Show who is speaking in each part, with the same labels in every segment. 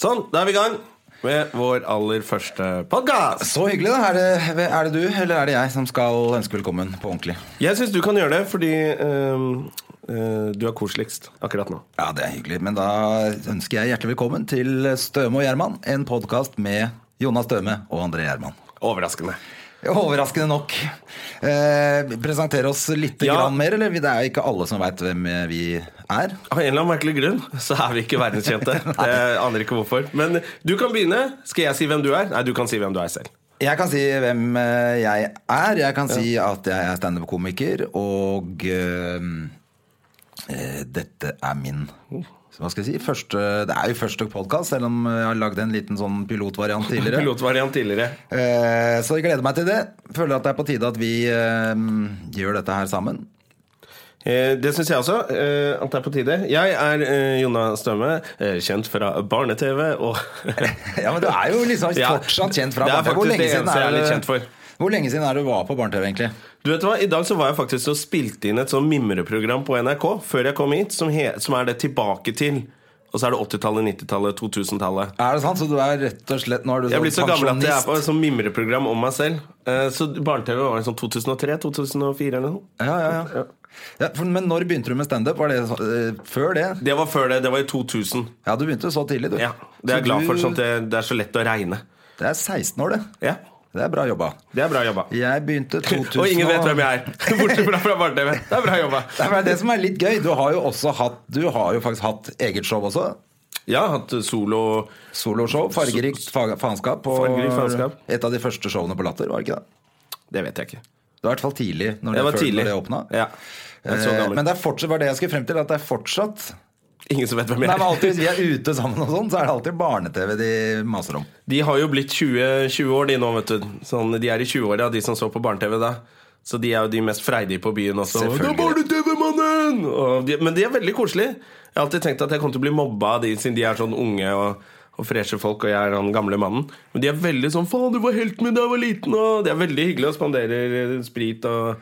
Speaker 1: Sånn, da er vi i gang med vår aller første podkast.
Speaker 2: Så hyggelig, da. Er det, er det du eller er det jeg som skal ønske velkommen på ordentlig?
Speaker 1: Jeg syns du kan gjøre det, fordi øhm, øh, du er koseligst akkurat nå.
Speaker 2: Ja, det er hyggelig. Men da ønsker jeg hjertelig velkommen til Støme og Gjerman. En podkast med Jonas Støme og André Gjerman.
Speaker 1: Overraskende.
Speaker 2: Overraskende nok. Eh, presentere oss litt
Speaker 1: Ja.
Speaker 2: grann mer, eller? Det er jo ikke alle som veit hvem vi er.
Speaker 1: Av en eller annen merkelig grunn så er vi ikke verdenskjente. Jeg aner ikke hvorfor. Men du kan begynne. Skal jeg si hvem du er? Nei, du kan si hvem du er selv.
Speaker 2: Jeg kan si hvem eh, jeg er. Jeg kan si at jeg er standup-komiker, og eh, eh, dette er min så hva skal jeg si? Første, det er jo første podkast, selv om jeg har lagd en liten sånn pilotvariant tidligere.
Speaker 1: Pilotvariant tidligere.
Speaker 2: Eh, så jeg gleder meg til det. Føler at det er på tide at vi eh, gjør dette her sammen.
Speaker 1: Eh, Det syns jeg også. eh, At det er på tide. Jeg er eh, Jonna Støme, eh, kjent fra barne-TV og
Speaker 2: Ja, men du er jo liksom
Speaker 1: Ja.
Speaker 2: fortsatt kjent fra
Speaker 1: Det er
Speaker 2: barne-TV. Hvor
Speaker 1: faktisk
Speaker 2: lenge
Speaker 1: det
Speaker 2: siden
Speaker 1: eneste jeg er litt
Speaker 2: du-
Speaker 1: kjent for.
Speaker 2: Hvor lenge siden er det du var på barne-TV, egentlig?
Speaker 1: Du vet hva, I dag så var jeg faktisk og spilte inn et sånn mimreprogram på NRK før jeg kom hit, som, he som er det tilbake til. Og så er det 80-tallet, 90-tallet, 2000-tallet.
Speaker 2: Er det sant? Så du er rett og slett Nå er du sånn
Speaker 1: Jeg er blitt så gammel at jeg er
Speaker 2: pensjonist.
Speaker 1: på et sånt mimreprogram om meg selv. Eh, Så barne-TV var sånn 2003-2004 eller noe.
Speaker 2: Ja, ja, ja. ja for, men når begynte du med standup? Var det så- eh, før det?
Speaker 1: Det var før det. Det var i 2000.
Speaker 2: Ja, du begynte så tidlig, du.
Speaker 1: Ja, Det er
Speaker 2: Så
Speaker 1: jeg glad
Speaker 2: du-
Speaker 1: for. Sånn at det, det er så lett å regne.
Speaker 2: Det er 16 år, det.
Speaker 1: Ja,
Speaker 2: Det er bra jobba.
Speaker 1: Det er bra jobba.
Speaker 2: Jeg begynte 2000
Speaker 1: Og ingen vet hvem
Speaker 2: og-
Speaker 1: jeg er. Bortsett fra fra barne-TV. Det er bra jobba.
Speaker 2: Nei, men Det er det som er litt gøy. Du har jo også hatt Du har jo faktisk hatt eget show også.
Speaker 1: Jeg har hatt solo
Speaker 2: Soloshow. Fargerikt fa faenskap. Og
Speaker 1: Fargerikt faenskap.
Speaker 2: et av de første showene på Latter, var det ikke det?
Speaker 1: Det vet jeg ikke.
Speaker 2: Det var i hvert fall tidlig når det,
Speaker 1: Jeg var
Speaker 2: før,
Speaker 1: tidlig.
Speaker 2: Når det åpna.
Speaker 1: Ja. Jeg er så
Speaker 2: Eh,
Speaker 1: gammel.
Speaker 2: Men det er fortsatt, var det jeg skulle frem til, at det er fortsatt
Speaker 1: Ingen som vet hvem
Speaker 2: Nei,
Speaker 1: jeg
Speaker 2: men
Speaker 1: er.
Speaker 2: alltid Hvis vi er ute sammen, og sånn, så er det alltid barne-TV de maser om.
Speaker 1: De har jo blitt 20, 20 år, de nå, vet du. Sånn, de er i 20-åra, de som så på barne-TV da. Så de er jo de mest freidige på byen også.
Speaker 2: Selvfølgelig.
Speaker 1: Da var du TV-mannen! Og de- Men de er veldig koselige. Jeg har alltid tenkt at jeg kommer til å bli mobba av de, siden de er sånn unge og, og freshe folk, og jeg er han gamle mannen. Men de er veldig sånn 'faen, du var helten min da jeg var liten', og de er veldig hyggelige og spanderer eh, sprit og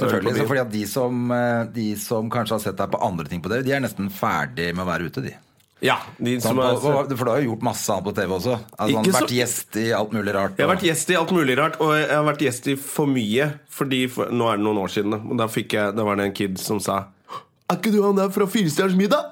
Speaker 1: og øl på
Speaker 2: Selvfølgelig, så
Speaker 1: byen.
Speaker 2: fordi at de som, eh, de som kanskje har sett deg på andre ting på TV, de er nesten ferdig med å være ute, de.
Speaker 1: Ja, de
Speaker 2: Sånn,
Speaker 1: som er,
Speaker 2: på, på, for du har jo gjort masse annet på TV også.
Speaker 1: Ikke
Speaker 2: Altså, sånn,
Speaker 1: så-
Speaker 2: vært gjest i alt mulig rart.
Speaker 1: Jeg har
Speaker 2: og-
Speaker 1: vært gjest i alt mulig rart, og jeg har vært gjest i for mye. Fordi for, Nå er det noen år siden, da, og da, fikk jeg, da var det en kid som sa Er ikke du han der fra Firestjerners middag?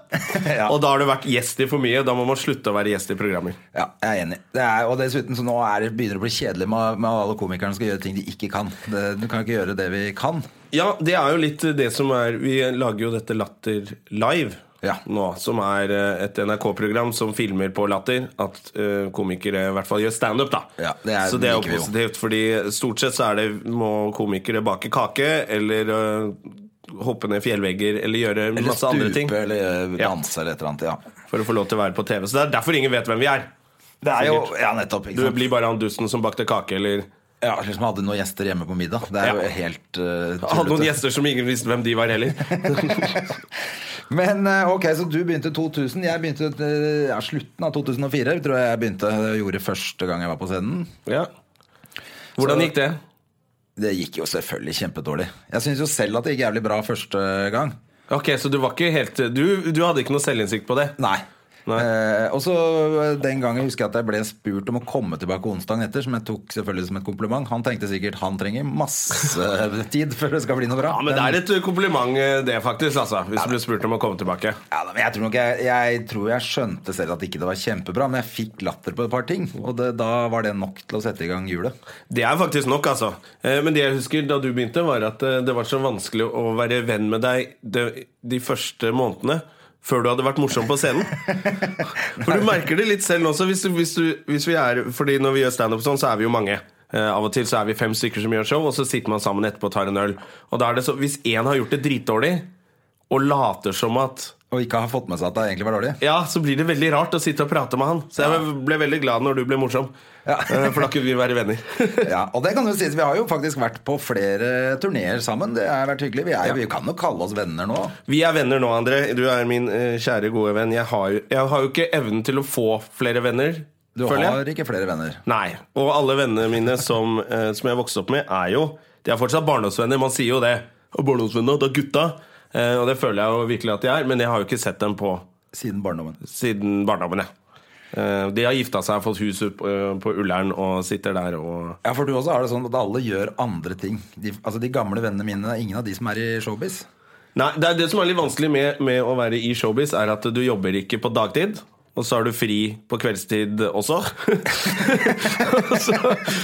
Speaker 2: Ja.
Speaker 1: Og da har du vært gjest i for mye. Da må man slutte å være gjest i programmer.
Speaker 2: Ja, jeg er enig. Det er, og dessuten så nå er det begynner det å bli kjedelig med, med alle komikerne som skal gjøre ting de ikke kan. Det, du kan ikke gjøre det vi kan.
Speaker 1: Ja, det er jo litt det som er Vi lager jo dette Latter live
Speaker 2: Ja.
Speaker 1: nå, som er eh, et NRK-program som filmer på latter. At eh, komikere i hvert fall gjør standup, da.
Speaker 2: Ja, det er-
Speaker 1: så det er jo
Speaker 2: liker vi jo.
Speaker 1: positivt, fordi stort sett så er det må komikere bake kake eller eh, hoppe ned fjellvegger eller gjøre
Speaker 2: Eller
Speaker 1: masse andre ting
Speaker 2: stupe eller eh,
Speaker 1: Ja.
Speaker 2: danse eller et eller annet. Ja.
Speaker 1: for å få lov til å være på TV. Så det er derfor ingen vet hvem vi er.
Speaker 2: Det er jo Ja, nettopp.
Speaker 1: Du
Speaker 2: Ikke sant?
Speaker 1: blir bare han dusten som bakte kake, eller
Speaker 2: Ja, Eller som hadde noen gjester hjemme på middag. Det er
Speaker 1: Ja.
Speaker 2: jo helt eh,
Speaker 1: hadde noen
Speaker 2: tullete.
Speaker 1: gjester som ingen visste hvem de var heller.
Speaker 2: Men eh, ok, så du begynte 2000. Jeg begynte eh, ja, slutten av 2004, tror jeg jeg begynte eh, gjorde første gang jeg var på scenen.
Speaker 1: ja. Hvordan
Speaker 2: Så-
Speaker 1: gikk det?
Speaker 2: Det gikk jo selvfølgelig kjempedårlig. Jeg syns jo selv at det gikk jævlig bra første gang.
Speaker 1: Ok, Så du var ikke helt Du, du hadde ikke noe selvinnsikt på det?
Speaker 2: Nei.
Speaker 1: Nei.
Speaker 2: Eh, og så eh, Den gangen husker jeg at jeg ble spurt om å komme tilbake onsdagen etter, som jeg tok selvfølgelig som et kompliment. Han tenkte sikkert han trenger masse tid før det skal bli noe bra.
Speaker 1: Ja, men Det er et kompliment, eh, det, faktisk. altså Hvis du blir spurt om å komme tilbake.
Speaker 2: Ja, da, men jeg, tror nok jeg, jeg tror jeg skjønte selv at ikke det var kjempebra, men jeg fikk latter på et par ting. Og det, da var det nok til å sette i gang hjulet.
Speaker 1: Det er faktisk nok, altså. Eh, Men det jeg husker da du begynte, var at eh, det var så vanskelig å være venn med deg de, de første månedene. Før du hadde vært morsom på scenen. For du merker det litt selv også. Hvis, du- hvis, du, hvis vi er, fordi Når vi gjør standup sånn, så er vi jo mange. Eh, av og til så er vi fem stykker som gjør show, og så sitter man sammen etterpå og tar en øl. Og da er det så, Hvis én har gjort det dritdårlig, og later som at
Speaker 2: Og ikke har fått med seg at det egentlig var dårlig.
Speaker 1: Ja, så blir det veldig rart å sitte og prate med han. Så jeg ble veldig glad når du ble morsom.
Speaker 2: Ja.
Speaker 1: Eh, For da kunne vi være venner.
Speaker 2: Ja, og det kan jo sies, Vi har jo faktisk vært på flere turneer sammen. Det har vært hyggelig. Vi, er, jo- vi kan jo kalle oss venner nå.
Speaker 1: Vi er venner nå, André. Du er min eh, kjære, gode venn. Jeg har, jo- jeg har jo ikke evnen til å få flere venner,
Speaker 2: Du
Speaker 1: føler jeg.
Speaker 2: har ikke flere venner.
Speaker 1: Nei. Og alle vennene mine som, eh, som jeg vokste opp med, er jo De er fortsatt barndomsvenner. Man sier jo det. Og barndomsvenner, da gutta. Eh, og det føler jeg jo virkelig at de er, men jeg har jo ikke sett dem på
Speaker 2: Siden barndommen.
Speaker 1: siden barndommen, jeg. Eh, De har gifta seg, fått hus opp, eh, på Ullern og sitter der og
Speaker 2: Ja, for du også har det sånn at alle gjør andre ting. De, altså de gamle vennene mine, det er ingen av de som er i showbiz.
Speaker 1: Nei, det, er det som er litt vanskelig med, med å være i showbiz, er at du jobber ikke på dagtid. Og så har du fri på kveldstid også. Og så,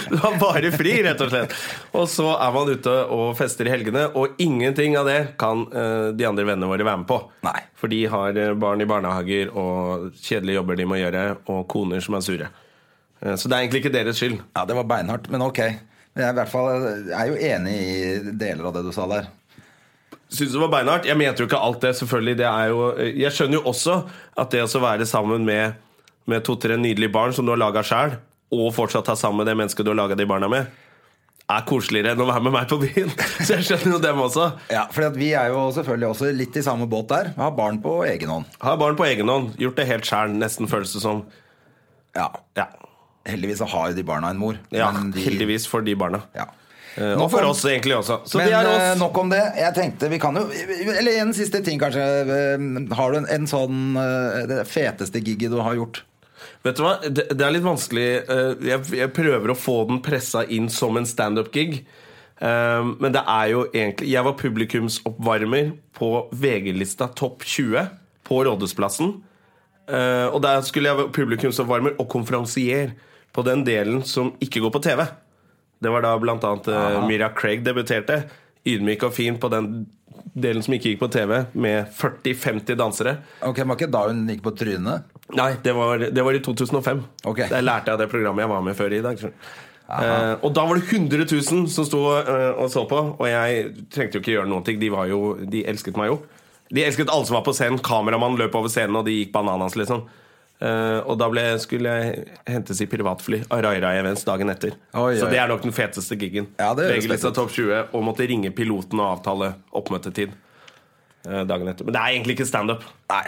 Speaker 1: du har bare fri, rett og slett. Og så er man ute og fester i helgene, og ingenting av det kan eh, de andre vennene våre være med på.
Speaker 2: Nei.
Speaker 1: For de har eh, barn i barnehager og kjedelige jobber de må gjøre, og koner som er sure. Eh, så det er egentlig ikke deres skyld.
Speaker 2: Ja, det var beinhardt, men ok. Men jeg er, i hvert fall, jeg er jo enig i deler av det du sa der.
Speaker 1: Synes det var beinhardt. Jeg mente jo ikke alt det, selvfølgelig. Det er jo, eh, jeg skjønner jo også at det å være sammen med, med to-tre nydelige barn som du har laga sjæl, og fortsatt ha sammen med det mennesket du har laga de barna med, er koseligere enn å være med meg på byen. Så jeg skjønner jo dem også.
Speaker 2: Ja, for vi er jo selvfølgelig også litt i samme båt der. Har barn på egen hånd.
Speaker 1: Har barn på egen hånd. Gjort det helt sjæl, nesten føles det som.
Speaker 2: Ja,
Speaker 1: Ja,
Speaker 2: Heldigvis så har jo de barna en mor.
Speaker 1: ja
Speaker 2: men de-
Speaker 1: heldigvis for de barna.
Speaker 2: Ja.
Speaker 1: Eh,
Speaker 2: Nå
Speaker 1: Og for
Speaker 2: kom-
Speaker 1: oss egentlig også. Så
Speaker 2: men
Speaker 1: det er
Speaker 2: eh,
Speaker 1: oss.
Speaker 2: nok om det. Jeg tenkte vi kan jo Eller en siste ting, kanskje. Eh, Har du en, en sånn eh, Det feteste gigget du har gjort?
Speaker 1: Vet du hva, det, det er litt vanskelig eh, jeg, jeg prøver å få den pressa inn som en standup-gig. Eh, men det er jo egentlig Jeg var publikumsoppvarmer på VG-lista Topp 20 på Rådhusplassen. Eh, og der skulle jeg være publikumsoppvarmer og konferansier på den delen som ikke går på TV. Det var da blant annet eh, Mira Craig debuterte. Ydmyk og fin på den delen som ikke gikk på TV, med 40-50 dansere.
Speaker 2: Ok, Det var ikke da hun gikk på trynet?
Speaker 1: Nei, det var, det var i 2005.
Speaker 2: Ok.
Speaker 1: Der lærte jeg det programmet jeg var med før i dag. skjønner du. Eh, og da var det 100 000 som sto eh, og så på, og jeg trengte jo ikke gjøre noen ting. De, var jo, de elsket meg jo. De elsket alle som var på scenen. Kameramannen løp over scenen, og de gikk bananas, liksom. Eh, og da ble, skulle jeg hentes i privatfly av Raira Events dagen etter.
Speaker 2: Oi,
Speaker 1: Så
Speaker 2: oi.
Speaker 1: det er nok den feteste giggen.
Speaker 2: Ja, det høres
Speaker 1: VG-lista
Speaker 2: fett ut.
Speaker 1: Topp 20 og måtte ringe piloten og avtale oppmøtetid eh, dagen etter. Men det er egentlig ikke standup.
Speaker 2: Nei.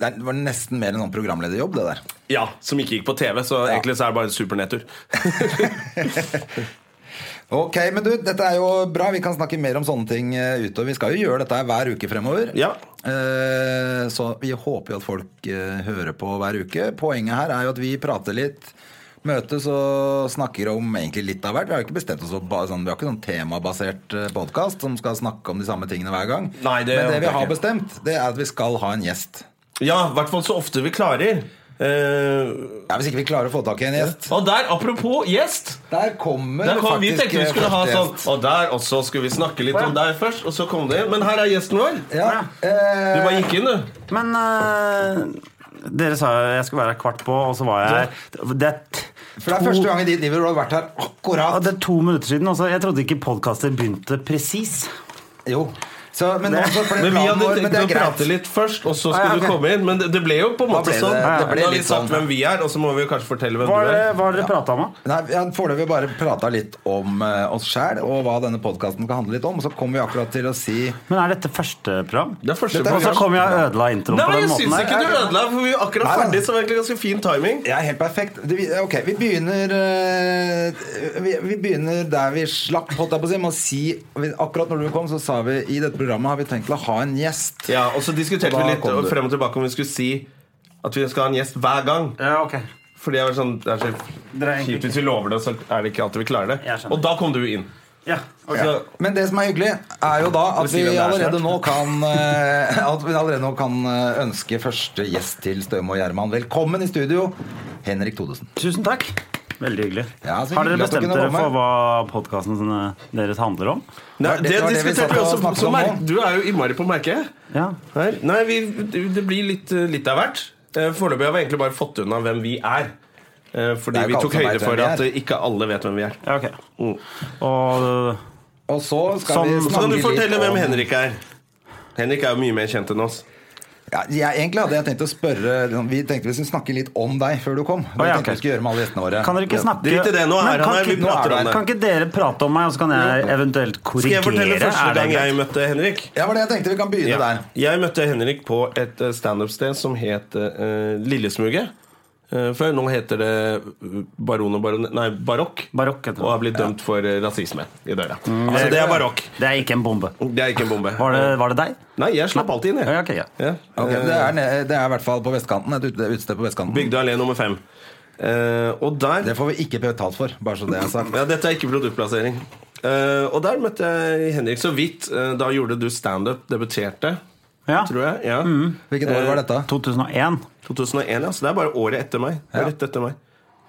Speaker 2: Det var nesten mer en sånn programlederjobb, det der.
Speaker 1: Ja, som ikke gikk på TV, så
Speaker 2: Ja.
Speaker 1: egentlig så er det bare en supernedtur.
Speaker 2: Ok, men du, dette er jo bra. Vi kan snakke mer om sånne ting eh, utover. Vi skal jo gjøre dette her hver uke fremover.
Speaker 1: Ja.
Speaker 2: Eh, Så vi håper jo at folk eh, hører på hver uke. Poenget her er jo at vi prater litt, møtes og snakker om egentlig litt av hvert. Vi har jo ikke bestemt oss for ba- sånn, vi har ikke sånn temabasert podkast som skal snakke om de samme tingene hver gang.
Speaker 1: Nei, det
Speaker 2: men det
Speaker 1: håper jeg
Speaker 2: vi har
Speaker 1: ikke.
Speaker 2: bestemt, det er at vi skal ha en gjest.
Speaker 1: Ja, i hvert fall så ofte vi klarer. Eh,
Speaker 2: Ja, Hvis ikke vi klarer å få tak i en gjest.
Speaker 1: og der, apropos gjest
Speaker 2: Der kommer
Speaker 1: der kom, Vi
Speaker 2: faktisk
Speaker 1: tenkte vi
Speaker 2: eh,
Speaker 1: skulle ha
Speaker 2: første
Speaker 1: sånn
Speaker 2: gjest.
Speaker 1: Og der, og så skulle vi snakke litt om deg først, og så kom det inn. Men her er gjesten vår.
Speaker 2: Ja, eh,
Speaker 1: Du bare gikk inn, du.
Speaker 3: Men eh, dere sa jo jeg skulle være her kvart på, og så var jeg her Det er t-
Speaker 2: For det er første gang i ditt liv hvor du har vært her
Speaker 3: ja,
Speaker 2: akkurat.
Speaker 3: det er to minutter siden. Også. Jeg trodde ikke podkaster begynte presis.
Speaker 2: Jo. Så, men, nå så ble
Speaker 1: Men vi
Speaker 2: planen
Speaker 1: hadde
Speaker 2: vår- men
Speaker 1: tenkt
Speaker 2: det
Speaker 1: å
Speaker 2: er greit.
Speaker 1: prate litt først, og så
Speaker 3: Ah, ja,
Speaker 1: skulle du
Speaker 3: ok.
Speaker 1: komme inn. Men det, det ble jo på en
Speaker 2: Da
Speaker 1: måte
Speaker 2: ble det-
Speaker 1: sånn.
Speaker 2: det ble
Speaker 1: Vi har
Speaker 2: litt
Speaker 1: litt sagt
Speaker 2: sånn.
Speaker 1: hvem vi er, og så må vi jo kanskje fortelle hvem
Speaker 3: Hva
Speaker 1: du
Speaker 3: har
Speaker 1: er.
Speaker 3: dere, hva har dere prata om, da?
Speaker 2: Nei, vi har foreløpig bare prata litt om eh, oss sjæl og hva denne podkasten skal handle litt om. Og så kom vi akkurat til å si
Speaker 3: Men er dette første program?
Speaker 1: Det er første
Speaker 2: Dette er
Speaker 3: Og så
Speaker 1: program.
Speaker 3: kom jeg og ødela introen
Speaker 1: Nei,
Speaker 3: på den
Speaker 1: jeg
Speaker 3: måten
Speaker 1: syns
Speaker 3: der.
Speaker 1: ikke du ødela, for vi var akkurat
Speaker 2: Nei, nei.
Speaker 1: ferdig, så det var egentlig ganske fin timing.
Speaker 2: Ja, helt perfekt. Det- vi- Ok, vi begynner eh, vi, vi begynner der vi slapp, holdt jeg på å si. Med å si vi- akkurat når du kom, så sa vi i dette programmet har vi tenkt til å ha en gjest.
Speaker 1: Ja, og så diskuterte
Speaker 2: Og da
Speaker 1: vi litt
Speaker 2: kom du.
Speaker 1: frem og tilbake om vi skulle si at vi skal ha en gjest hver gang.
Speaker 3: Ja, ok.
Speaker 1: Fordi jeg var sånn, det er så
Speaker 3: Dere er egentlig
Speaker 1: kjipt hvis vi lover det, så er det ikke alltid vi klarer det.
Speaker 3: Jeg skjønner.
Speaker 1: Og da kom du inn.
Speaker 3: Ja, ok.
Speaker 1: Så,
Speaker 2: Men det som er hyggelig, er jo da at
Speaker 1: Vi sier
Speaker 2: vi
Speaker 1: hvem det er
Speaker 2: allerede
Speaker 1: snart.
Speaker 2: nå kan eh, At vi allerede nå kan eh, ønske første gjest til Støme og Gjerman. Velkommen i studio, Henrik Thodesen.
Speaker 3: Tusen takk. Veldig hyggelig.
Speaker 2: Ja, så
Speaker 3: har dere
Speaker 2: hyggelig at dere
Speaker 3: bestemt
Speaker 2: kunne
Speaker 3: dere
Speaker 2: komme.
Speaker 3: for hva podkasten deres handler om?
Speaker 1: nei,
Speaker 2: var det-
Speaker 1: det,
Speaker 2: det var det vi satt
Speaker 1: diskuterte vi
Speaker 2: og
Speaker 1: også.
Speaker 2: snakket
Speaker 1: Så
Speaker 2: om
Speaker 1: merk,
Speaker 2: nå.
Speaker 1: du er jo innmari på merket.
Speaker 3: Ja.
Speaker 1: Her. Nei, vi, det blir litt, eh, litt av hvert. Eh, Foreløpig har vi egentlig bare fått unna hvem vi er. Eh,
Speaker 2: Det
Speaker 1: Fordi
Speaker 2: er
Speaker 1: vi
Speaker 2: ikke
Speaker 1: tok
Speaker 2: alle som
Speaker 1: høyde
Speaker 2: vet hvem
Speaker 1: for
Speaker 2: vi
Speaker 1: at
Speaker 2: er.
Speaker 1: eh, ikke alle vet hvem vi er.
Speaker 3: ja ok.
Speaker 1: Mm.
Speaker 3: Og
Speaker 2: Og så skal
Speaker 3: Som-
Speaker 1: Så
Speaker 2: vi snakke
Speaker 1: kan du
Speaker 2: litt
Speaker 1: fortelle
Speaker 2: om-
Speaker 1: hvem Henrik er. Henrik er jo mye mer kjent enn oss.
Speaker 2: Ja, jeg, egentlig hadde jeg tenkt å spørre liksom, Vi tenkte vi skulle snakke litt om deg før du kom. Det
Speaker 3: Å, ja,
Speaker 2: tenkte
Speaker 3: ok.
Speaker 2: vi skulle gjøre med alle gjestene våre
Speaker 3: kan dere ikke snakke
Speaker 1: Drit i det, nå er
Speaker 3: Men
Speaker 1: han
Speaker 3: kan
Speaker 1: her. Vi
Speaker 3: ikke-
Speaker 2: nå er
Speaker 1: prater
Speaker 2: du her.
Speaker 1: om det.
Speaker 3: Kan ikke dere prate om meg, og så kan jeg eventuelt
Speaker 1: Skal
Speaker 3: korrigere?
Speaker 1: jeg fortelle første
Speaker 3: Er det
Speaker 1: gang
Speaker 3: greit?
Speaker 1: jeg møtte Henrik?
Speaker 2: Ja, var det jeg tenkte. Vi kan
Speaker 1: Ja.
Speaker 2: begynne der.
Speaker 1: Jeg møtte Henrik på et eh, standup-sted som het eh, Lillesmuget. eh, før. Nå heter det eh, baron og baron... Nei, barokk.
Speaker 3: Barokk heter det.
Speaker 1: Og er blitt dømt for eh, rasisme i døra. altså, det er barokk.
Speaker 3: Det er ikke en bombe.
Speaker 1: Det er ikke en bombe.
Speaker 3: Var det, var det deg?
Speaker 1: Nei, jeg slapp alltid inn, jeg.
Speaker 3: Ja, ok, ja.
Speaker 1: Ja. Eh,
Speaker 2: Ok, det, er, ned- det er i hvert fall på vestkanten. Et ute- utested på vestkanten.
Speaker 1: Bygdøy allé nummer fem. Eh, og der
Speaker 2: Det får vi ikke betalt for, bare så det er sagt.
Speaker 1: Ja, dette er ikke produktplassering. Eh, og der møtte jeg Henrik så vidt. Eh, da gjorde du standup, debuterte,
Speaker 3: Ja. Mm.
Speaker 1: tror jeg. Ja.
Speaker 2: Hvilket år var dette?
Speaker 3: 2001.
Speaker 1: 2001, ja. Så det er bare året etter meg. Det er Rett etter meg.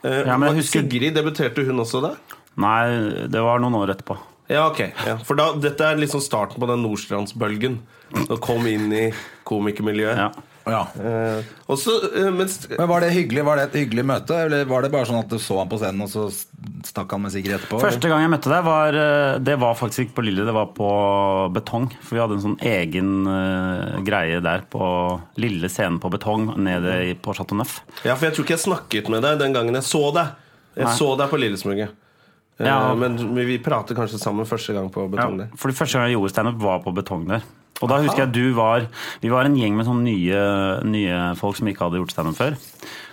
Speaker 1: Eh,
Speaker 3: Ja, men jeg
Speaker 1: og
Speaker 3: husker-
Speaker 1: Sigrid, debuterte hun også da?
Speaker 3: Nei, det var noen år etterpå.
Speaker 1: Ja, ok. Ja. For da, dette er liksom starten på den Nordstrandsbølgen. Å komme inn i komikermiljøet.
Speaker 3: Ja.
Speaker 2: Ja.
Speaker 1: Eh, og så, eh, mens
Speaker 2: Men Var det hyggelig Var det et hyggelig møte, eller var det bare sånn at du så han på scenen, og så stakk han med Sigrid etterpå?
Speaker 3: Første gang jeg møtte deg, var, eh, det var faktisk ikke på Lille, det var på Betong. For vi hadde en sånn egen eh, greie der på Lille scenen på Betong nede i- på Chateau Neuf.
Speaker 1: Ja, for jeg tror ikke jeg snakket med deg den gangen jeg så deg. Jeg
Speaker 3: Nei.
Speaker 1: så deg på Lillesmuget. Eh,
Speaker 3: Ja.
Speaker 1: Men vi vi prater kanskje sammen første gang på
Speaker 3: Ja,
Speaker 1: Betong der.
Speaker 3: for det første gang jeg gjorde standup, var på Betong der. Og da husker jeg du var Vi var en gjeng med sånne nye, nye folk som ikke hadde gjort standup før.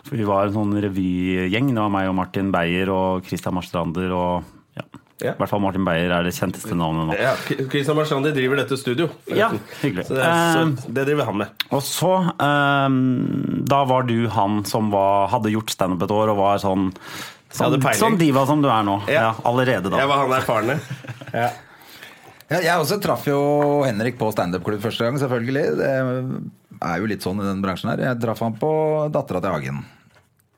Speaker 3: For vi var en sånn revygjeng. Det var meg og Martin Beyer og Christian Marstrander og ja.
Speaker 1: Ja.
Speaker 3: I hvert fall Martin Beyer er det kjenteste navnet nå.
Speaker 1: Ja, Kristian Marstrandi driver dette studio. forresten.
Speaker 3: Ja, hyggelig. Eh,
Speaker 1: Så det, er, så det driver han med.
Speaker 3: Og så ehm, Da var du han som var, hadde gjort standup et år og var sånn
Speaker 1: hadde
Speaker 3: Sånn,
Speaker 1: peiling.
Speaker 3: sånn diva som du er nå.
Speaker 1: Ja.
Speaker 3: Ja. allerede da.
Speaker 1: Jeg var han erfarne. Ja.
Speaker 2: Ja, jeg også traff jo Henrik på standup-klubb første gang, selvfølgelig. Det er jo litt sånn i den bransjen her. Jeg traff han på Dattera til Hagen.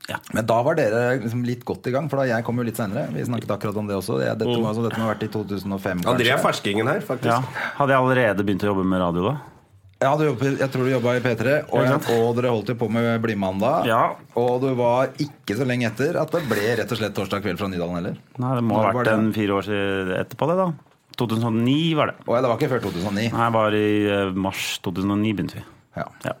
Speaker 3: Ja.
Speaker 2: Men da var dere liksom litt godt i gang, for da jeg kom jo litt senere. Vi snakket akkurat om det også. Jeg, dette,
Speaker 3: Mm.
Speaker 2: må, altså, dette må ha vært i 2005,
Speaker 1: Ja, dere er
Speaker 2: kanskje.
Speaker 1: ferskingen her, faktisk.
Speaker 3: Ja. Hadde jeg allerede begynt å jobbe med radio da?
Speaker 2: Ja, du jobbet, jeg tror du jobba i P3, og,
Speaker 3: Ja, ikke sant?
Speaker 2: og dere holdt jo på med Blimandag.
Speaker 3: Ja.
Speaker 2: Og du var ikke så lenge etter at det ble rett og slett torsdag kveld fra Nydalen heller.
Speaker 3: Nei, det må ha
Speaker 2: Når var
Speaker 3: vært
Speaker 2: det?
Speaker 3: en fire år siden etterpå det, da. 2009 var det.
Speaker 2: Og det var ikke før 2009.
Speaker 3: Nei, var i eh, mars 2009 begynte vi.
Speaker 2: Ja.
Speaker 3: Ja.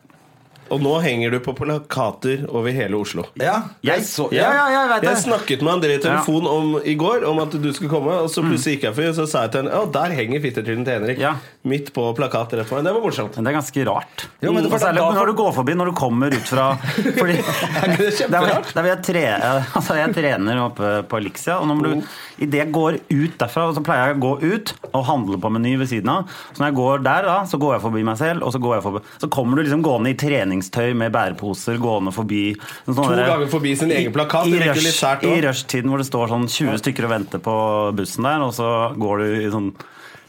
Speaker 1: Og nå henger du på plakater over hele Oslo.
Speaker 2: Ja,
Speaker 3: Jeg- Ja, ja, jeg vet det.
Speaker 1: snakket med André i telefon om, i går om at du skulle komme, og så plutselig gikk jeg forbi, og så sa jeg til henne Ja, der henger fittetrynet til Henrik.
Speaker 3: Mm. Ja.
Speaker 1: Midt på plakat rett foran. Det var morsomt.
Speaker 3: Men det er ganske rart.
Speaker 2: Jo, men det var
Speaker 3: Og
Speaker 2: da-
Speaker 3: særlig
Speaker 2: da-
Speaker 3: når du går forbi, når du kommer ut fra Fordi
Speaker 1: Er ikke det
Speaker 3: Der hvor jeg,
Speaker 1: kjemperart?
Speaker 3: der hvor jeg, tre, altså jeg trener oppe på Elixia, og når du, i det jeg går ut derfra, så pleier jeg å gå ut og handle på Meny ved siden av. Så når jeg går der, da, så går jeg forbi meg selv, og så, går jeg forbi, så kommer du liksom gående i treningstøy med bæreposer, gående forbi sånn
Speaker 1: To
Speaker 3: der-
Speaker 1: ganger forbi sin egen plakat.
Speaker 3: I,
Speaker 1: Det virker litt
Speaker 3: rush,
Speaker 1: sært
Speaker 3: I
Speaker 1: òg.
Speaker 3: rushtiden hvor det står sånn 20 stykker og venter på bussen der, og så går du i sånn,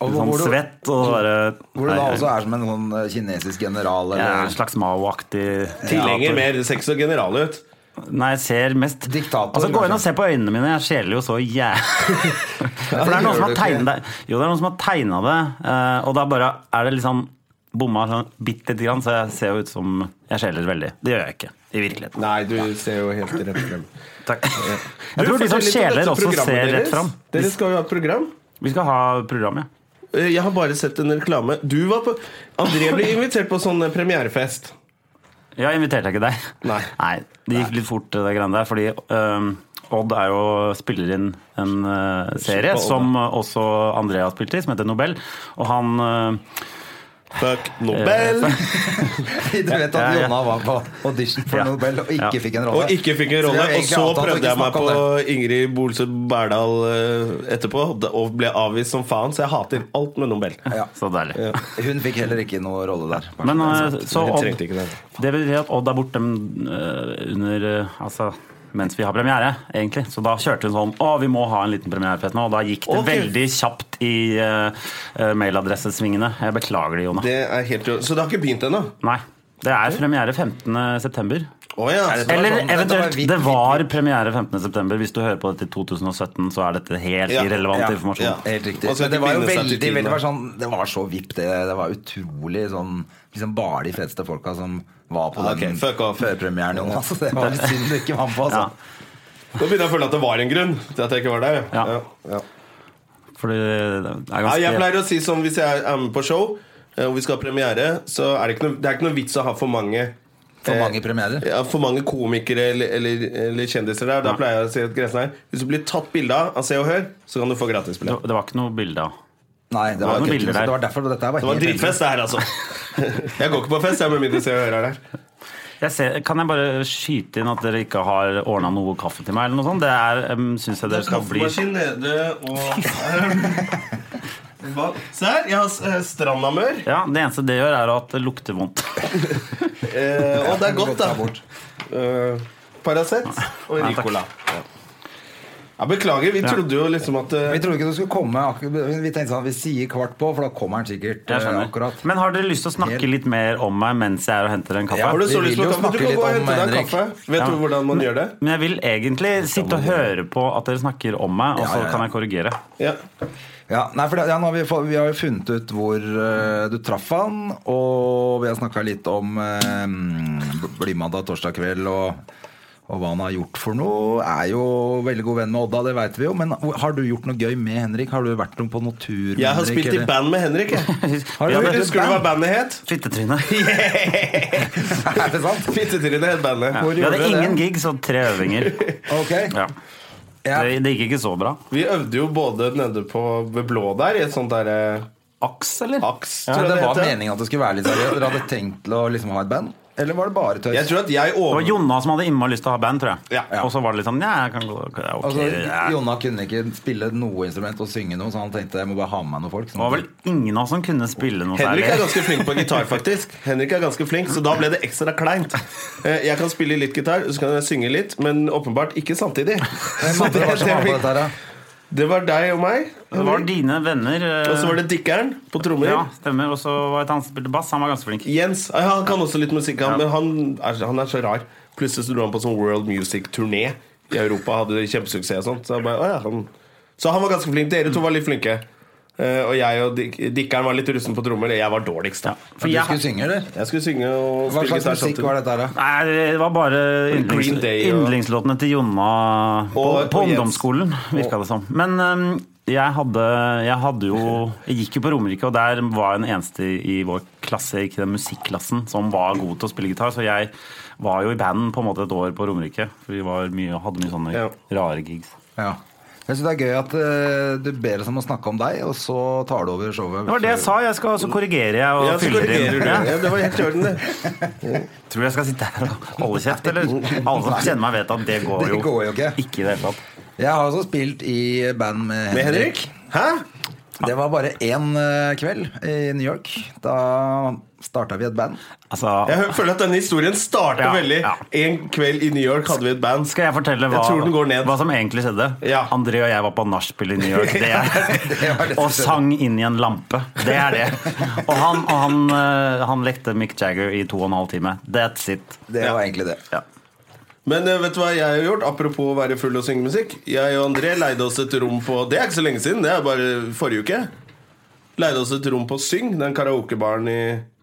Speaker 2: Og
Speaker 3: litt
Speaker 2: hvor-
Speaker 3: sånn
Speaker 2: hvor du-
Speaker 3: svett og så bare
Speaker 2: Hvor du da
Speaker 3: Nei,
Speaker 2: også er som en sånn eh, kinesisk general
Speaker 3: jeg er
Speaker 2: eller
Speaker 3: en slags Mao-aktig
Speaker 1: Tilhenger mer sex og general ut.
Speaker 3: Nei, jeg ser mest
Speaker 2: Diktator,
Speaker 3: Altså, Gå inn
Speaker 2: kanskje.
Speaker 3: og se på øynene mine. Jeg skjeler jo så jævlig For det er
Speaker 2: gjør
Speaker 3: noen som
Speaker 2: du
Speaker 3: har
Speaker 2: ikke.
Speaker 3: tegnet det. Jo, det er noen som har tegna det, eh, og da bare er det liksom bomma sånn bitte lite grann, så jeg ser jo ut som Jeg skjeler veldig. Det gjør jeg ikke i virkeligheten.
Speaker 1: Nei, du ser jo helt rett frem.
Speaker 3: Takk. Jeg tror de som skjeler, også ser rett fram.
Speaker 1: Dere skal jo ha et program.
Speaker 3: Vi skal ha program, ja.
Speaker 1: Eh, Jeg har bare sett en reklame. Du var på André ble invitert på sånn eh, premierefest.
Speaker 3: Jeg inviterte ikke deg.
Speaker 1: Nei.
Speaker 3: Det gikk litt fort, det greiene der. Fordi øhm, Odd er jo, spiller inn en øh, serie
Speaker 1: Odd, da.
Speaker 3: som øh, også Andrea spilte i, som heter Nobel. Og han øh,
Speaker 1: Fuck
Speaker 3: Eh,
Speaker 1: Nobel!
Speaker 2: Du vet
Speaker 3: Ja,
Speaker 2: at
Speaker 3: ja.
Speaker 2: Jonna var på audition for
Speaker 3: Ja.
Speaker 2: Nobel og ikke
Speaker 3: Ja.
Speaker 2: fikk en rolle.
Speaker 1: Og ikke fikk en
Speaker 2: vi
Speaker 1: rolle.
Speaker 2: har egentlig
Speaker 1: Og så
Speaker 2: avtalt å ikke
Speaker 1: prøvde jeg meg
Speaker 2: snakke om
Speaker 1: på
Speaker 2: det.
Speaker 1: Ingrid Bolsø Berdal eh, etterpå, og- og ble avvist som faen, så jeg hater alt med Nobel.
Speaker 2: Ja.
Speaker 3: Så deilig.
Speaker 2: Hun fikk heller ikke noe rolle der.
Speaker 3: Men øh, så
Speaker 1: Jeg
Speaker 3: Odd
Speaker 1: trengte ikke det.
Speaker 3: Det betyr at Odd er borte mm, øh, under øh, Altså mens vi har premiere, egentlig. Så da kjørte hun sånn Å, vi må ha en liten premierefest nå. Og da gikk det
Speaker 1: Ok.
Speaker 3: veldig kjapt i øh, øh, mailadressesvingene. Jeg beklager det, Jona.
Speaker 1: det er helt, jo- så det har ikke begynt ennå?
Speaker 3: Nei. Det er premiere 15.9.
Speaker 1: Å ja.
Speaker 2: Er
Speaker 1: så-
Speaker 2: det var sånn-
Speaker 3: Eller
Speaker 2: dette var
Speaker 3: eventuelt
Speaker 2: vidt-
Speaker 3: Det var premiere 15.9. Hvis du hører på dette i 2017, så er dette helt
Speaker 1: Ja,
Speaker 3: irrelevant
Speaker 2: ja,
Speaker 3: informasjon.
Speaker 1: ja.
Speaker 2: Helt riktig.
Speaker 1: Man skal
Speaker 2: Men det
Speaker 1: ikke
Speaker 2: var jo
Speaker 1: binde seg til
Speaker 2: veldig,
Speaker 1: tiden,
Speaker 2: veldig
Speaker 1: da.
Speaker 2: var sånn, Det var så vipp, det. Det var utrolig sånn liksom Bare de feteste folka som var på
Speaker 1: Ja, Ah,
Speaker 2: den
Speaker 1: ok, fuck off.
Speaker 2: førpremieren. Jonas. Altså, det var litt synd du ikke var med på.
Speaker 3: Ja,
Speaker 2: Altså.
Speaker 1: Nå begynner jeg å føle at det var en grunn til at jeg ikke var der.
Speaker 3: Ja.
Speaker 1: Ja.
Speaker 3: fordi det er
Speaker 1: Ja, jeg
Speaker 3: ganske
Speaker 1: pleier å si sånn hvis jeg er med på show eh, og vi skal ha premiere, så er det ikke noe, det er ikke noe vits å ha for mange
Speaker 2: For
Speaker 1: eh,
Speaker 2: mange premierer.
Speaker 1: ja, for mange komikere eller, eller, eller kjendiser der. Da
Speaker 3: Ja.
Speaker 1: pleier jeg å si at grensen er Hvis du blir tatt bilde av av Se og Hør, så kan du få gratisbillett.
Speaker 3: Det var ikke noe bilde av.
Speaker 2: Nei, det
Speaker 3: var
Speaker 2: var,
Speaker 3: noen
Speaker 2: ikke-
Speaker 3: bilder der.
Speaker 2: det var derfor dette her var
Speaker 1: Det var
Speaker 2: helt
Speaker 1: dritfest, det her, altså. Jeg går ikke på fest, jeg, med mindre Se og Hør er der.
Speaker 3: Jeg ser, kan jeg bare skyte inn at dere ikke har ordna noe kaffe til meg? eller noe sånt? Det er, um, synes jeg dere skal bli...
Speaker 1: Kaffemaskin nede og Hva? Se her, jeg har s- eh, Strandamør.
Speaker 3: Ja, Det eneste det gjør, er at det lukter vondt.
Speaker 1: Eh, og det er godt,
Speaker 2: ta
Speaker 1: da.
Speaker 2: bort.
Speaker 1: Eh, Paracet og
Speaker 3: Nei, takk.
Speaker 1: Ricola. Ja, beklager, vi trodde jo liksom at eh,
Speaker 2: Vi trodde ikke du skulle komme. ak- Vi tenkte sånn, vi sier kvart på, for da kommer han sikkert
Speaker 3: Jeg
Speaker 2: eh,
Speaker 3: skjønner.
Speaker 2: akkurat.
Speaker 3: Men har dere lyst til å snakke
Speaker 2: Helt-
Speaker 3: litt mer om meg mens jeg er og henter en kaffe?
Speaker 2: Ja,
Speaker 1: Har du
Speaker 2: Vi
Speaker 1: så
Speaker 2: vil
Speaker 1: lyst til å
Speaker 2: jo
Speaker 1: ta men Du
Speaker 2: snakke
Speaker 1: kan
Speaker 2: litt
Speaker 1: gå og
Speaker 2: om
Speaker 1: hente deg en
Speaker 2: Henrik.
Speaker 1: kaffe. Vet
Speaker 3: Ja.
Speaker 1: du hvordan man gjør det?
Speaker 3: Men jeg vil egentlig sitte og høre på at dere snakker om meg, og
Speaker 2: Ja,
Speaker 3: så
Speaker 2: ja, ja.
Speaker 3: kan jeg korrigere.
Speaker 1: Ja.
Speaker 2: Ja, nei, for det, ja, nå har vi, få- vi har jo funnet ut hvor eh, du traff han, og vi har snakka litt om uh, Blymandag torsdag kveld og, og hva han har gjort for noe. Er jo veldig god venn med Odda, det veit vi jo. Men har du gjort noe gøy med Henrik? Har du vært noe på noe tur med
Speaker 1: Jeg har
Speaker 2: Henrik,
Speaker 1: spilt i
Speaker 2: eller?
Speaker 1: band med Henrik. Jeg.
Speaker 2: Har du
Speaker 1: Ja,
Speaker 2: spilt i
Speaker 1: Husker du hva
Speaker 2: band?
Speaker 1: bandet het?
Speaker 3: Fittetryne.
Speaker 2: Er det sant?
Speaker 1: Fittetryne het bandet.
Speaker 3: Ja.
Speaker 1: Hvor
Speaker 3: Vi
Speaker 1: gjorde
Speaker 3: hadde
Speaker 1: dere det?
Speaker 3: ingen gigs og tre øvinger.
Speaker 2: Ok.
Speaker 3: Ja.
Speaker 2: Ja.
Speaker 3: Det, det gikk ikke så bra.
Speaker 1: Vi øvde jo både nede på ved Blå der, eh, i et sånt derre
Speaker 3: Aks, eller?
Speaker 1: aks,
Speaker 2: Så
Speaker 1: tror jeg
Speaker 2: det
Speaker 1: det
Speaker 2: var
Speaker 1: heter.
Speaker 2: meningen at det skulle være litt seriøst? Dere hadde tenkt til å liksom ha et band? Eller var det bare tøys?
Speaker 1: Jeg tror at jeg
Speaker 3: Det
Speaker 1: over...
Speaker 3: var Jonna som hadde innmari lyst til å ha band, tror jeg.
Speaker 1: Ja, ja.
Speaker 3: Og så var det litt sånn Ja, jeg kan gå ok,
Speaker 2: Altså,
Speaker 3: ja.
Speaker 2: Jonna kunne ikke spille noe instrument og synge noe, så han tenkte jeg må bare ha med meg noen folk.
Speaker 3: Det var vel ingen av oss som kunne spille noe
Speaker 1: Henrik er
Speaker 3: særlig.
Speaker 1: ganske flink på gitar, faktisk. Henrik er ganske flink, Så da ble det ekstra kleint. Eh, Jeg kan spille litt gitar, så kan jeg synge litt, men åpenbart ikke samtidig.
Speaker 2: Hvem
Speaker 1: Så
Speaker 2: andre var det som var på dette her, da?
Speaker 1: det var deg og meg.
Speaker 3: Det var
Speaker 1: Henrik.
Speaker 3: dine venner. eh,
Speaker 1: Og så var det Dikkeren på trommer.
Speaker 3: Ja, stemmer. Og så var det et han som spilte bass. Han var ganske flink.
Speaker 1: Jens eh, han kan også litt musikk, han, men han er, han er så rar. Plutselig så dro han på sånn World Music-turné i Europa. Hadde det kjempesuksess og sånt. Så, jeg bare, «Å ja, han. så han var ganske flink. Dere to var litt flinke. Eh, og jeg og Dik Dikkeren var litt russen på trommer. og Jeg var dårligst, da.
Speaker 3: For
Speaker 2: Du
Speaker 3: jeg,
Speaker 2: skulle synge, eller?
Speaker 1: Jeg skulle synge og
Speaker 2: Hva
Speaker 1: spille
Speaker 2: slags
Speaker 1: gitar
Speaker 2: musikk
Speaker 1: samtidig.
Speaker 2: var dette her, da?
Speaker 3: Nei, det var bare yndlings,
Speaker 1: Green Day og-
Speaker 3: yndlingslåtene til Jonna på,
Speaker 1: Og-
Speaker 3: på
Speaker 1: og Jens.
Speaker 3: ungdomsskolen, virka det som. Men øhm, jeg hadde, jeg hadde jo Jeg gikk jo på Romerike, og der var jeg den eneste i vår klasse, ikke den musikklassen, som var god til å spille gitar. Så jeg var jo i band på en måte et år på Romerike, for vi var mye, hadde mye sånne
Speaker 1: Ja.
Speaker 3: rare gigs.
Speaker 2: Ja. Jeg synes det er gøy at eh, du ber oss om å snakke om deg, og så tar du over showet.
Speaker 3: Det var det jeg sa. Jeg skal, så korrigerer jeg og
Speaker 1: Ja, så
Speaker 3: fyller
Speaker 1: korrigerer
Speaker 3: inn.
Speaker 1: du.
Speaker 3: Ja.
Speaker 1: Ja, det var helt i orden, det.
Speaker 3: Tror du jeg skal sitte her og holde kjeft, eller? Alle som kjenner meg, vet at det går
Speaker 2: Det
Speaker 3: jo
Speaker 2: går jo ikke.
Speaker 3: ikke i det hele tatt.
Speaker 2: Jeg har også spilt i band med
Speaker 1: Med
Speaker 2: Henrik.
Speaker 1: Henrik? Hæ?
Speaker 2: Det var bare én eh, kveld i New York. Da starta vi et band.
Speaker 3: Altså,
Speaker 1: Jeg hø- føler at denne historien starter
Speaker 3: Ja,
Speaker 1: veldig.
Speaker 3: ja.
Speaker 1: En kveld i New York hadde vi et band.
Speaker 3: Skal jeg fortelle hva,
Speaker 1: Jeg tror den går ned.
Speaker 3: hva som egentlig skjedde?
Speaker 1: Ja.
Speaker 3: André og jeg var på nachspiel i New York. Det
Speaker 2: Det var
Speaker 3: er,
Speaker 2: det som skjedde.
Speaker 3: og sang inn i en lampe. Det er det. Og han, og han, eh, han lekte Mick Jagger i to og en halv time. That's it.
Speaker 2: Det
Speaker 1: Ja.
Speaker 2: var egentlig det.
Speaker 3: Ja.
Speaker 1: Men eh, vet du hva jeg har gjort? Apropos å være full og synge musikk. Jeg og André leide oss et rom på Det er ikke så lenge siden, det er bare forrige uke. Leide oss et rom på Syng, den karaokebaren i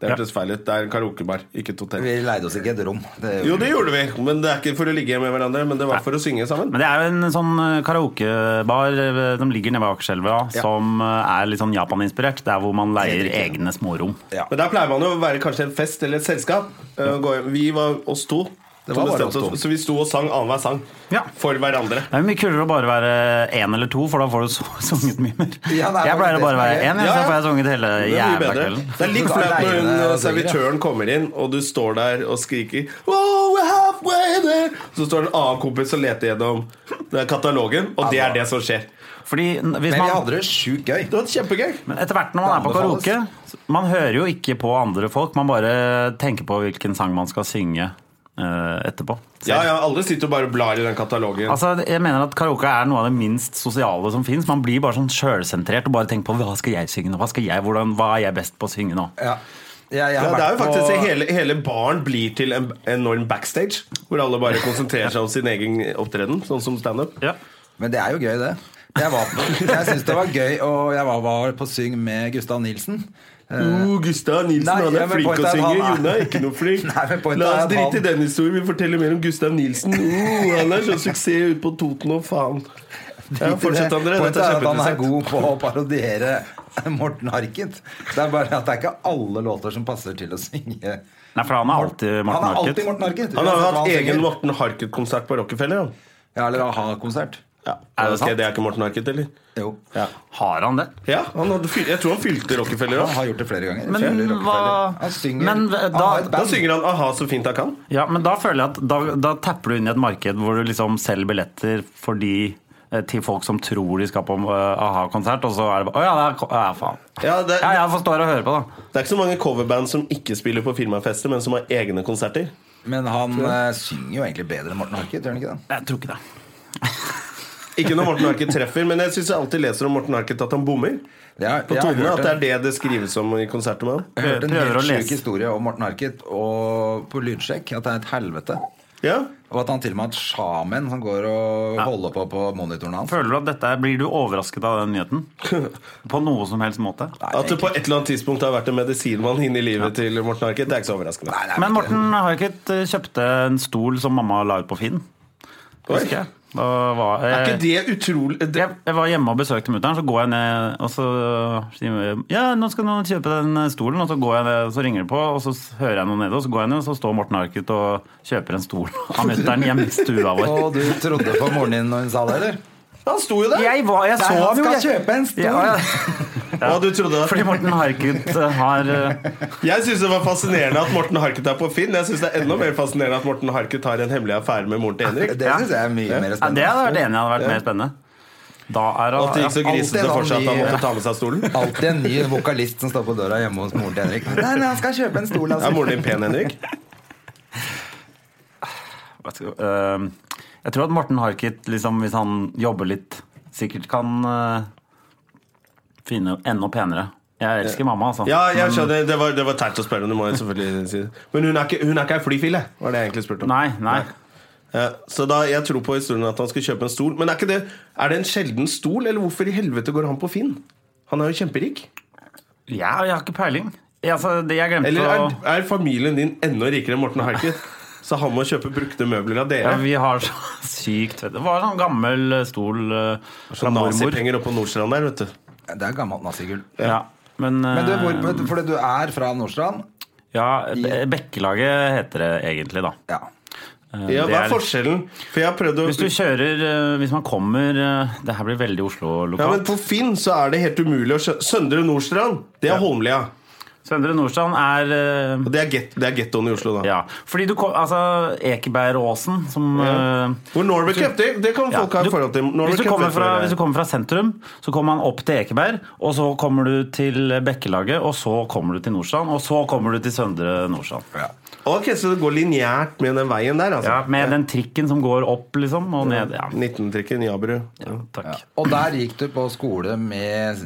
Speaker 1: Det hørtes feil ut. Det er en karaokebar, ikke et hotell.
Speaker 2: Vi leide oss ikke et rom. Det,
Speaker 1: Jo, det gjorde vi, men det er ikke for å ligge med hverandre, men det var for å synge sammen.
Speaker 3: Men det er jo en sånn eh, karaokebar eh, som ligger nede ved Akerselva, som eh, er litt sånn Japan-inspirert. Det er hvor man leier
Speaker 2: Helt riktig.
Speaker 3: egne smårom.
Speaker 2: ja.
Speaker 1: Men der pleier man jo å være kanskje en fest eller et selskap. Eh, gå hjem. Vi var oss to.
Speaker 2: Det var
Speaker 1: Så
Speaker 2: bare
Speaker 1: bestemte
Speaker 2: oss to.
Speaker 1: Så vi sto og sang annenhver sang.
Speaker 3: Ja.
Speaker 1: For hverandre.
Speaker 3: Det er jo mye kulere å bare være én eller to, for da får du så, sunget mye mer.
Speaker 2: Ja, det er
Speaker 3: jeg
Speaker 2: faktisk
Speaker 3: pleier
Speaker 2: det
Speaker 3: å
Speaker 2: som
Speaker 3: bare
Speaker 2: er
Speaker 3: være
Speaker 2: gøy.
Speaker 3: én,
Speaker 1: Ja,
Speaker 3: så
Speaker 1: ja.
Speaker 3: får jeg sunget hele
Speaker 1: Det er mye
Speaker 3: jævla
Speaker 1: bedre.
Speaker 3: kvelden.
Speaker 1: Det er litt
Speaker 2: Så
Speaker 1: flaut når
Speaker 2: alene
Speaker 1: hun,
Speaker 2: er det
Speaker 1: eh,
Speaker 2: bedre.
Speaker 1: servitøren kommer inn, og du står der og skriker «Oh, we're halfway there!» Så står det en annen kompis og leter gjennom den katalogen, og det er det som skjer.
Speaker 3: Fordi n- hvis
Speaker 2: Men vi
Speaker 3: man
Speaker 2: hadde det sjukt gøy.
Speaker 1: Det var kjempegøy.
Speaker 3: Men etter hvert når man er på
Speaker 2: Det anbefales.
Speaker 3: karaoke, man hører jo ikke på andre folk, man bare tenker på hvilken sang man skal synge eh, etterpå. Så-
Speaker 1: Ja, ja, alle sitter og bare blar i den katalogen.
Speaker 3: Altså, jeg mener at Karaoke er noe av det minst sosiale som fins. Man blir bare sånn sjølsentrert og bare tenker på hva skal jeg synge nå? Hva, skal jeg, hvordan, hva er jeg best på å synge nå?
Speaker 2: Ja. Jeg, jeg
Speaker 1: Ja,
Speaker 2: har
Speaker 1: det er jo
Speaker 2: vært
Speaker 1: faktisk
Speaker 2: på-
Speaker 1: det. hele, hele baren blir til en enorm backstage, hvor alle bare konsentrerer seg om sin egen opptreden, sånn som standup.
Speaker 3: Ja.
Speaker 2: Men det er jo gøy, det. Jeg, var på- jeg syns det var gøy, og jeg var, var på syng med Gustav Nilsen. Eh,
Speaker 1: Oh, Gustav Nilsen,
Speaker 2: Nei,
Speaker 1: han
Speaker 2: ja,
Speaker 1: er
Speaker 2: men
Speaker 1: flink å
Speaker 2: poenget er at
Speaker 1: synge.
Speaker 2: han er-
Speaker 1: Jonna er ikke noe flink.
Speaker 2: Nei, men poenget
Speaker 1: La
Speaker 2: er
Speaker 1: oss
Speaker 2: at
Speaker 1: drite i
Speaker 2: han-
Speaker 1: den historien. Vi forteller mer om Gustav Nilsen. Oh, han er sånn suksess ute på Toten og faen. Ja, fortsett, André.
Speaker 2: Poenget
Speaker 1: Dette er
Speaker 2: er at han er
Speaker 1: kjempeinteressant.
Speaker 2: god på å parodiere Morten Harket. Det er bare at det er ikke alle låter som passer til å synge.
Speaker 3: Nei, for han er alltid
Speaker 2: Han
Speaker 3: Morten
Speaker 2: er alltid
Speaker 3: Harket.
Speaker 2: Morten Harket.
Speaker 1: Han har jo
Speaker 2: uansett hva
Speaker 1: hatt
Speaker 2: synger.
Speaker 1: egen Morten Harket-konsert på Rockefeller. han.
Speaker 2: Ja, eller a-ha-konsert.
Speaker 3: Er det
Speaker 1: Ok,
Speaker 3: sant?
Speaker 1: det er ikke Morten Harket, eller?
Speaker 2: Jo.
Speaker 3: Har han det?
Speaker 1: Ja, han hadde fylt, Jeg tror han fylte Rockefeller
Speaker 2: Han
Speaker 1: òg.
Speaker 2: har gjort det flere ganger.
Speaker 3: Men
Speaker 2: Fyller Rockefeller.
Speaker 3: hva-
Speaker 2: Han synger.
Speaker 3: Men, eh,
Speaker 2: han
Speaker 3: da-
Speaker 2: har et
Speaker 1: Da
Speaker 2: band.
Speaker 1: synger han 'aha, så fint jeg kan'.
Speaker 3: Ja, men da føler jeg at da, da tapper du inn i et marked hvor du liksom selger billetter for de, eh, til folk som tror de skal på eh, a-ha-konsert, og så er det bare Å ja, det er, ko- ja, faen.
Speaker 1: Ja, det,
Speaker 3: Ja, jeg forstår og hører på, da.
Speaker 1: det er ikke så mange coverband som ikke spiller på firmafester, men som har egne konserter.
Speaker 2: Men han eh, synger jo egentlig bedre enn Morten Harket, gjør han ikke det?
Speaker 3: Jeg tror ikke det.
Speaker 1: Ikke når Morten Harket treffer, men jeg syns jeg alltid leser om Morten Harket at han bommer.
Speaker 2: Jeg,
Speaker 1: På
Speaker 2: jeg har
Speaker 1: tonene,
Speaker 2: hørt
Speaker 1: At det
Speaker 2: en-
Speaker 1: er det det skrives om i konserter med ham.
Speaker 2: jeg har hørt en
Speaker 3: Prøver å
Speaker 2: helt sjuk
Speaker 3: lese.
Speaker 2: historie om Morten Harket og på lydsjekk at det er et helvete.
Speaker 1: Ja,
Speaker 2: Og at han til og med har et sjamen som går og holder på på monitoren hans.
Speaker 3: Føler du at dette er- Blir du overrasket av den nyheten? På noe som helst måte?
Speaker 2: Nei,
Speaker 1: At det
Speaker 2: egentlig-
Speaker 1: på et eller annet tidspunkt har vært en medisinmann inne i livet til Morten Harket, det er ikke så overraskende.
Speaker 2: Nei, det er
Speaker 3: Men
Speaker 2: ikke det.
Speaker 3: Morten Harket eh, kjøpte en stol som mamma la ut på Finn.
Speaker 1: Oi.
Speaker 3: Husker jeg. Da var,
Speaker 1: Er ikke
Speaker 3: jeg,
Speaker 1: det utrolig det,
Speaker 3: jeg, jeg var hjemme og besøkte mutter'n, så går jeg ned og så sier hun, Ja, nå skal noen kjøpe den stolen, og så, går jeg ned, så ringer det på, og så s- hører jeg noe nede, og så går jeg ned, og så står Morten Harket og kjøper en stol av mutter'n hjemme i stua vår.
Speaker 2: Og du trodde på moren din når hun sa det, eller?
Speaker 1: Han sto jo der!
Speaker 3: Jeg, var, jeg så
Speaker 2: Nei, han
Speaker 3: ham jo,
Speaker 2: skal
Speaker 3: jeg.
Speaker 2: kjøpe en stol!
Speaker 3: Ja, ja.
Speaker 1: Ja, du trodde det.
Speaker 3: Fordi Morten Harket eh, har eh,
Speaker 1: Jeg syns det var fascinerende at Morten Harket er på Finn. Jeg synes det er enda mer fascinerende at Morten Harket har en hemmelig affære med moren til Henrik.
Speaker 2: Det syns jeg er mye mer
Speaker 3: ja, Det
Speaker 2: spennende.
Speaker 3: hadde vært enig hadde vært mer spennende. Da er
Speaker 1: Og at det
Speaker 3: det
Speaker 1: gikk så grisete for seg at han måtte ta med seg stolen.
Speaker 2: Alltid en ny vokalist som står på døra hjemme hos moren til Henrik. Nei, nei, han skal kjøpe en stol,
Speaker 1: Er
Speaker 2: altså.
Speaker 1: moren din pen, Henrik?
Speaker 3: Hva skal- eh, Jeg tror at Morten Harket, liksom, hvis han jobber litt, sikkert kan eh, finne enda penere. Jeg elsker mamma, altså.
Speaker 1: Ja, jeg
Speaker 3: Men-
Speaker 1: skjønner. Det var, det var teit å spørre om, det må jeg selvfølgelig si. Men hun er ikke, hun er ikke ei flyfille, var det jeg egentlig spurte om.
Speaker 3: Nei, nei.
Speaker 1: Ja, Eh, så da, jeg tror på historien at han skal kjøpe en stol. Men er, ikke det, er det en sjelden stol, eller hvorfor i helvete går han på Finn? Han er jo kjemperik.
Speaker 3: Ja, jeg har ikke peiling. Jeg, altså, det jeg glemte
Speaker 1: Eller
Speaker 3: å
Speaker 1: er, er familien din enda rikere enn Morten Harket? Så han må kjøpe brukte møbler av
Speaker 3: ja,
Speaker 1: dere?
Speaker 3: Vi har så sykt Det var sånn gammel eh, stol eh, fra
Speaker 1: Sånn
Speaker 3: mormor.
Speaker 1: nazipenger oppe på Nordstrand der, vet du.
Speaker 2: Det er gammelt nazigull.
Speaker 3: Ja. Men, eh,
Speaker 2: Men du, hvor, fordi du er fra Nordstrand?
Speaker 3: ja, Be- Bekkelaget heter det egentlig, da.
Speaker 2: Ja.
Speaker 3: Eh,
Speaker 1: Ja,
Speaker 3: det
Speaker 1: Hva
Speaker 3: er-
Speaker 1: er forskjellen? For jeg har prøvd å
Speaker 3: Hvis du kjører eh, Hvis man kommer eh, Det her blir veldig
Speaker 1: ja, men
Speaker 3: Oslo-lokalt.
Speaker 1: På Finn så er det helt umulig å skjønne. Søndre Nordstrand, det er Holmlia.
Speaker 3: Søndre Nordstrand er eh,
Speaker 1: Og det er get- det er gettoen i Oslo, da.
Speaker 3: Ja, fordi du kom, altså Ekebergåsen som eh,
Speaker 1: Hvor Norway Cup, det, det kan folk
Speaker 3: ja,
Speaker 1: ha
Speaker 3: du-
Speaker 1: et forhold til. Norway
Speaker 3: hvis, du
Speaker 1: Cup,
Speaker 3: kommer
Speaker 1: jeg tror
Speaker 3: fra,
Speaker 1: det er-
Speaker 3: hvis du kommer fra sentrum, så kommer man opp til Ekeberg, og så kommer du til Bekkelaget, og så kommer du til Nordstrand, og så kommer du til Søndre Nordstrand.
Speaker 2: ja.
Speaker 1: Ok, Så det går lineært med den veien der, altså?
Speaker 3: Ja, med den trikken som går opp, liksom, og ned. Ja,
Speaker 1: 19-trikken Jabru.
Speaker 3: ja takk.
Speaker 2: Og der gikk du på skole med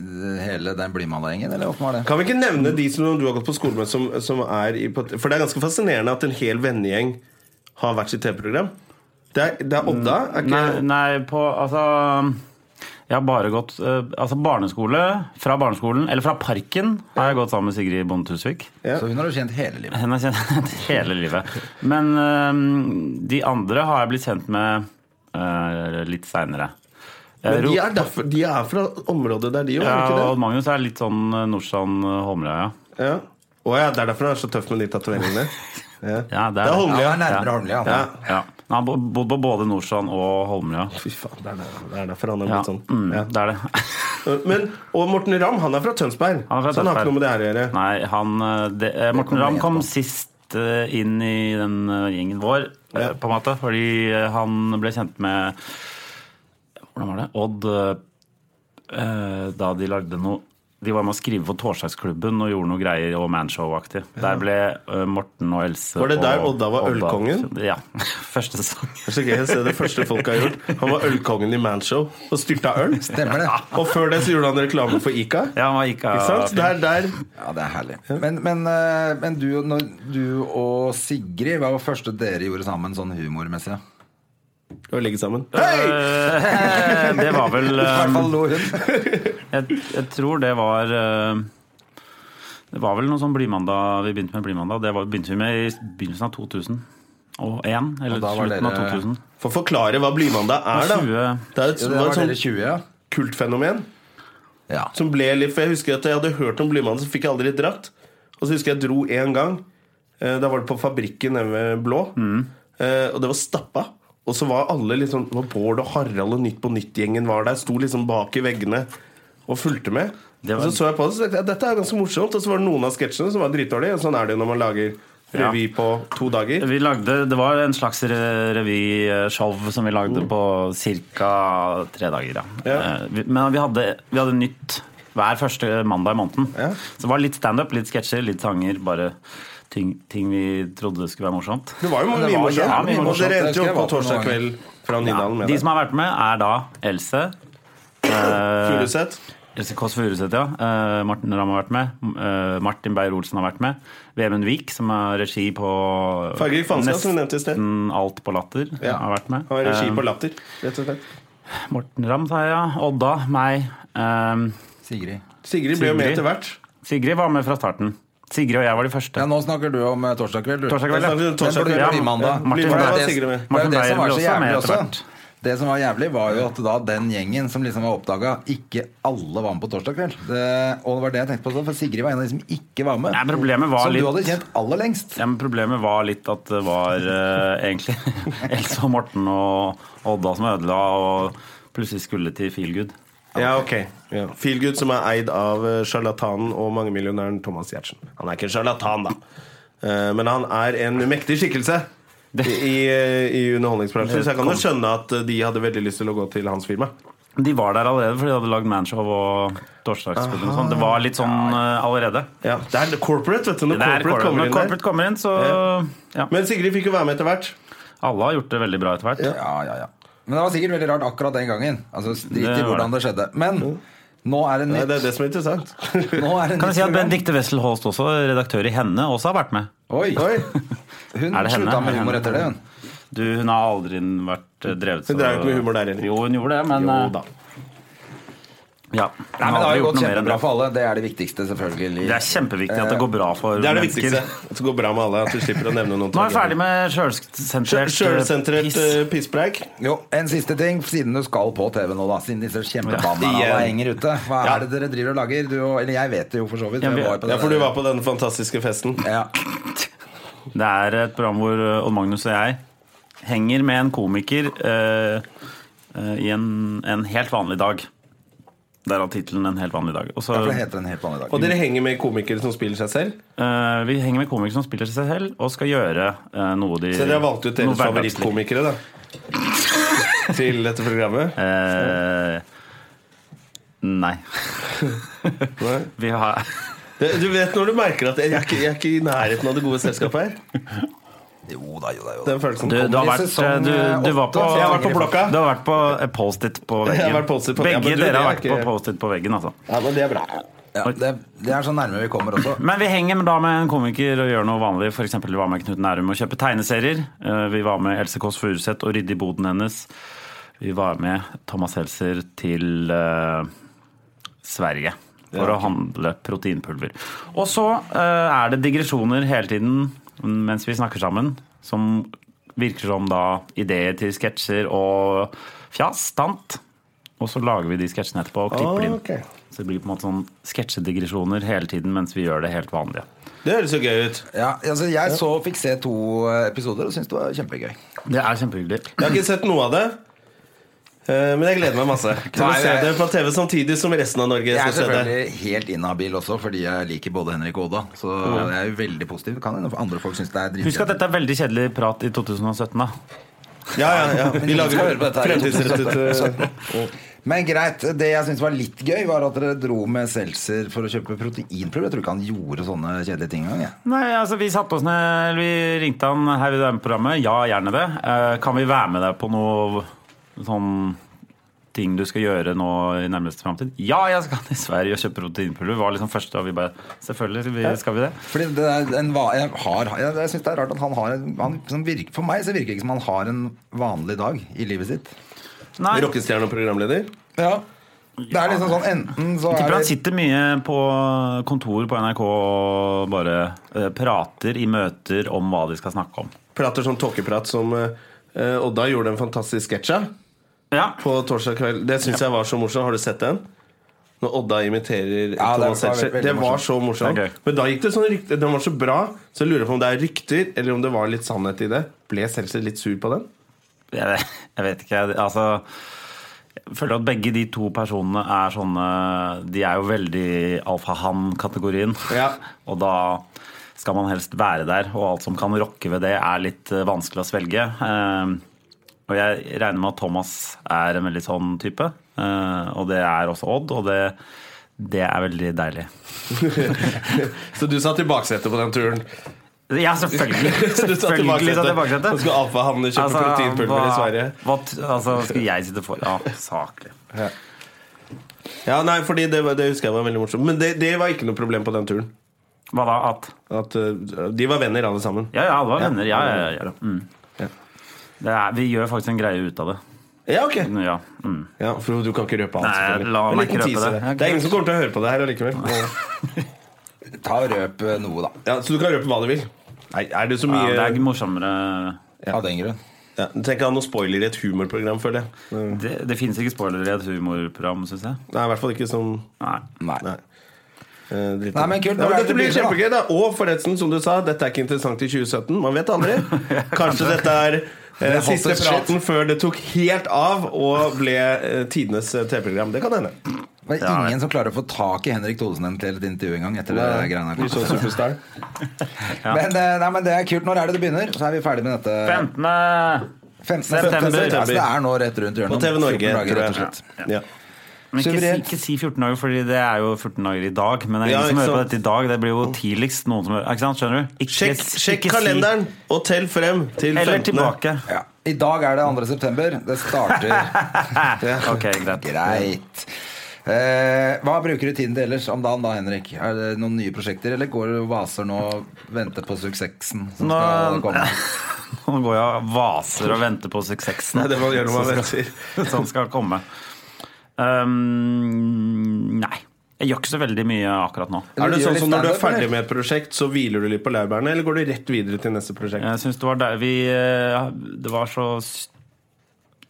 Speaker 2: hele den Blymalla-gjengen, eller hvordan var det?
Speaker 1: Kan vi ikke nevne de som du har gått på skole med, som, som er i på- For det er ganske fascinerende at en hel vennegjeng har hvert sitt TV-program. Det er, det er Odda? Er ikke,
Speaker 3: Nei, nei, på Altså jeg har bare gått eh, altså barneskole, fra barneskolen, eller fra Parken, har jeg gått sammen med Sigrid Bonde Tusvik.
Speaker 1: Ja.
Speaker 2: Så hun har du kjent hele livet.
Speaker 3: Henne har jeg kjent hele livet. Men øhm, de andre har jeg blitt kjent med øh, litt seinere.
Speaker 1: Men de er, derfor, de er fra området der, de òg, er
Speaker 3: ja,
Speaker 1: de
Speaker 3: og
Speaker 1: ikke det?
Speaker 3: Magnus er litt sånn øh, Nordstrand øh, Holmlia, ja.
Speaker 1: Ja. Å ja, det er derfor han er så tøff med de tatoveringene. Ja.
Speaker 3: Ja, det er
Speaker 1: det er
Speaker 3: det.
Speaker 2: Ja,
Speaker 1: Holmlia.
Speaker 2: han er nærmere Holmlia.
Speaker 1: Ja.
Speaker 2: han.
Speaker 3: ja. Men Han bo- bodde på både Nordstrand og Holmlia.
Speaker 1: Fy faen, det er, der- det er derfor han har
Speaker 3: Ja,
Speaker 1: blitt sånn.
Speaker 3: mm,
Speaker 1: Ja.
Speaker 3: Det er det.
Speaker 1: Men, og Morten Ramm, han er fra Tønsberg.
Speaker 3: Han er fra
Speaker 1: så han har
Speaker 3: Tønsberg.
Speaker 1: ikke noe med det her å gjøre.
Speaker 3: Nei, han øh, det, eh, Morten
Speaker 2: kommer
Speaker 3: Ramm
Speaker 2: jeg
Speaker 3: kom
Speaker 2: etterpå.
Speaker 3: sist øh, inn i den øh, gjengen vår, øh,
Speaker 1: Ja.
Speaker 3: på en måte, fordi øh, han ble kjent med Hvordan var det? Odd øh, øh, da de lagde noe De var med å skrive for Torsdagsklubben og gjorde noe greier og manshow-aktig. Der ble øh, Morten og Else
Speaker 1: Var det der
Speaker 3: og
Speaker 1: Odda var ølkongen?
Speaker 3: Ja. Første sesong.
Speaker 1: Det er så gøy å se det første folk har gjort. Han var ølkongen i Manshow og styrta øl.
Speaker 2: Stemmer det.
Speaker 1: Og før det så gjorde han reklame for Ica.
Speaker 3: Ja, han var ikke,
Speaker 1: Ikke sant? Der, der.
Speaker 2: Ja, det er herlig. Men, men, eh, men du, når du og Sigrid, hva var det første dere gjorde sammen sånn humormessig?
Speaker 1: Og ligge sammen. Hei!
Speaker 3: Øh, det var vel
Speaker 2: I hvert
Speaker 3: øh,
Speaker 2: fall lo hun.
Speaker 3: jeg, jeg tror det var eh, Det var vel noe sånn Blymandag vi begynte med Blymandag. Det var, begynte vi med i begynnelsen av 2001. Eller
Speaker 2: Og da var
Speaker 3: slutten av
Speaker 2: dere-
Speaker 3: 2000.
Speaker 1: For å forklare hva Blymandag er, da.
Speaker 3: 20.
Speaker 1: Det er et,
Speaker 2: Ja,
Speaker 1: det
Speaker 2: det var
Speaker 1: var
Speaker 2: dere
Speaker 1: et sånt
Speaker 2: 20, ja.
Speaker 1: kultfenomen.
Speaker 2: ja.
Speaker 1: Som ble litt, for Jeg husker at jeg hadde hørt om Blymandag, så fikk jeg aldri dratt. Og så husker jeg jeg dro
Speaker 3: Mm.
Speaker 1: én gang. Eh, Da var det på Fabrikken nede ved Blå. Eh, Og det var stappa. Og så var alle liksom var Bård og Harald og Nytt på Nytt-gjengen var der. Sto liksom bak i veggene og fulgte med.
Speaker 3: Det var-
Speaker 1: Og så så jeg på det og tenkte jeg, dette er ganske morsomt. Og så var det noen av sketsjene som var dritdårlige. Og sånn er det jo når man lager revy på to dager.
Speaker 3: Vi lagde, det var en slags re- revyshow som vi lagde
Speaker 2: Mm.
Speaker 3: på ca. tre dager. Ja.
Speaker 1: Ja.
Speaker 3: Eh, vi- Men vi hadde, vi hadde nytt hver første mandag i måneden.
Speaker 1: Ja.
Speaker 3: Så det var litt standup, litt sketsjer, litt sanger. Bare ting, ting vi trodde skulle være morsomt.
Speaker 1: Det var jo
Speaker 2: det
Speaker 1: mye
Speaker 2: var
Speaker 1: morsomt.
Speaker 3: jævlig
Speaker 1: Og dere
Speaker 2: morsomt. Jeg
Speaker 1: endte jo
Speaker 2: husker
Speaker 1: opp på
Speaker 2: jeg var på
Speaker 1: torsdag
Speaker 2: noen
Speaker 1: kveld fra
Speaker 3: Ja,
Speaker 1: Nydalen med
Speaker 3: de
Speaker 1: deg.
Speaker 3: som har vært med, er da Else. eh,
Speaker 1: Furuseth.
Speaker 3: Else Kåss Furuseth, ja. Eh, Martin Ramm har vært med. Eh, Martin Beyer-Olsen har vært med. Vemund Vik, som har regi på
Speaker 1: Fargerik Fanskap, som vi nevnte i sted.
Speaker 3: nesten alt på Latter,
Speaker 1: Ja.
Speaker 3: har vært med.
Speaker 1: Han var regi
Speaker 3: Eh,
Speaker 1: på Latter, rett og slett.
Speaker 3: Morten Ramm, sa jeg. ja. Odda, meg. eh,
Speaker 2: Sigrid.
Speaker 1: Sigrid ble jo med
Speaker 3: Sigrid.
Speaker 1: etter hvert.
Speaker 3: Sigrid var med fra starten. Sigrid og jeg var de første.
Speaker 2: Ja, nå snakker du om eh, torsdag kveld, du.
Speaker 3: Torsdag kveld,
Speaker 1: Jeg
Speaker 3: ja.
Speaker 1: snakket om
Speaker 2: Den
Speaker 1: torsdag
Speaker 2: burde
Speaker 1: kveld.
Speaker 2: bli mandag.
Speaker 3: Ja, Martin
Speaker 1: Beyer
Speaker 2: For det er
Speaker 1: var
Speaker 2: det-
Speaker 1: sikkert med.
Speaker 2: det er
Speaker 3: Martin
Speaker 2: det
Speaker 3: Beyer
Speaker 2: som var
Speaker 3: ble
Speaker 2: så
Speaker 3: også med
Speaker 2: jævlig
Speaker 3: etter
Speaker 2: også.
Speaker 3: hvert.
Speaker 2: Det som var jævlig, var jo at da den gjengen som liksom var oppdaga, ikke alle var med på torsdag kveld. Det, og det var det jeg tenkte på, også, for Sigrid var en av de som ikke var med.
Speaker 3: Nei, problemet var
Speaker 2: som
Speaker 3: litt-
Speaker 2: du hadde kjent aller lengst.
Speaker 3: Ja, men problemet var litt at det var eh, egentlig Else og Morten og Odda som ødela, og plutselig skulle til Feelgood.
Speaker 1: Ja, ok ja. Feelgood som er eid av eh, sjarlatanen og mangemillionæren Thomas Giertsen. Han er ikke en sjarlatan, da. Eh, Men han er en mektig skikkelse i, i- i underholdningsbransjen. Så jeg kan jo skjønne at eh, de hadde veldig lyst til å gå til hans firma.
Speaker 3: De var der allerede, for de hadde lagd manshow og torsdagsklubben og sånn. Det var litt sånn eh, allerede.
Speaker 1: Ja, Det er corporate, vet du. Når
Speaker 3: Det er
Speaker 1: corporate kommer
Speaker 3: Når
Speaker 1: inn der.
Speaker 3: corporate kommer inn, så ja.
Speaker 1: Men Sigrid fikk jo være med etter hvert.
Speaker 3: Alle har gjort det veldig bra etter hvert.
Speaker 2: Ja, ja, ja. Men det var sikkert veldig rart akkurat den gangen. Altså, Drit
Speaker 3: Det
Speaker 2: i
Speaker 3: var
Speaker 2: hvordan det skjedde. Men nå er det
Speaker 1: Nei,
Speaker 2: nytt.
Speaker 1: det er det som er interessant.
Speaker 2: Nå er det
Speaker 3: Kan
Speaker 2: nytt
Speaker 3: jeg si at
Speaker 2: program.
Speaker 3: Benedicte Wessel Holst, også, redaktør i Henne, også har vært med.
Speaker 2: Oi.
Speaker 1: Oi,
Speaker 2: Hun
Speaker 3: Er det henne?
Speaker 2: slutta
Speaker 3: Er
Speaker 2: med
Speaker 3: det
Speaker 2: humor
Speaker 3: henne?
Speaker 2: etter det, hun.
Speaker 3: Du, hun har aldri vært eh, drevet
Speaker 1: Hun drev ikke med humor der heller.
Speaker 3: Jo, hun gjorde det, men
Speaker 1: jo
Speaker 3: eh,
Speaker 1: da.
Speaker 3: Ja.
Speaker 2: Nei, men Det har
Speaker 3: aldri
Speaker 2: jo
Speaker 3: gjort
Speaker 2: gått
Speaker 3: noe mer enn
Speaker 2: kjempebra
Speaker 3: det.
Speaker 2: for alle. Det er det viktigste, selvfølgelig.
Speaker 3: Det er kjempeviktig at det går bra for
Speaker 1: Eh, Det er det
Speaker 3: mennesker.
Speaker 1: viktigste. At det går bra med alle. At du slipper å nevne noen.
Speaker 3: Nå er vi ferdig med sjølsentrert
Speaker 1: Sjølsentrert
Speaker 3: piss.
Speaker 1: eh, pisspreik.
Speaker 2: Jo, En siste ting, siden du skal på TV nå, da. Siden disse kjempebanerne
Speaker 1: Ja, igjen.
Speaker 2: henger ute. Hva
Speaker 1: Ja.
Speaker 2: er det dere driver og lager? Du og, eller jeg vet det jo for så vidt.
Speaker 3: Ja,
Speaker 2: men jeg
Speaker 3: vi-
Speaker 2: var på
Speaker 1: Ja,
Speaker 2: det
Speaker 1: for du
Speaker 2: der.
Speaker 1: var på denne fantastiske festen.
Speaker 2: ja.
Speaker 3: Det er et program hvor eh, Odd Magnus og jeg henger med en komiker eh, eh, i en, en helt vanlig dag. Derav tittelen 'En helt vanlig dag'. Og så,
Speaker 2: Derfor heter den helt vanlig i dag.
Speaker 1: Og dere henger med komikere som spiller seg selv?
Speaker 3: eh, vi henger med komikere som spiller seg selv, og skal gjøre eh, noe de
Speaker 1: Så dere har valgt ut
Speaker 3: noe
Speaker 1: deres
Speaker 3: hverdagslig.
Speaker 1: favorittkomikere da til dette programmet?
Speaker 3: Eh, nei.
Speaker 1: Nei.
Speaker 3: Vi har
Speaker 1: Du vet når du merker at jeg er ikke, jeg er ikke i nærheten av det gode selskapet her?
Speaker 2: Jo da, jo da. jo da.
Speaker 1: Den følelsen.
Speaker 3: Du, du
Speaker 2: Kommer
Speaker 3: har
Speaker 2: i
Speaker 3: vært,
Speaker 2: sesong,
Speaker 3: du, du
Speaker 2: eh,
Speaker 3: var på,
Speaker 2: åtte.
Speaker 1: Jeg har vært på blokka.
Speaker 3: Du har vært på eh, Post-It på
Speaker 1: Jeg har
Speaker 3: veggen.
Speaker 1: vært Post-it på- ja,
Speaker 3: Begge
Speaker 1: men du, det
Speaker 3: dere har
Speaker 1: er
Speaker 3: vært
Speaker 1: ikke-
Speaker 3: på Post-It på veggen, altså.
Speaker 1: Ja, men det er bra.
Speaker 2: Ja, det, det er så nærme vi kommer også.
Speaker 3: Men vi henger da med en komiker og gjør noe vanlig. For eksempel, vi var med Knut Nærum og kjøpe tegneserier. Eh, Vi var med Else Kåss Furuseth og rydde i boden hennes. Vi var med Thomas Helser til eh, Sverige for å handle proteinpulver. Og så eh, er det digresjoner hele tiden mens vi snakker sammen, som virker som da ideer til sketsjer og fjas, tant. Og så lager vi de sketsjene etterpå og klipper de inn.
Speaker 1: Ah, Ok.
Speaker 3: Så det blir på en måte sånn sketsjedigresjoner hele tiden mens vi gjør det helt vanlige.
Speaker 1: Det høres jo gøy ut.
Speaker 2: Ja, altså, jeg så fikk se to eh, episoder og syntes det var kjempegøy.
Speaker 3: Det er kjempehyggelig.
Speaker 1: Jeg har ikke sett noe av det. Eh, Men jeg gleder meg masse til å
Speaker 2: Nei,
Speaker 1: se
Speaker 2: jeg-
Speaker 1: det på TV samtidig som resten av Norge
Speaker 2: Jeg er
Speaker 1: skal se det.
Speaker 2: selvfølgelig helt inhabil også, fordi jeg liker både Henrik og Oda. Så jeg er jo veldig positiv. Kan hende andre folk syns det er
Speaker 3: Husk at
Speaker 2: dritkjedelig.
Speaker 3: dette er veldig kjedelig prat i 2017, da.
Speaker 1: Ja, ja, ja. Vi
Speaker 2: skal
Speaker 1: lager
Speaker 2: høre på dette her.
Speaker 1: fremtidsrettet eh,
Speaker 2: Men greit, det jeg syns var litt gøy, var at dere dro med Seltzer for å kjøpe proteinprøver. Jeg tror ikke han gjorde sånne kjedelige ting engang. jeg.
Speaker 3: Nei, altså Vi satte oss ned, eller vi ringte han her i det programmet. Ja, gjerne det. Eh, kan vi være med deg på noe sånn ting du skal gjøre nå i nærmeste framtid? Ja, jeg skal til Sverige og kjøpe proteinpulver. Var liksom første, og vi bare Selvfølgelig skal vi, skal vi det.
Speaker 2: Fordi det er en, va- jeg har, jeg, jeg synes det er rart at han har en han, som virker, For meg så virker det ikke som han har en vanlig dag i livet sitt.
Speaker 3: Nei.
Speaker 1: Rockestjerne og programleder.
Speaker 2: Ja Det er liksom sånn enten så er
Speaker 3: Tipper han
Speaker 2: det
Speaker 3: sitter mye på kontor på NRK og bare eh, prater i møter om hva de skal snakke om.
Speaker 1: Prater sånn tåkeprat som eh, eh, Odda gjorde en fantastisk sketsj av.
Speaker 3: Ja,
Speaker 1: på torsdag kveld. Det syns jeg var så morsomt. Har du sett den? Når Odda imiterer
Speaker 2: var
Speaker 1: Thomas
Speaker 2: veldig
Speaker 1: Seltzer. Det var
Speaker 2: morsomt.
Speaker 1: så morsomt.
Speaker 3: Det er gøy.
Speaker 1: Men da gikk det sånn rykte Den var så bra, så jeg lurer på om det er rykter, eller om det var litt sannhet i det. Ble Seltzer litt sur på den?
Speaker 3: Jeg, jeg vet ikke. jeg- Altså jeg føler at begge de to personene er sånne De er jo veldig alfahann-kategorien.
Speaker 1: Ja.
Speaker 3: Og da skal man helst være der, og alt som kan rokke ved det, er litt eh, vanskelig å svelge. Eh, og jeg regner med at Thomas er en veldig sånn type. eh, og det er også Odd, og det, det er veldig deilig.
Speaker 1: Så du satt i baksetet på den turen?
Speaker 3: Ja, selvfølgelig!
Speaker 1: Så du satt i
Speaker 3: Selvfølgelig satt jeg i baksetet. Altså,
Speaker 1: baksetet Og skulle alfahanne kjøpe proteinpulver i
Speaker 3: hva-
Speaker 1: Sverige?
Speaker 3: Hva, t- altså, skulle jeg sitte for Ja, saklig.
Speaker 1: Ja, nei, fordi det, var- det husker jeg var veldig morsomt. Men det, det var ikke noe problem på den turen.
Speaker 3: Hva da? At
Speaker 1: At eh, De var venner, alle sammen.
Speaker 3: Ja, ja, alle var venner. Ja, ja, ja.
Speaker 1: Ja.
Speaker 3: Mm.
Speaker 1: Ja.
Speaker 3: Det er, vi gjør faktisk en greie ut av det.
Speaker 1: Ja, ok
Speaker 3: Ja. Mm.
Speaker 1: ja, For du kan ikke røpe alt.
Speaker 3: Nei,
Speaker 1: selvfølgelig.
Speaker 3: la
Speaker 1: En
Speaker 3: meg
Speaker 1: liten
Speaker 3: ikke røpe
Speaker 1: teaser.
Speaker 3: det. Ja,
Speaker 1: Det er
Speaker 3: greit.
Speaker 1: ingen som kommer til å høre på det her allikevel.
Speaker 2: Ta og røp eh, noe, da.
Speaker 1: Ja, så du kan røpe hva du vil. Nei, er det så
Speaker 3: Ja,
Speaker 1: mye
Speaker 3: det er ikke morsommere
Speaker 2: Av den grunn.
Speaker 1: Ja, Tenk å ha noen spoiler i et humorprogram, føler jeg.
Speaker 3: Det, det fins ikke spoilere i et humorprogram, syns jeg.
Speaker 1: Nei, i hvert fall ikke som
Speaker 3: Nei.
Speaker 2: Nei.
Speaker 1: Nei. Eh, dritt.
Speaker 2: Nei, men kult,
Speaker 1: Ja,
Speaker 2: nå er det
Speaker 1: dette blir
Speaker 2: det blir,
Speaker 1: kjempegøy, da. Og forresten, som du sa, dette er ikke interessant i 2017. Man vet aldri. Kanskje dette er eh,
Speaker 2: er hot
Speaker 1: siste
Speaker 2: as shit.
Speaker 1: praten før det tok helt av og ble eh, tidenes eh, TV-program. Det kan hende.
Speaker 2: Det var ingen som klarer å få tak i Henrik Thodesen til et intervju engang. etter det greiene her.
Speaker 1: Vi så Superstar.
Speaker 2: Men, eh, nei, men det er kult. Når er det det begynner? Så er vi ferdig med dette.
Speaker 3: 15.
Speaker 2: 15.
Speaker 3: September.
Speaker 2: Altså, det er nå rett rundt
Speaker 1: På
Speaker 2: hjørnet. om
Speaker 1: TV
Speaker 2: 14
Speaker 1: Norge,
Speaker 2: dager,
Speaker 1: tror
Speaker 2: rett og
Speaker 1: jeg.
Speaker 2: slett.
Speaker 1: Ja.
Speaker 3: Men ikke, si-
Speaker 2: Suverent.
Speaker 3: ikke si 14 dager, Fordi det er jo 14 dager i dag. Men det er
Speaker 1: Ja,
Speaker 3: ingen som
Speaker 1: ikke
Speaker 3: hører på
Speaker 1: sant.
Speaker 3: dette i dag. Det blir jo tidligst noen som hører Ikke sant? Skjønner du? Ikke,
Speaker 1: Sjekk,
Speaker 3: ikke
Speaker 1: sjekk
Speaker 3: si-
Speaker 1: kalenderen og tell frem til 15.
Speaker 3: Eller tilbake.
Speaker 2: Ja. I dag er det 2. september. Det starter
Speaker 3: Ok, greit.
Speaker 2: greit. Eh, hva bruker du tiden til ellers om dagen da, Henrik? Er det noen nye prosjekter, eller går du og vaser nå og venter på suksessen som skal
Speaker 3: Nå-
Speaker 2: komme?
Speaker 3: Nå går jeg og vaser og venter på suksessen
Speaker 1: Nei, det må man gjøre når man
Speaker 3: som skal-
Speaker 1: venter.
Speaker 3: Som skal komme. Um, nei. Jeg gjør ikke så veldig mye akkurat nå.
Speaker 1: Er det
Speaker 2: Gjør
Speaker 1: sånn
Speaker 2: litt
Speaker 1: som når du er
Speaker 2: standup, eller?
Speaker 1: ferdig med et prosjekt, så hviler du litt på laurbærene, eller går du rett videre til neste prosjekt?
Speaker 3: Jeg syns det var der vi eh, Det var så s-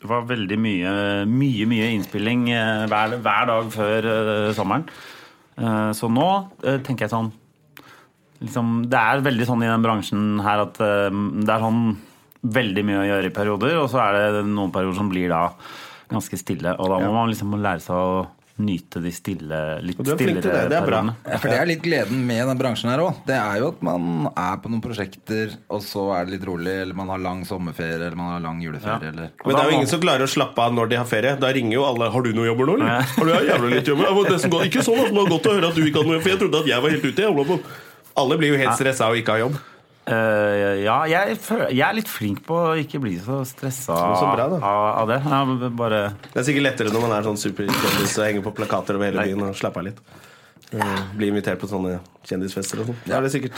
Speaker 3: Det var veldig mye, mye, mye innspilling eh, hver, hver dag før eh, sommeren. Eh, Så nå eh, tenker jeg sånn liksom, Det er veldig sånn i den bransjen her at eh, det er sånn veldig mye å gjøre i perioder, og så er det noen perioder som blir da ganske stille. Og da må man liksom lære seg å nyte de stille, litt
Speaker 1: Og du er flink til det.
Speaker 3: stillere
Speaker 1: Det er bra.
Speaker 3: periodene.
Speaker 2: Ja, For det er litt gleden med den bransjen her òg. Det er jo at man er på noen prosjekter, og så er det litt rolig, eller man har lang sommerferie, eller man har lang juleferie,
Speaker 3: Ja.
Speaker 2: eller
Speaker 1: Men det er jo ingen som klarer å slappe av når de har ferie. Da ringer jo alle 'Har du noe jobber nå?'
Speaker 3: Ja.
Speaker 1: eller? 'Har du jeg har jævlig litt jobber?' Ja, men det som går, ikke sånn at det var godt å høre at du ikke hadde noe jobb, for jeg trodde at jeg var helt ute. Jeg holder på. Alle blir jo helt stressa og ikke har jobb.
Speaker 3: Eh, ja, jeg, føler, jeg er litt flink på å ikke bli så stressa
Speaker 1: Så bra,
Speaker 3: av,
Speaker 1: da.
Speaker 3: av det. Jeg, bare,
Speaker 1: Det er sikkert lettere når man er sånn superkjendis og henger på plakater over hele byen og slapper av litt. Eh, Blir invitert på sånne kjendisfester og sånn. Ja, det er sikkert.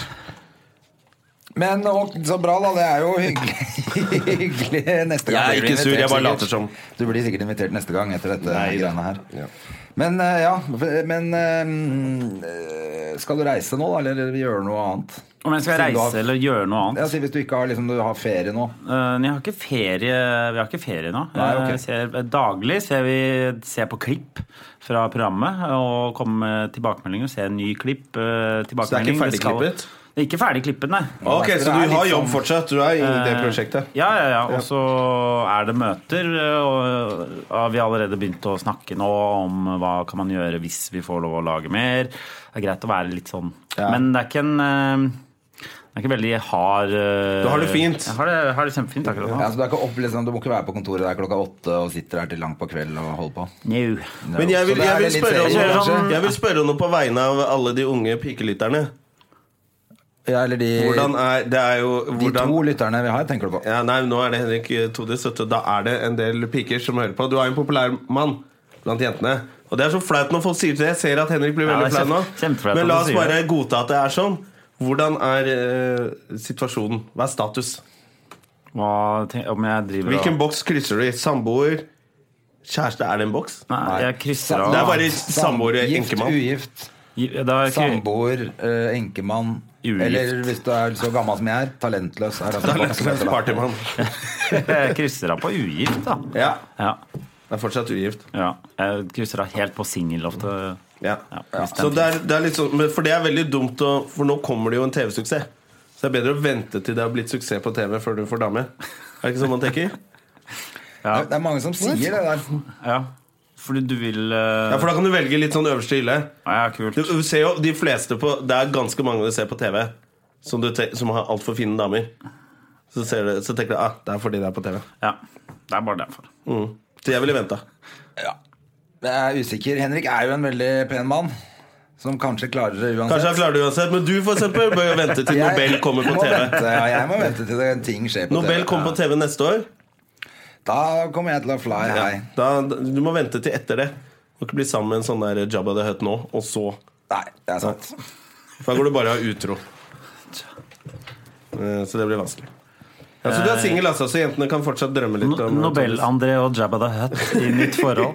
Speaker 2: Men og, så bra, da. Det er jo hyggelig, hyggelig neste gang.
Speaker 1: Jeg er
Speaker 2: blir
Speaker 1: ikke sur, jeg
Speaker 2: invitert
Speaker 1: bare
Speaker 2: sikkert.
Speaker 1: later som.
Speaker 2: Du blir sikkert invitert neste gang etter dette
Speaker 1: Nei,
Speaker 2: greiene her.
Speaker 1: ja.
Speaker 2: Men eh, ja, men eh, Skal du reise nå, da? Eller gjøre noe annet?
Speaker 3: om jeg skal
Speaker 2: Siden du
Speaker 3: reise
Speaker 2: har-
Speaker 3: eller gjøre noe annet?
Speaker 2: Ja, si Hvis du ikke har, liksom, du har ferie nå.
Speaker 3: Eh, jeg har ikke ferie, vi har ikke ferie nå.
Speaker 2: Nei, ok.
Speaker 3: Jeg ser, daglig ser vi ser på klipp fra programmet og kommer med tilbakemeldinger. Ser ny klipp. eh, tilbakemelding.
Speaker 1: Så det er ikke
Speaker 3: skal-
Speaker 1: ferdigklippet?
Speaker 3: Det er ikke ferdig klippet, nei.
Speaker 1: Ok, Så du har jobb fortsatt? Du er i det prosjektet?
Speaker 3: sånn- Eh, Ja, ja, ja. Og så er det møter, og og vi har allerede begynt å snakke nå om hva kan man gjøre hvis vi får lov å lage mer. Det er greit å være litt sånn.
Speaker 1: Ja.
Speaker 3: Men det er ikke en eh, det er ikke veldig hard eh,
Speaker 1: Du har det fint.
Speaker 3: Jeg har det, jeg har det kjempefint akkurat nå.
Speaker 2: Ja, så du, er ikke opp, liksom, du må ikke være på kontoret der klokka åtte og sitter der til langt på kveld og holder på.
Speaker 3: Njau.
Speaker 1: Men jeg vil, jeg vil,
Speaker 2: Så det er litt
Speaker 1: spørre, om
Speaker 2: ferie, kanskje?
Speaker 3: Sånn-
Speaker 1: noe, jeg vil spørre om noe på vegne av alle de unge pikelytterne.
Speaker 2: Ja, eller de,
Speaker 1: Hvordan er Det er jo
Speaker 2: de
Speaker 1: hvordan,
Speaker 2: to lytterne vi har, tenker du på.
Speaker 1: Ja, nei, nå er det Henrik Todis, vet du. Da er det en del piker som hører på. Du er jo en populær mann blant jentene. Og det er så flaut når folk sier det. Jeg ser at Henrik blir
Speaker 3: Ja,
Speaker 1: veldig
Speaker 3: det er
Speaker 1: flau nå.
Speaker 3: kjempe- kjempeflaut
Speaker 1: Men
Speaker 3: at
Speaker 1: la
Speaker 3: du
Speaker 1: oss
Speaker 3: sier
Speaker 1: bare godta at det er sånn. Hvordan er eh, situasjonen? Hva er status?
Speaker 3: Hva tenk- om jeg driver og-
Speaker 1: Hvilken boks krysser du i? Samboer? Kjæreste? Er det en boks?
Speaker 3: Nei, jeg krysser av
Speaker 1: Det er bare samboer og
Speaker 2: Gift,
Speaker 1: enkemann.
Speaker 2: ugift.
Speaker 3: Da er ikke-
Speaker 2: Samboer, eh, enkemann
Speaker 3: Ugift.
Speaker 2: Eller hvis du er så gammel som jeg er, talentløs. Er det altså folk som heter det.
Speaker 1: Partymann.
Speaker 3: Jeg krysser av på ugift, da.
Speaker 1: Ja.
Speaker 3: Ja.
Speaker 1: Det er fortsatt ugift.
Speaker 3: ja. Jeg krysser av helt på eh, singel ofte.
Speaker 1: Ja.
Speaker 3: Ja, hvis den
Speaker 1: Så det er, det er litt sånn, men for det er veldig dumt å For nå kommer det jo en TV-suksess. Så det er bedre å vente til det har blitt suksess på TV før du får dame. Er det ikke sånn man tenker?
Speaker 2: Det, er- det er mange som sier det der.
Speaker 3: Ja. Fordi du vil
Speaker 1: Ja,
Speaker 3: eh,
Speaker 1: For da kan du velge litt sånn øverste hylle.
Speaker 3: Ja, kult.
Speaker 1: Du, du ser jo de fleste på Det er ganske mange du ser på TV som, du te, som har altfor fine damer. Så, ser du, så tenker du ah, det er fordi det er på TV.
Speaker 3: Ja. Det er bare derfor.
Speaker 1: Mm. Så jeg ville venta.
Speaker 2: Ja. Jeg er usikker. Henrik er jo en veldig pen mann. Som kanskje klarer det uansett.
Speaker 1: Kanskje han klarer det uansett, men du for eksempel, bør jo vente til
Speaker 2: Jeg
Speaker 1: Nobel kommer på
Speaker 2: må
Speaker 1: TV.
Speaker 2: Vente, ja, jeg må vente til det, ting skjer på
Speaker 1: Nobel
Speaker 2: TV.
Speaker 1: kommer på TV neste år.
Speaker 2: Da kommer jeg til å fly high.
Speaker 1: Da, du må vente til etter det. Du må ikke bli sammen med en sånn der Jabba the Hutt nå, og så
Speaker 2: Nei, det er sant.
Speaker 1: For da går du bare av utro. Eh, Så det blir vanskelig. Ja, så du
Speaker 3: Eh.
Speaker 1: er singel, altså, så jentene kan fortsatt drømme litt
Speaker 3: No
Speaker 1: om
Speaker 3: Nobel-André og Jabba the Hutt i nytt forhold.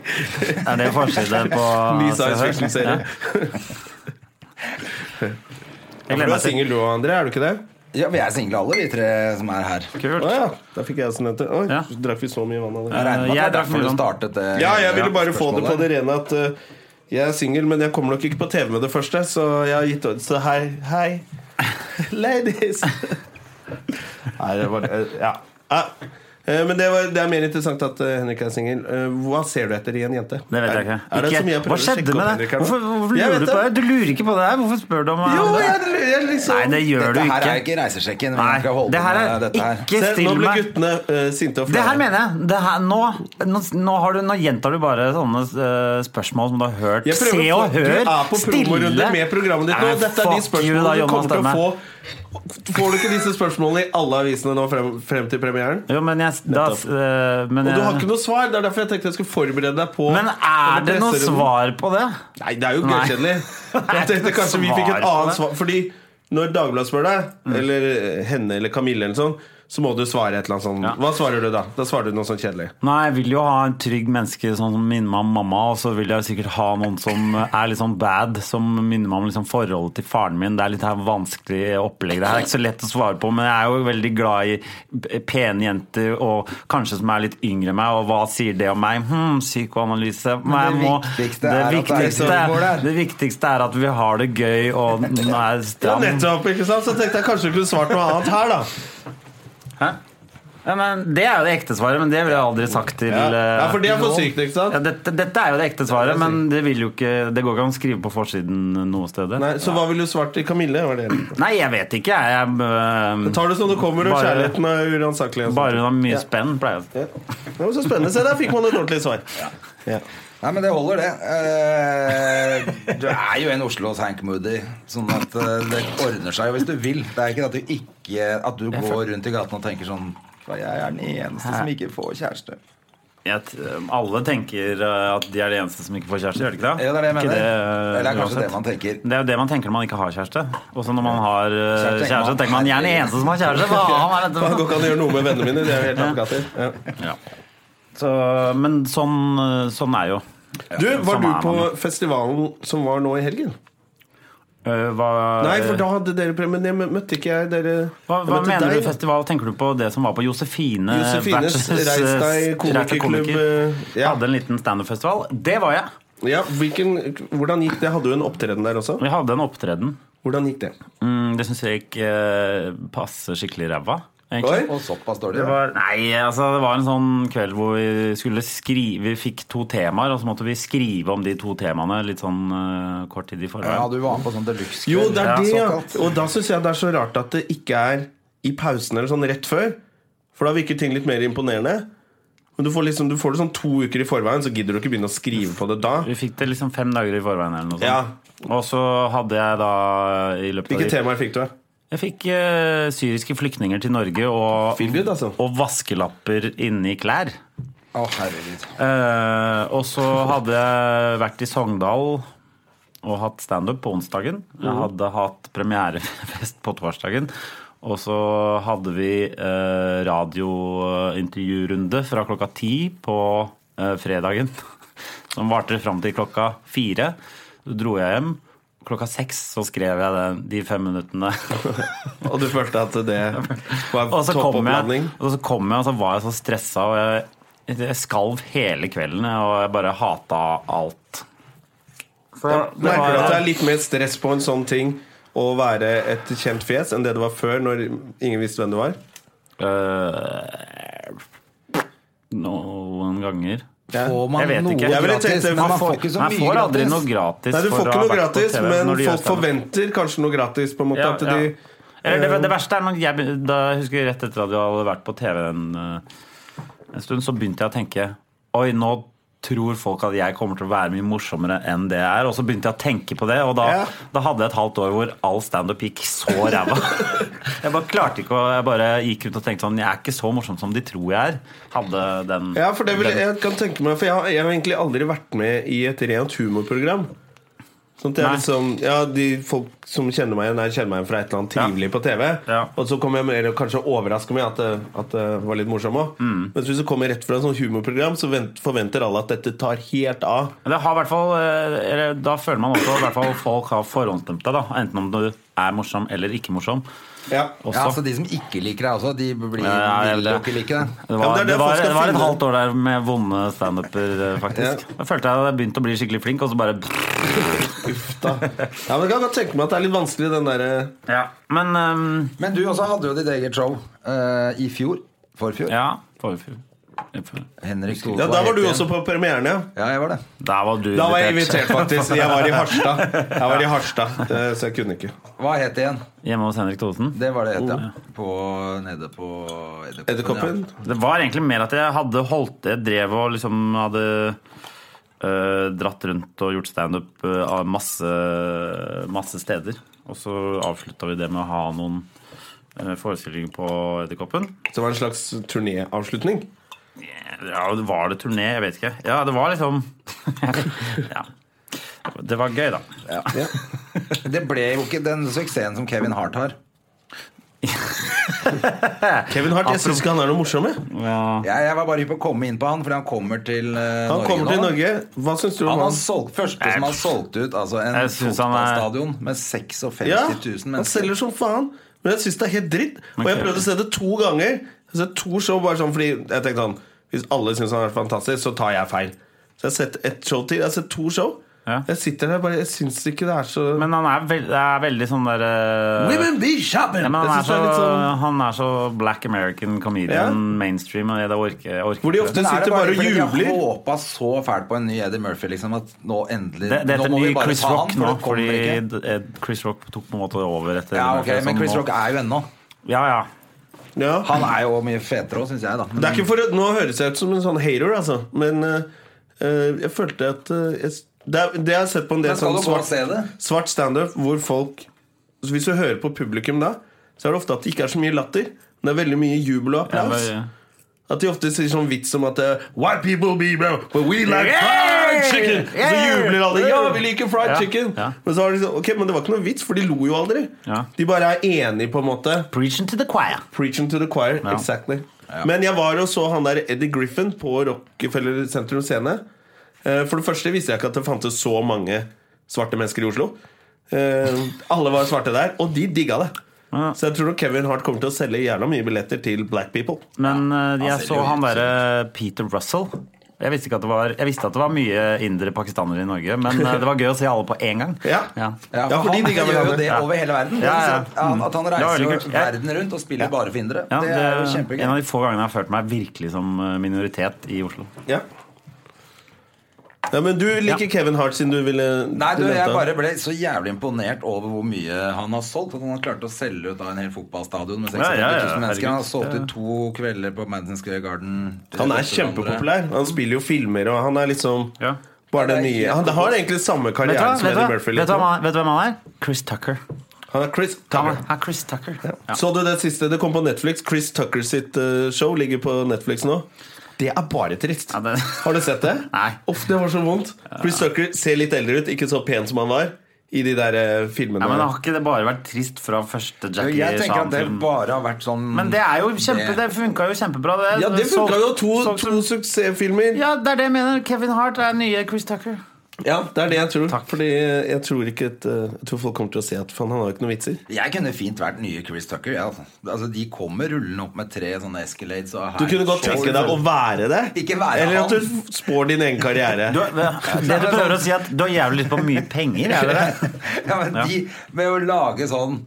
Speaker 3: Er det forside på
Speaker 1: Ny science
Speaker 3: Se og Hør?
Speaker 1: fiction-serie.
Speaker 3: Ja.
Speaker 1: Ja,
Speaker 3: Jeg
Speaker 1: for du
Speaker 3: gleder
Speaker 1: er
Speaker 3: meg til
Speaker 1: singel du òg, André? Er du ikke det?
Speaker 2: Ja, Vi er single alle, vi tre som er her.
Speaker 1: Å
Speaker 3: Kult.
Speaker 1: ja. Da fikk jeg også nevnt det. Oi,
Speaker 3: Ja.
Speaker 1: drakk vi så mye vann av
Speaker 2: Jeg
Speaker 1: det?
Speaker 2: regner med at det
Speaker 3: Eh, Jeg
Speaker 2: er
Speaker 3: drakk
Speaker 2: derfor du
Speaker 3: mye vann.
Speaker 2: startet det.
Speaker 1: Ja, jeg ville bare få det på
Speaker 2: spørsmålet.
Speaker 1: det rene at eh, jeg er singel, men jeg kommer nok ikke på TV med det første, så jeg har gitt odds. Så hei, hei, ladies. Nei, det var eh, Ja. Ah, eh, Men det, var, det er mer interessant at eh, Henrik er singel. Eh, Hva ser du etter i en jente?
Speaker 3: Det vet jeg ikke.
Speaker 1: Er, er det
Speaker 3: ikke.
Speaker 1: så mye jeg prøver
Speaker 3: Hva
Speaker 1: å
Speaker 3: skjedde
Speaker 1: sjekke opp
Speaker 3: med det?
Speaker 1: Henrik her nå?
Speaker 3: Hvorfor, hvorfor
Speaker 1: Jeg
Speaker 3: lurer
Speaker 1: vet
Speaker 3: du på det? Du lurer ikke på det her? Hvorfor spør du om
Speaker 1: Jo,
Speaker 3: det?
Speaker 1: jeg, jeg liksom
Speaker 3: Nei, det gjør du
Speaker 2: Dette her
Speaker 3: ikke.
Speaker 2: er ikke reisesjekken.
Speaker 3: Nei,
Speaker 2: Vi skal holde
Speaker 3: det her
Speaker 2: med
Speaker 3: er
Speaker 2: dette her.
Speaker 1: Se,
Speaker 3: ikke
Speaker 1: Nå
Speaker 3: still
Speaker 1: ble
Speaker 3: meg.
Speaker 1: guttene eh, sinte og
Speaker 3: Det her
Speaker 1: flau.
Speaker 3: mener jeg. Det her, nå, nå, nå, har du, nå gjentar du bare sånne eh, spørsmål som du har hørt.
Speaker 1: Jeg prøver
Speaker 3: Se
Speaker 1: å få,
Speaker 3: og hør!
Speaker 1: Du er på promorunde med programmet ditt nå.
Speaker 3: Nei,
Speaker 1: Dette er de
Speaker 3: fuck you da,
Speaker 1: spørsmålene du
Speaker 3: Jonas
Speaker 1: kommer til å
Speaker 3: Stemme.
Speaker 1: få. Får du ikke disse spørsmålene i alle avisene nå frem, frem til premieren?
Speaker 3: Jo, men jeg, da, eh, men,
Speaker 1: Og du har
Speaker 3: jeg-
Speaker 1: ikke noe svar. Det er derfor jeg tenkte jeg skulle forberede deg på
Speaker 3: men er det noe
Speaker 1: presserunden.
Speaker 3: svar på det?
Speaker 1: Nei, det er jo
Speaker 3: Nei.
Speaker 1: gøykjedelig. Jeg tenkte kanskje vi fikk et
Speaker 3: Svar på
Speaker 1: annet
Speaker 3: det. Mm.
Speaker 1: svar. Fordi når Dagbladet spør deg, eller henne eller Kamille eller sånn, så må du svare et eller annet sånn.
Speaker 3: Ja.
Speaker 1: Hva svarer du da? Da svarer du noe sånn kjedelig.
Speaker 3: Nei, jeg vil jo ha en trygg menneske sånn som minner meg om mamma, og så vil jeg jo sikkert ha noen som er litt sånn bad, som minner meg om liksom forholdet til faren min. Det er litt her vanskelig opplegg. Det her er ikke så lett å svare på, men jeg er jo veldig glad i p- pene jenter, og kanskje som er litt yngre enn meg, og hva sier det om meg? Hm, psykoanalyse. Men
Speaker 2: det
Speaker 3: jeg må-
Speaker 2: viktigste
Speaker 3: det
Speaker 2: er at det er
Speaker 3: viktigste,
Speaker 2: liksom hvor det er.
Speaker 3: det viktigste er at vi har det gøy, og nå
Speaker 1: Ja,
Speaker 3: er jeg stram.
Speaker 1: nettopp, ikke sant? Så tenkte jeg kanskje du kunne svart noe annet her, da.
Speaker 3: Hæ? Ja, men det er jo det ekte svaret, men det ville jeg aldri sagt til
Speaker 1: Ja,
Speaker 3: eh,
Speaker 1: ja for det er for sykt, ikke sant?
Speaker 3: Ja, dette, dette er jo det ekte svaret,
Speaker 1: Det er
Speaker 3: men det, vil jo ikke, det går ikke an å skrive på forsiden noe sted. Nei.
Speaker 1: Nei, så hva ville du svart til Kamille? Var det
Speaker 3: jeg vet ikke. Jeg, jeg,
Speaker 1: Tar det som det kommer, og
Speaker 3: Bare-
Speaker 1: kjærligheten er uransakelig. og
Speaker 3: øh,
Speaker 1: sånt.
Speaker 3: bare hun har mye
Speaker 1: Ja.
Speaker 3: spenn, pleier jeg å si.
Speaker 1: Ja. Det var så spennende. Se, der fikk man et ordentlig svar. Ja.
Speaker 2: Nei, men det holder, det. Eh, du er jo en Oslos Hank Moody, sånn at eh, det ordner seg jo hvis du vil. Det er ikke at du ikke At du går rundt i gaten og tenker sånn Jeg er den eneste som ikke får kjæreste.
Speaker 3: Jeg t- um, Alle tenker øh, at de er de eneste som ikke får kjæreste, gjør de ikke det?
Speaker 2: Ja, det er det jeg
Speaker 3: Ikke
Speaker 2: mener.
Speaker 3: øh,
Speaker 2: Eller det er kanskje
Speaker 3: uansett.
Speaker 2: det man tenker.
Speaker 3: Det er jo det man tenker når man ikke har kjæreste. Og så når man har øh,
Speaker 2: Så tenker
Speaker 3: kjæreste,
Speaker 2: man-
Speaker 3: tenker man gjerne eneste som har kjæreste. Faen, hva er dette
Speaker 1: Det
Speaker 3: for noe?
Speaker 1: går ikke an å gjøre noe med vennene mine. De er jo helt apekatter. Ja.
Speaker 3: Ja. Så, men sånn, øh, sånn er jo.
Speaker 1: Du, var
Speaker 3: Sånn
Speaker 1: du
Speaker 3: er man
Speaker 1: på
Speaker 3: jo.
Speaker 1: festivalen som var nå i helgen?
Speaker 3: Øh, hva,
Speaker 1: Nei, for da hadde dere premie, men jeg møtte ikke jeg dere.
Speaker 3: Hva, hva
Speaker 1: jeg møtte
Speaker 3: mener
Speaker 1: deg.
Speaker 3: du eh, festival? Tenker du på det som var på Josefine?
Speaker 1: Josefines
Speaker 3: versus-
Speaker 1: Reis deg
Speaker 3: Reis deg
Speaker 1: komikerklubb, eh, ja.
Speaker 3: Hadde en liten standup-festival. Det var jeg.
Speaker 1: Ja, hvilken, hvordan gikk det? Hadde du en opptreden der også?
Speaker 3: Vi hadde en opptreden.
Speaker 1: Hvordan gikk det?
Speaker 3: Mm, det syns jeg gikk eh, passe skikkelig ræva.
Speaker 1: Oi.
Speaker 3: egentlig.
Speaker 2: Og såpass dårlig.
Speaker 3: Det var, nei, altså det var en sånn kveld hvor vi skulle skrive Vi fikk to temaer, og så måtte vi skrive om de to temaene litt sånn eh, kort tid i forveien.
Speaker 2: Ja, du var med på sånn deluxe.
Speaker 1: Jo, det er
Speaker 3: Ja,
Speaker 1: det, ja.
Speaker 2: såkalt.
Speaker 1: Og da syns jeg det er så rart at det ikke er i pausen eller sånn rett før. For da virker ting litt mer imponerende. Men du får, liksom, du får det sånn to uker i forveien, så gidder du ikke begynne å skrive på det da.
Speaker 3: Vi fikk det liksom fem dager i forveien eller noe sånt.
Speaker 1: Ja.
Speaker 3: Og så hadde jeg da eh, i løpet av
Speaker 1: Hvilke
Speaker 3: de
Speaker 1: temaer fikk du?
Speaker 3: Jeg fikk eh, syriske flyktninger til Norge og,
Speaker 1: Feel good, altså.
Speaker 3: og vaskelapper inni klær.
Speaker 2: Å, herregud.
Speaker 3: Eh, og så hadde jeg vært i Sogndal og hatt standup på onsdagen. Jeg hadde hatt premierefest på torsdagen. Og så hadde vi eh, radiointervjurunde fra klokka ti på eh, fredagen. Som varte fram til klokka fire. Så dro jeg hjem. Klokka seks så skrev jeg den, de fem minuttene.
Speaker 1: Og du følte at det var
Speaker 3: Og så kom jeg,
Speaker 1: toppoppladning?
Speaker 3: og så kom jeg, og så var jeg så stressa, og jeg, jeg skalv hele kvelden, og jeg bare hata alt. Så
Speaker 1: Merker
Speaker 3: det
Speaker 1: du at det
Speaker 3: var,
Speaker 1: er litt mer stress på en sånn ting å være et kjent fjes enn det det var før, når ingen visste hvem du var?
Speaker 3: Øh, no, fem ganger.
Speaker 2: Får man
Speaker 3: Jeg vet
Speaker 2: noe
Speaker 3: ikke.
Speaker 1: Jeg ville tenkt
Speaker 2: gratis?
Speaker 1: det,
Speaker 2: Nei, man
Speaker 1: man
Speaker 2: får ikke så
Speaker 3: Man
Speaker 2: mye
Speaker 3: får aldri
Speaker 2: gratis.
Speaker 3: noe gratis.
Speaker 1: Nei, du
Speaker 3: for
Speaker 1: får
Speaker 3: å
Speaker 1: ikke noe
Speaker 3: ha vært på
Speaker 1: gratis,
Speaker 3: TV
Speaker 1: men
Speaker 3: når de gjør
Speaker 1: folk
Speaker 3: standup.
Speaker 1: forventer kanskje noe gratis, på en måte.
Speaker 3: Ja,
Speaker 1: at
Speaker 3: ja.
Speaker 1: de eh,
Speaker 3: Eller det, det verste er når jeg, be- da jeg husker rett etter at jeg hadde vært på TV en, eh, en stund, så begynte jeg å tenke Oi, nå tror folk at jeg kommer til å være mye morsommere enn det jeg er. Og så begynte jeg å tenke på det, og da,
Speaker 1: Ja.
Speaker 3: da hadde jeg et halvt år hvor all standup gikk så ræva. jeg bare klarte ikke å Jeg bare gikk ut og tenkte sånn Jeg er ikke så morsom som de tror jeg er. Hadde den
Speaker 1: Ja, for det vil,
Speaker 3: den-
Speaker 1: jeg kan tenke meg For jeg har, jeg har egentlig aldri vært med i et rent humorprogram. Sånn at jeg
Speaker 3: Nei.
Speaker 1: liksom, ja, de Folk som kjenner meg igjen, jeg kjenner meg igjen fra et eller annet
Speaker 3: Ja.
Speaker 1: trivelig på TV.
Speaker 3: Ja.
Speaker 1: Og så kommer jeg mer og kanskje overrasker meg at det, at det var litt morsom òg. Mens hvis du kommer rett fra et sånt humorprogram, så vent, forventer alle at dette tar helt av.
Speaker 3: Men Det har i hvert fall, eh, eller Da føler man også i hvert fall folk har forhåndsdømt deg, da. Enten om du er morsom eller ikke morsom.
Speaker 1: Ja.
Speaker 3: Også.
Speaker 2: Ja, så de som ikke liker deg også, de blir,
Speaker 3: Ja, ja,
Speaker 2: vil
Speaker 3: det-
Speaker 2: jo ikke like deg.
Speaker 3: Det
Speaker 1: Ja, men
Speaker 3: var,
Speaker 1: det er det
Speaker 3: det
Speaker 1: folk
Speaker 3: var,
Speaker 1: skal
Speaker 3: det var et
Speaker 1: finne.
Speaker 3: halvt år der med vonde standuper, eh, faktisk. Da følte jeg at jeg begynte å bli skikkelig flink, og så bare
Speaker 1: Uff da. Ja, men Jeg kan godt tenke meg at det er litt vanskelig, den eh, derre
Speaker 3: Men ehm,
Speaker 2: Men du også hadde jo ditt eget show eh, i fjor. Forfjor.
Speaker 3: ja, forrige fjor. I fjor.
Speaker 2: Henrik
Speaker 1: Ja, der var du også på premieren, ja.
Speaker 2: Ja, jeg var det.
Speaker 3: Der var du
Speaker 1: Da var jeg invitert, faktisk. Jeg var i Harstad. Jeg var i Harstad, eh, så jeg kunne ikke.
Speaker 2: Hva het det igjen?
Speaker 3: Hjemme hos Henrik Thodesen.
Speaker 2: Det var det het, ja. På, nede på Edderkoppen.
Speaker 1: Oh, Edderkoppen?
Speaker 2: Ja.
Speaker 3: Det var egentlig mer at jeg hadde holdt Jeg drev og liksom hadde øh, dratt rundt og gjort standup øh, av masse, masse steder. Og så avslutta vi det med å ha noen øh, forestillinger på Edderkoppen.
Speaker 1: Så det var en slags turnéavslutning.
Speaker 3: Ja, var det turné? Jeg vet ikke. Ja, det var liksom ja. Det var gøy, da.
Speaker 1: Ja.
Speaker 2: Det ble jo ikke den suksessen som Kevin Hart har.
Speaker 1: Kevin Hart, jeg syns ikke han er noe morsom. jeg.
Speaker 3: Ja.
Speaker 2: Jeg, jeg var bare hypp på å komme inn på han, fordi han kommer til eh,
Speaker 1: Han
Speaker 2: Norge
Speaker 1: kommer til
Speaker 2: nå.
Speaker 1: Norge. Hva syns du om
Speaker 2: Han har
Speaker 1: han?
Speaker 2: solgt, første som har solgt ut altså en
Speaker 3: Jeg synes han er-
Speaker 2: fotballstadion med 56
Speaker 1: Ja,
Speaker 2: 000
Speaker 1: han
Speaker 2: mennesker.
Speaker 1: selger som faen. Men jeg syns det er helt dritt. Og jeg
Speaker 3: Ok.
Speaker 1: prøvde å se det to ganger. Jeg har sett to show bare sånn fordi jeg tenkte sånn Hvis alle syns han er fantastisk, så tar jeg feil. Så jeg har sett ett show til. Jeg har sett to show.
Speaker 3: Ja.
Speaker 1: Jeg sitter der bare Jeg syns ikke det er så
Speaker 3: Men han er, veld, er veldig sånn der øh,
Speaker 1: Women be shopping!
Speaker 3: Ja, men han,
Speaker 1: jeg synes
Speaker 3: er
Speaker 1: det
Speaker 3: så,
Speaker 1: er litt sånn
Speaker 3: han er så black American comedian,
Speaker 1: Ja.
Speaker 3: mainstream. Og det orker, jeg orker
Speaker 1: Hvor de
Speaker 3: ikke.
Speaker 1: ofte
Speaker 2: Men er det
Speaker 1: sitter bare og
Speaker 2: fordi
Speaker 1: jubler.
Speaker 2: Jeg håpa så fælt på en ny Eddie Murphy liksom, at nå endelig
Speaker 3: det, det
Speaker 2: Nå
Speaker 3: heter
Speaker 2: må vi
Speaker 3: ny
Speaker 2: bare
Speaker 3: Chris
Speaker 2: ta
Speaker 3: Rock
Speaker 2: han, for
Speaker 3: nå,
Speaker 2: det kommer
Speaker 3: fordi
Speaker 2: ikke.
Speaker 3: d- eh, Chris Rock tok på en måte over etter
Speaker 2: Ja,
Speaker 3: Murphy,
Speaker 2: ok,
Speaker 3: så
Speaker 2: Men Chris
Speaker 3: nå-
Speaker 2: Rock er jo ennå.
Speaker 3: Ja, ja.
Speaker 1: Ja.
Speaker 2: Han er jo mye fetere òg, syns jeg, da. Men
Speaker 1: Det er ikke for å, Nå høres jeg ut som en sånn hater, altså. Men eh, eh, jeg følte at eh, jeg, det, er, det jeg har sett på en del
Speaker 2: Men skal
Speaker 1: sånn
Speaker 2: du gå og
Speaker 1: svart,
Speaker 2: se det?
Speaker 1: svart standup hvor folk så Hvis du hører på publikum da, så er det ofte at det ikke er så mye latter. Men det er veldig mye jubel og
Speaker 3: Ja,
Speaker 1: applaus.
Speaker 3: men-
Speaker 1: At de ofte sier sånn vits som at eh, White people be brown, but we like
Speaker 3: Yeah!
Speaker 1: fried chicken! Og så
Speaker 3: Yeah!
Speaker 1: jubler alle. Ja, vi liker fried
Speaker 3: Ja,
Speaker 1: chicken!
Speaker 3: ja.
Speaker 1: Men så har de sånn, ok, men det var ikke noe vits, for de lo jo aldri.
Speaker 3: Ja.
Speaker 1: De bare er enige, på en måte.
Speaker 3: Preaching to the choir.
Speaker 1: Preaching to the choir,
Speaker 3: Ja.
Speaker 1: exactly Men jeg var og så han der Eddie Griffin på Rockefeller Sentrum Scene. Eh, For det første visste jeg ikke at det fantes så mange svarte mennesker i Oslo. Eh, Alle var svarte der, og de digga det.
Speaker 3: Ja.
Speaker 1: Så jeg tror nok Kevin Hart kommer til å selge jævla mye billetter til black people.
Speaker 3: Men eh,
Speaker 2: han
Speaker 3: jeg
Speaker 2: ser
Speaker 3: så
Speaker 2: jo
Speaker 3: han
Speaker 2: helt
Speaker 3: derre Peter Russell. Jeg visste, ikke at det var, jeg visste at det var mye indre pakistanere i Norge, men eh, det var gøy å se alle på én gang.
Speaker 1: Ja.
Speaker 2: Ja,
Speaker 1: Ja,
Speaker 2: for
Speaker 1: fordi
Speaker 2: han
Speaker 1: de kan vel
Speaker 2: gjør
Speaker 1: ha
Speaker 2: jo
Speaker 1: det.
Speaker 2: det over hele verden.
Speaker 3: Ja, ja.
Speaker 2: At han- At han
Speaker 3: Det var
Speaker 2: reiser
Speaker 3: veldig
Speaker 2: jo
Speaker 3: kult. Jeg-
Speaker 2: verden rundt og spiller bare for indere.
Speaker 3: Ja,
Speaker 2: det, er jo kjempegøy.
Speaker 3: en av de få gangene jeg har følt meg virkelig som eh, minoritet i Oslo.
Speaker 1: Ja. ja, Men du liker
Speaker 3: Ja.
Speaker 1: Kevin Hart siden du ville
Speaker 2: Nei, du,
Speaker 1: du nevnte
Speaker 2: jeg
Speaker 1: han.
Speaker 2: bare ble så jævlig imponert over hvor mye han har solgt. At han har klart å selge ut da en hel fotballstadion med 600
Speaker 3: Ja, ja, ja,
Speaker 2: 000 mennesker. Han har
Speaker 3: herregud.
Speaker 2: solgt ut to kvelder på Madison Square Garden.
Speaker 1: Han er kjempepopulær. Han spiller jo filmer, og han er liksom
Speaker 3: Ja.
Speaker 1: bare den
Speaker 2: Det er
Speaker 1: nye
Speaker 2: helt-
Speaker 1: Han har egentlig samme
Speaker 3: Vet du, hva,
Speaker 1: karriere som
Speaker 3: vet, du,
Speaker 1: Eddie
Speaker 3: hva-
Speaker 1: Murphy.
Speaker 3: vet,
Speaker 1: litt
Speaker 2: liksom.
Speaker 3: du,
Speaker 1: nå.
Speaker 3: hva han- vet du hvem han er? Chris Tucker.
Speaker 1: Han er Chris
Speaker 3: Han
Speaker 1: Tucker.
Speaker 3: er- han er Chris Tucker. Ja.
Speaker 1: Så du det siste? Det kom på Netflix. Chris Tucker sitt eh, show ligger på Netflix nå. Det er bare trist.
Speaker 3: Ja, det-
Speaker 1: Har du sett det?
Speaker 3: Nei.
Speaker 1: Uff, det var så vondt. Chris Tucker ser litt eldre ut, ikke så pen som han var i de der eh, filmene.
Speaker 3: Ja, men Har ikke det bare vært trist fra første
Speaker 2: Jo,
Speaker 3: Jackie
Speaker 2: Jeg tenker at det
Speaker 3: Chan-film?
Speaker 2: bare har vært sånn
Speaker 3: Men det er jo kjempe,
Speaker 2: Det-
Speaker 3: det funka jo kjempebra, det.
Speaker 1: ja, det funka jo. To,
Speaker 3: Solgt- solgt-
Speaker 1: to suksessfilmer. Ja.
Speaker 3: Ja, det er det jeg mener. Kevin Hart er nye Chris Tucker.
Speaker 1: det er det jeg tror.
Speaker 3: Takk.
Speaker 1: Fordi eh, jeg tror ikke at, eh, Jeg tror folk kommer til å se at faen, han har jo ikke noen vitser.
Speaker 2: Jeg kunne fint vært nye Chris Tucker. Ja, altså. altså, de kommer rullende opp med tre sånne Escalades. Og
Speaker 1: Du kunne godt tenke deg å være det.
Speaker 2: Ikke være
Speaker 1: Eller at du
Speaker 2: han.
Speaker 1: f- spår din egen karriere.
Speaker 3: Du, det sånn- du prøver å si, at du har jævlig lyst på mye penger. Er det det?
Speaker 2: ja, men de, Med å lage sånn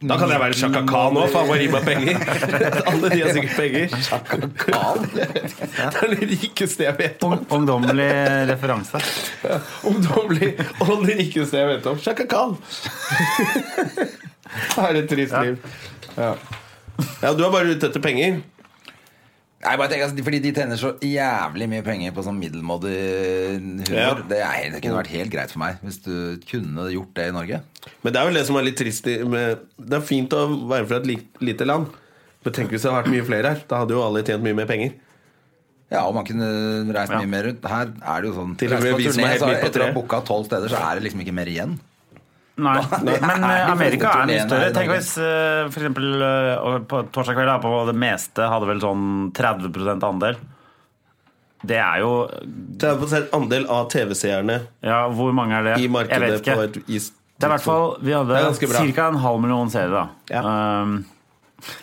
Speaker 1: Da kan jeg være Chaka Khan òg, faen meg gi meg penger. Alle de har sikkert penger. Det er det rikeste jeg vet om.
Speaker 3: Ung- Ungdommelig referanse.
Speaker 1: Ungdommelig og det rikeste jeg vet om. Chaka Khan. Har et trist liv. Ja. ja, du er bare ute etter penger.
Speaker 2: Nei, bare tenk, altså, fordi De tjener så jævlig mye penger på sånn middelmådig humor.
Speaker 1: Ja.
Speaker 2: Det, er, helt- det kunne vært helt greit for meg hvis du kunne gjort det i Norge.
Speaker 1: Men det er vel det som er litt trist i- med, Det er fint å være fra et li- lite land. Men tenk hvis det hadde vært mye flere her. Da hadde jo alle tjent mye mer penger.
Speaker 2: Ja, og man kunne reist
Speaker 3: Ja.
Speaker 2: mye mer rundt. Her er det jo sånn
Speaker 1: Til og med
Speaker 2: reist på
Speaker 1: vi som er
Speaker 2: turné,
Speaker 1: helt
Speaker 2: så
Speaker 1: midt på
Speaker 2: Etter å ha
Speaker 1: treet.
Speaker 2: booka tolv steder, så er det liksom ikke mer igjen.
Speaker 3: Nei,
Speaker 2: Nei,
Speaker 3: men
Speaker 2: det er
Speaker 3: eh,
Speaker 2: de
Speaker 3: Amerika
Speaker 2: fleste
Speaker 3: er mye
Speaker 2: turnéene
Speaker 3: større.
Speaker 2: i
Speaker 3: Tenk
Speaker 2: Norge.
Speaker 3: hvis eh, for eksempel eh, og på torsdag kveld da, på det meste hadde vel sånn 30 andel. Det er jo
Speaker 1: 30 andel av TV-seerne
Speaker 3: Ja, hvor mange er det?
Speaker 1: i
Speaker 3: Jeg vet
Speaker 1: markedet
Speaker 3: ikke.
Speaker 1: på et is.
Speaker 3: Det er i hvert fall Vi
Speaker 1: Det er
Speaker 3: hadde
Speaker 1: ganske bra.
Speaker 3: ca. en halv million seere, da.
Speaker 1: Ja.
Speaker 3: Um,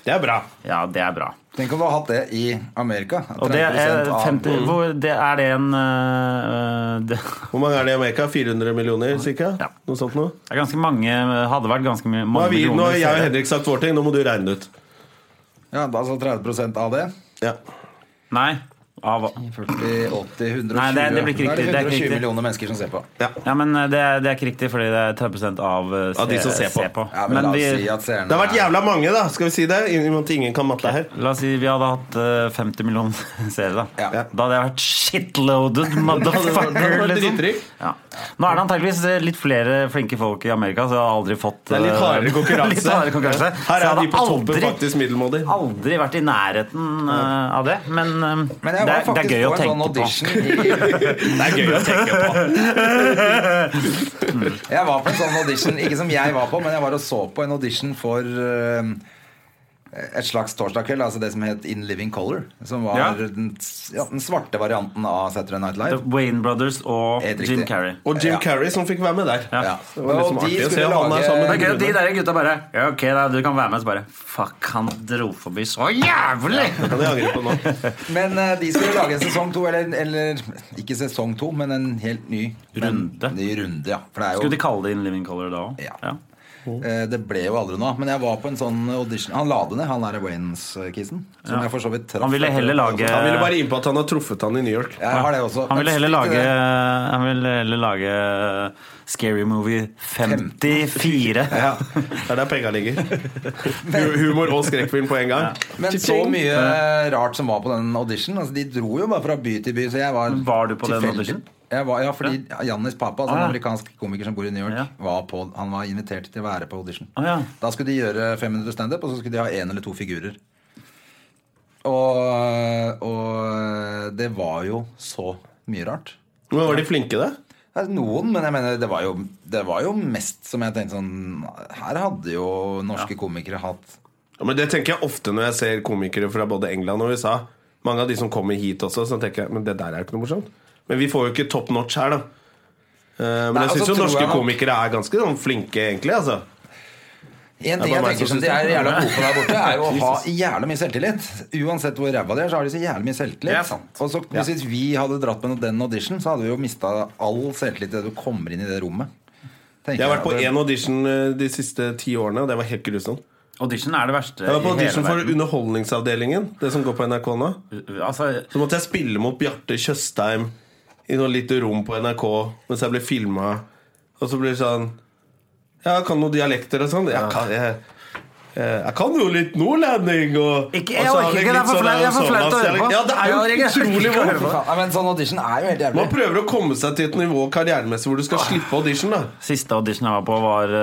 Speaker 1: Det er bra.
Speaker 3: ja, det er bra.
Speaker 2: Tenk om du hadde hatt det i Amerika.
Speaker 3: Og det er
Speaker 2: 30% av-
Speaker 3: 50 hvor, det, Er det en eh, det,
Speaker 1: Hvor mange er det i Amerika? 400 millioner, cirka?
Speaker 3: Ja.
Speaker 1: Noe sånt noe?
Speaker 3: det er ganske mange Hadde vært ganske mye,
Speaker 1: Nå
Speaker 3: mange
Speaker 1: har, vi, nå
Speaker 3: millioner
Speaker 1: har jeg og
Speaker 3: seere.
Speaker 1: Henrik sagt vår ting. Nå må du regne det ut.
Speaker 2: Ja, da så 30 av det.
Speaker 1: Ja.
Speaker 3: Nei. Av,
Speaker 2: 40, 80, 120
Speaker 3: Nei, det- det blir
Speaker 2: Da er det
Speaker 3: ikke riktig, det er ikke
Speaker 2: 120
Speaker 3: riktig.
Speaker 2: millioner mennesker som ser på.
Speaker 1: Ja.
Speaker 3: ja, men eh, det, er- det er ikke riktig, fordi det er 30 av, eh,
Speaker 1: Av de som ser på.
Speaker 2: Ja, men, la oss
Speaker 3: vi,
Speaker 2: si at seerne
Speaker 1: Det har vært jævla mange, da. Skal vi si det? I og med at ingen kan matte her.
Speaker 3: La oss si vi hadde hatt eh, 50 millioner seere, da.
Speaker 2: Ja.
Speaker 3: Da hadde jeg vært shitloaded motherfucker.
Speaker 1: vært
Speaker 3: liksom.
Speaker 1: drittrykk.
Speaker 3: ja. Nå er det antakeligvis eh, litt flere flinke folk i Amerika, så jeg har aldri fått
Speaker 1: Det er litt hardere
Speaker 3: eh,
Speaker 1: konkurranse.
Speaker 3: litt hardere konkurranse. Så
Speaker 1: Her er
Speaker 3: jeg
Speaker 1: de
Speaker 3: hadde
Speaker 1: på toppen
Speaker 3: aldri,
Speaker 1: faktisk middelmådig.
Speaker 3: aldri vært i nærheten eh, av det. Men, eh,
Speaker 2: Men jeg var
Speaker 3: det, er, det
Speaker 2: faktisk
Speaker 3: er gøy
Speaker 2: på
Speaker 3: å
Speaker 2: en sånn
Speaker 3: tenke på.
Speaker 2: audition i,
Speaker 1: Det er gøy å tenke på.
Speaker 2: Jeg var på en sånn audition, ikke som jeg var på, men jeg var og så på en audition for eh, et slags torsdagskveld, altså det som het In Living Color. Som var
Speaker 3: Ja.
Speaker 2: den, ja, den svarte varianten av Saturday Night Live.
Speaker 3: Wayne Brothers og
Speaker 2: Helt
Speaker 3: Jim
Speaker 2: riktig.
Speaker 3: Carrey.
Speaker 1: Og Jim
Speaker 2: Ja.
Speaker 1: Carrey som fikk være med der.
Speaker 3: Ja.
Speaker 2: Ja.
Speaker 1: Det var liksom
Speaker 2: Og de
Speaker 1: artig å se
Speaker 2: skulle
Speaker 1: han
Speaker 2: lage-
Speaker 1: er sammen
Speaker 3: Det
Speaker 1: med
Speaker 3: er gøy at de
Speaker 1: brudene.
Speaker 3: der gutta bare Ja, ok, da, du kan være med. Så bare Fuck, han dro forbi så jævlig!
Speaker 1: Det kan jeg angre på nå.
Speaker 2: Men eh, de skulle lage en sesong to, eller, eller ikke sesong to, men en helt ny
Speaker 3: Runde.
Speaker 2: Men, ny runde ja. For det er jo
Speaker 3: Skulle de kalle det In Living Color da òg?
Speaker 2: Ja. Eh, Det ble jo aldri noe av, men jeg var på en sånn audition. Han la det ned, han der Waynes-kissen. Som jeg for så vidt traff.
Speaker 3: Han ville heller lage
Speaker 1: Han ville bare inn på at han har truffet han i New York.
Speaker 2: Jeg har det også.
Speaker 3: Han ville
Speaker 2: Men eh,
Speaker 3: heller
Speaker 2: still til
Speaker 3: lage
Speaker 2: det.
Speaker 1: eh,
Speaker 3: Han ville heller lage Scary Movie 54.
Speaker 2: ja.
Speaker 1: Det er der penga ligger. Hu- Humor og skrekkfilm på en gang.
Speaker 2: Men så
Speaker 1: Cha-ching.
Speaker 2: mye rart som var på den audition. Altså, de dro jo bare fra by til by, så jeg var
Speaker 3: Var du på den
Speaker 2: tilfeldig.
Speaker 3: audition?
Speaker 2: Jeg var, ja, fordi Jannis pappa, altså
Speaker 3: Ah, ja.
Speaker 2: en amerikansk komiker som bor i New York,
Speaker 3: Ja.
Speaker 2: var på, han var invitert til å være på audition.
Speaker 3: Ah, ja.
Speaker 2: Da skulle de gjøre 500 standup, og så skulle de ha én eller to figurer. Og, og det var jo så mye rart.
Speaker 1: Men var de flinke, da?
Speaker 2: Det er Noen, men jeg mener det var, jo, det var jo mest som jeg tenkte sånn Her hadde jo norske komikere hatt
Speaker 1: Ja, men Det tenker jeg ofte når jeg ser komikere fra både England og USA. Mange av de som kommer hit også, så tenker jeg men det der er jo ikke noe morsomt. Men vi får jo ikke top notch her, da. Eh, Men
Speaker 2: Nei,
Speaker 1: jeg syns
Speaker 2: altså,
Speaker 1: jo
Speaker 2: tror
Speaker 1: norske
Speaker 2: jeg nok-
Speaker 1: komikere er ganske sånn flinke, egentlig. altså
Speaker 2: En
Speaker 1: Det
Speaker 2: ting
Speaker 1: er bare
Speaker 2: jeg
Speaker 1: meg
Speaker 2: tenker
Speaker 1: som
Speaker 2: som de
Speaker 1: synes
Speaker 2: er
Speaker 1: det.
Speaker 2: jævla gode på der borte, er jo å ha jævla mye selvtillit. Uansett hvor ræva de er, så har de så jævlig mye selvtillit.
Speaker 3: Det er sant.
Speaker 2: Og så Hvis vi hadde dratt med den audition, så hadde vi jo mista all selvtillit idet du kommer inn i det rommet. Tenker
Speaker 1: Jeg har vært på
Speaker 2: at-
Speaker 1: én audition eh, de siste ti årene, og det var helt grusomt.
Speaker 3: Audition er det verste
Speaker 1: Jeg var på
Speaker 3: i hele
Speaker 1: audition for
Speaker 3: verden.
Speaker 1: Underholdningsavdelingen, det som går på NRK nå.
Speaker 3: Altså,
Speaker 1: Så måtte jeg spille mot Bjarte Tjøstheim i noe lite rom på NRK mens jeg ble filma. Og så blir det sånn Ja, kan noen dialekter og sånn. Jeg kan, jeg, jeg, jeg kan jo litt nordlending og
Speaker 3: Ikke-
Speaker 1: og
Speaker 3: jeg
Speaker 1: så har
Speaker 3: orker
Speaker 1: jeg
Speaker 3: ikke, det er
Speaker 1: litt
Speaker 3: for
Speaker 1: sånn
Speaker 3: flaut- jeg er for flaut å høre
Speaker 1: Amazonas-dialekt.
Speaker 3: på.
Speaker 1: Ja, det er jo
Speaker 3: Jeg orker ikke
Speaker 1: utrolig
Speaker 3: å høre
Speaker 1: vondt.
Speaker 3: på.
Speaker 2: Faen, Nei, men sånn audition er jo helt
Speaker 1: Man
Speaker 2: jævlig.
Speaker 1: prøver å komme seg til et nivå karrieremessig hvor du skal slippe audition, da.
Speaker 3: siste audition jeg var på, var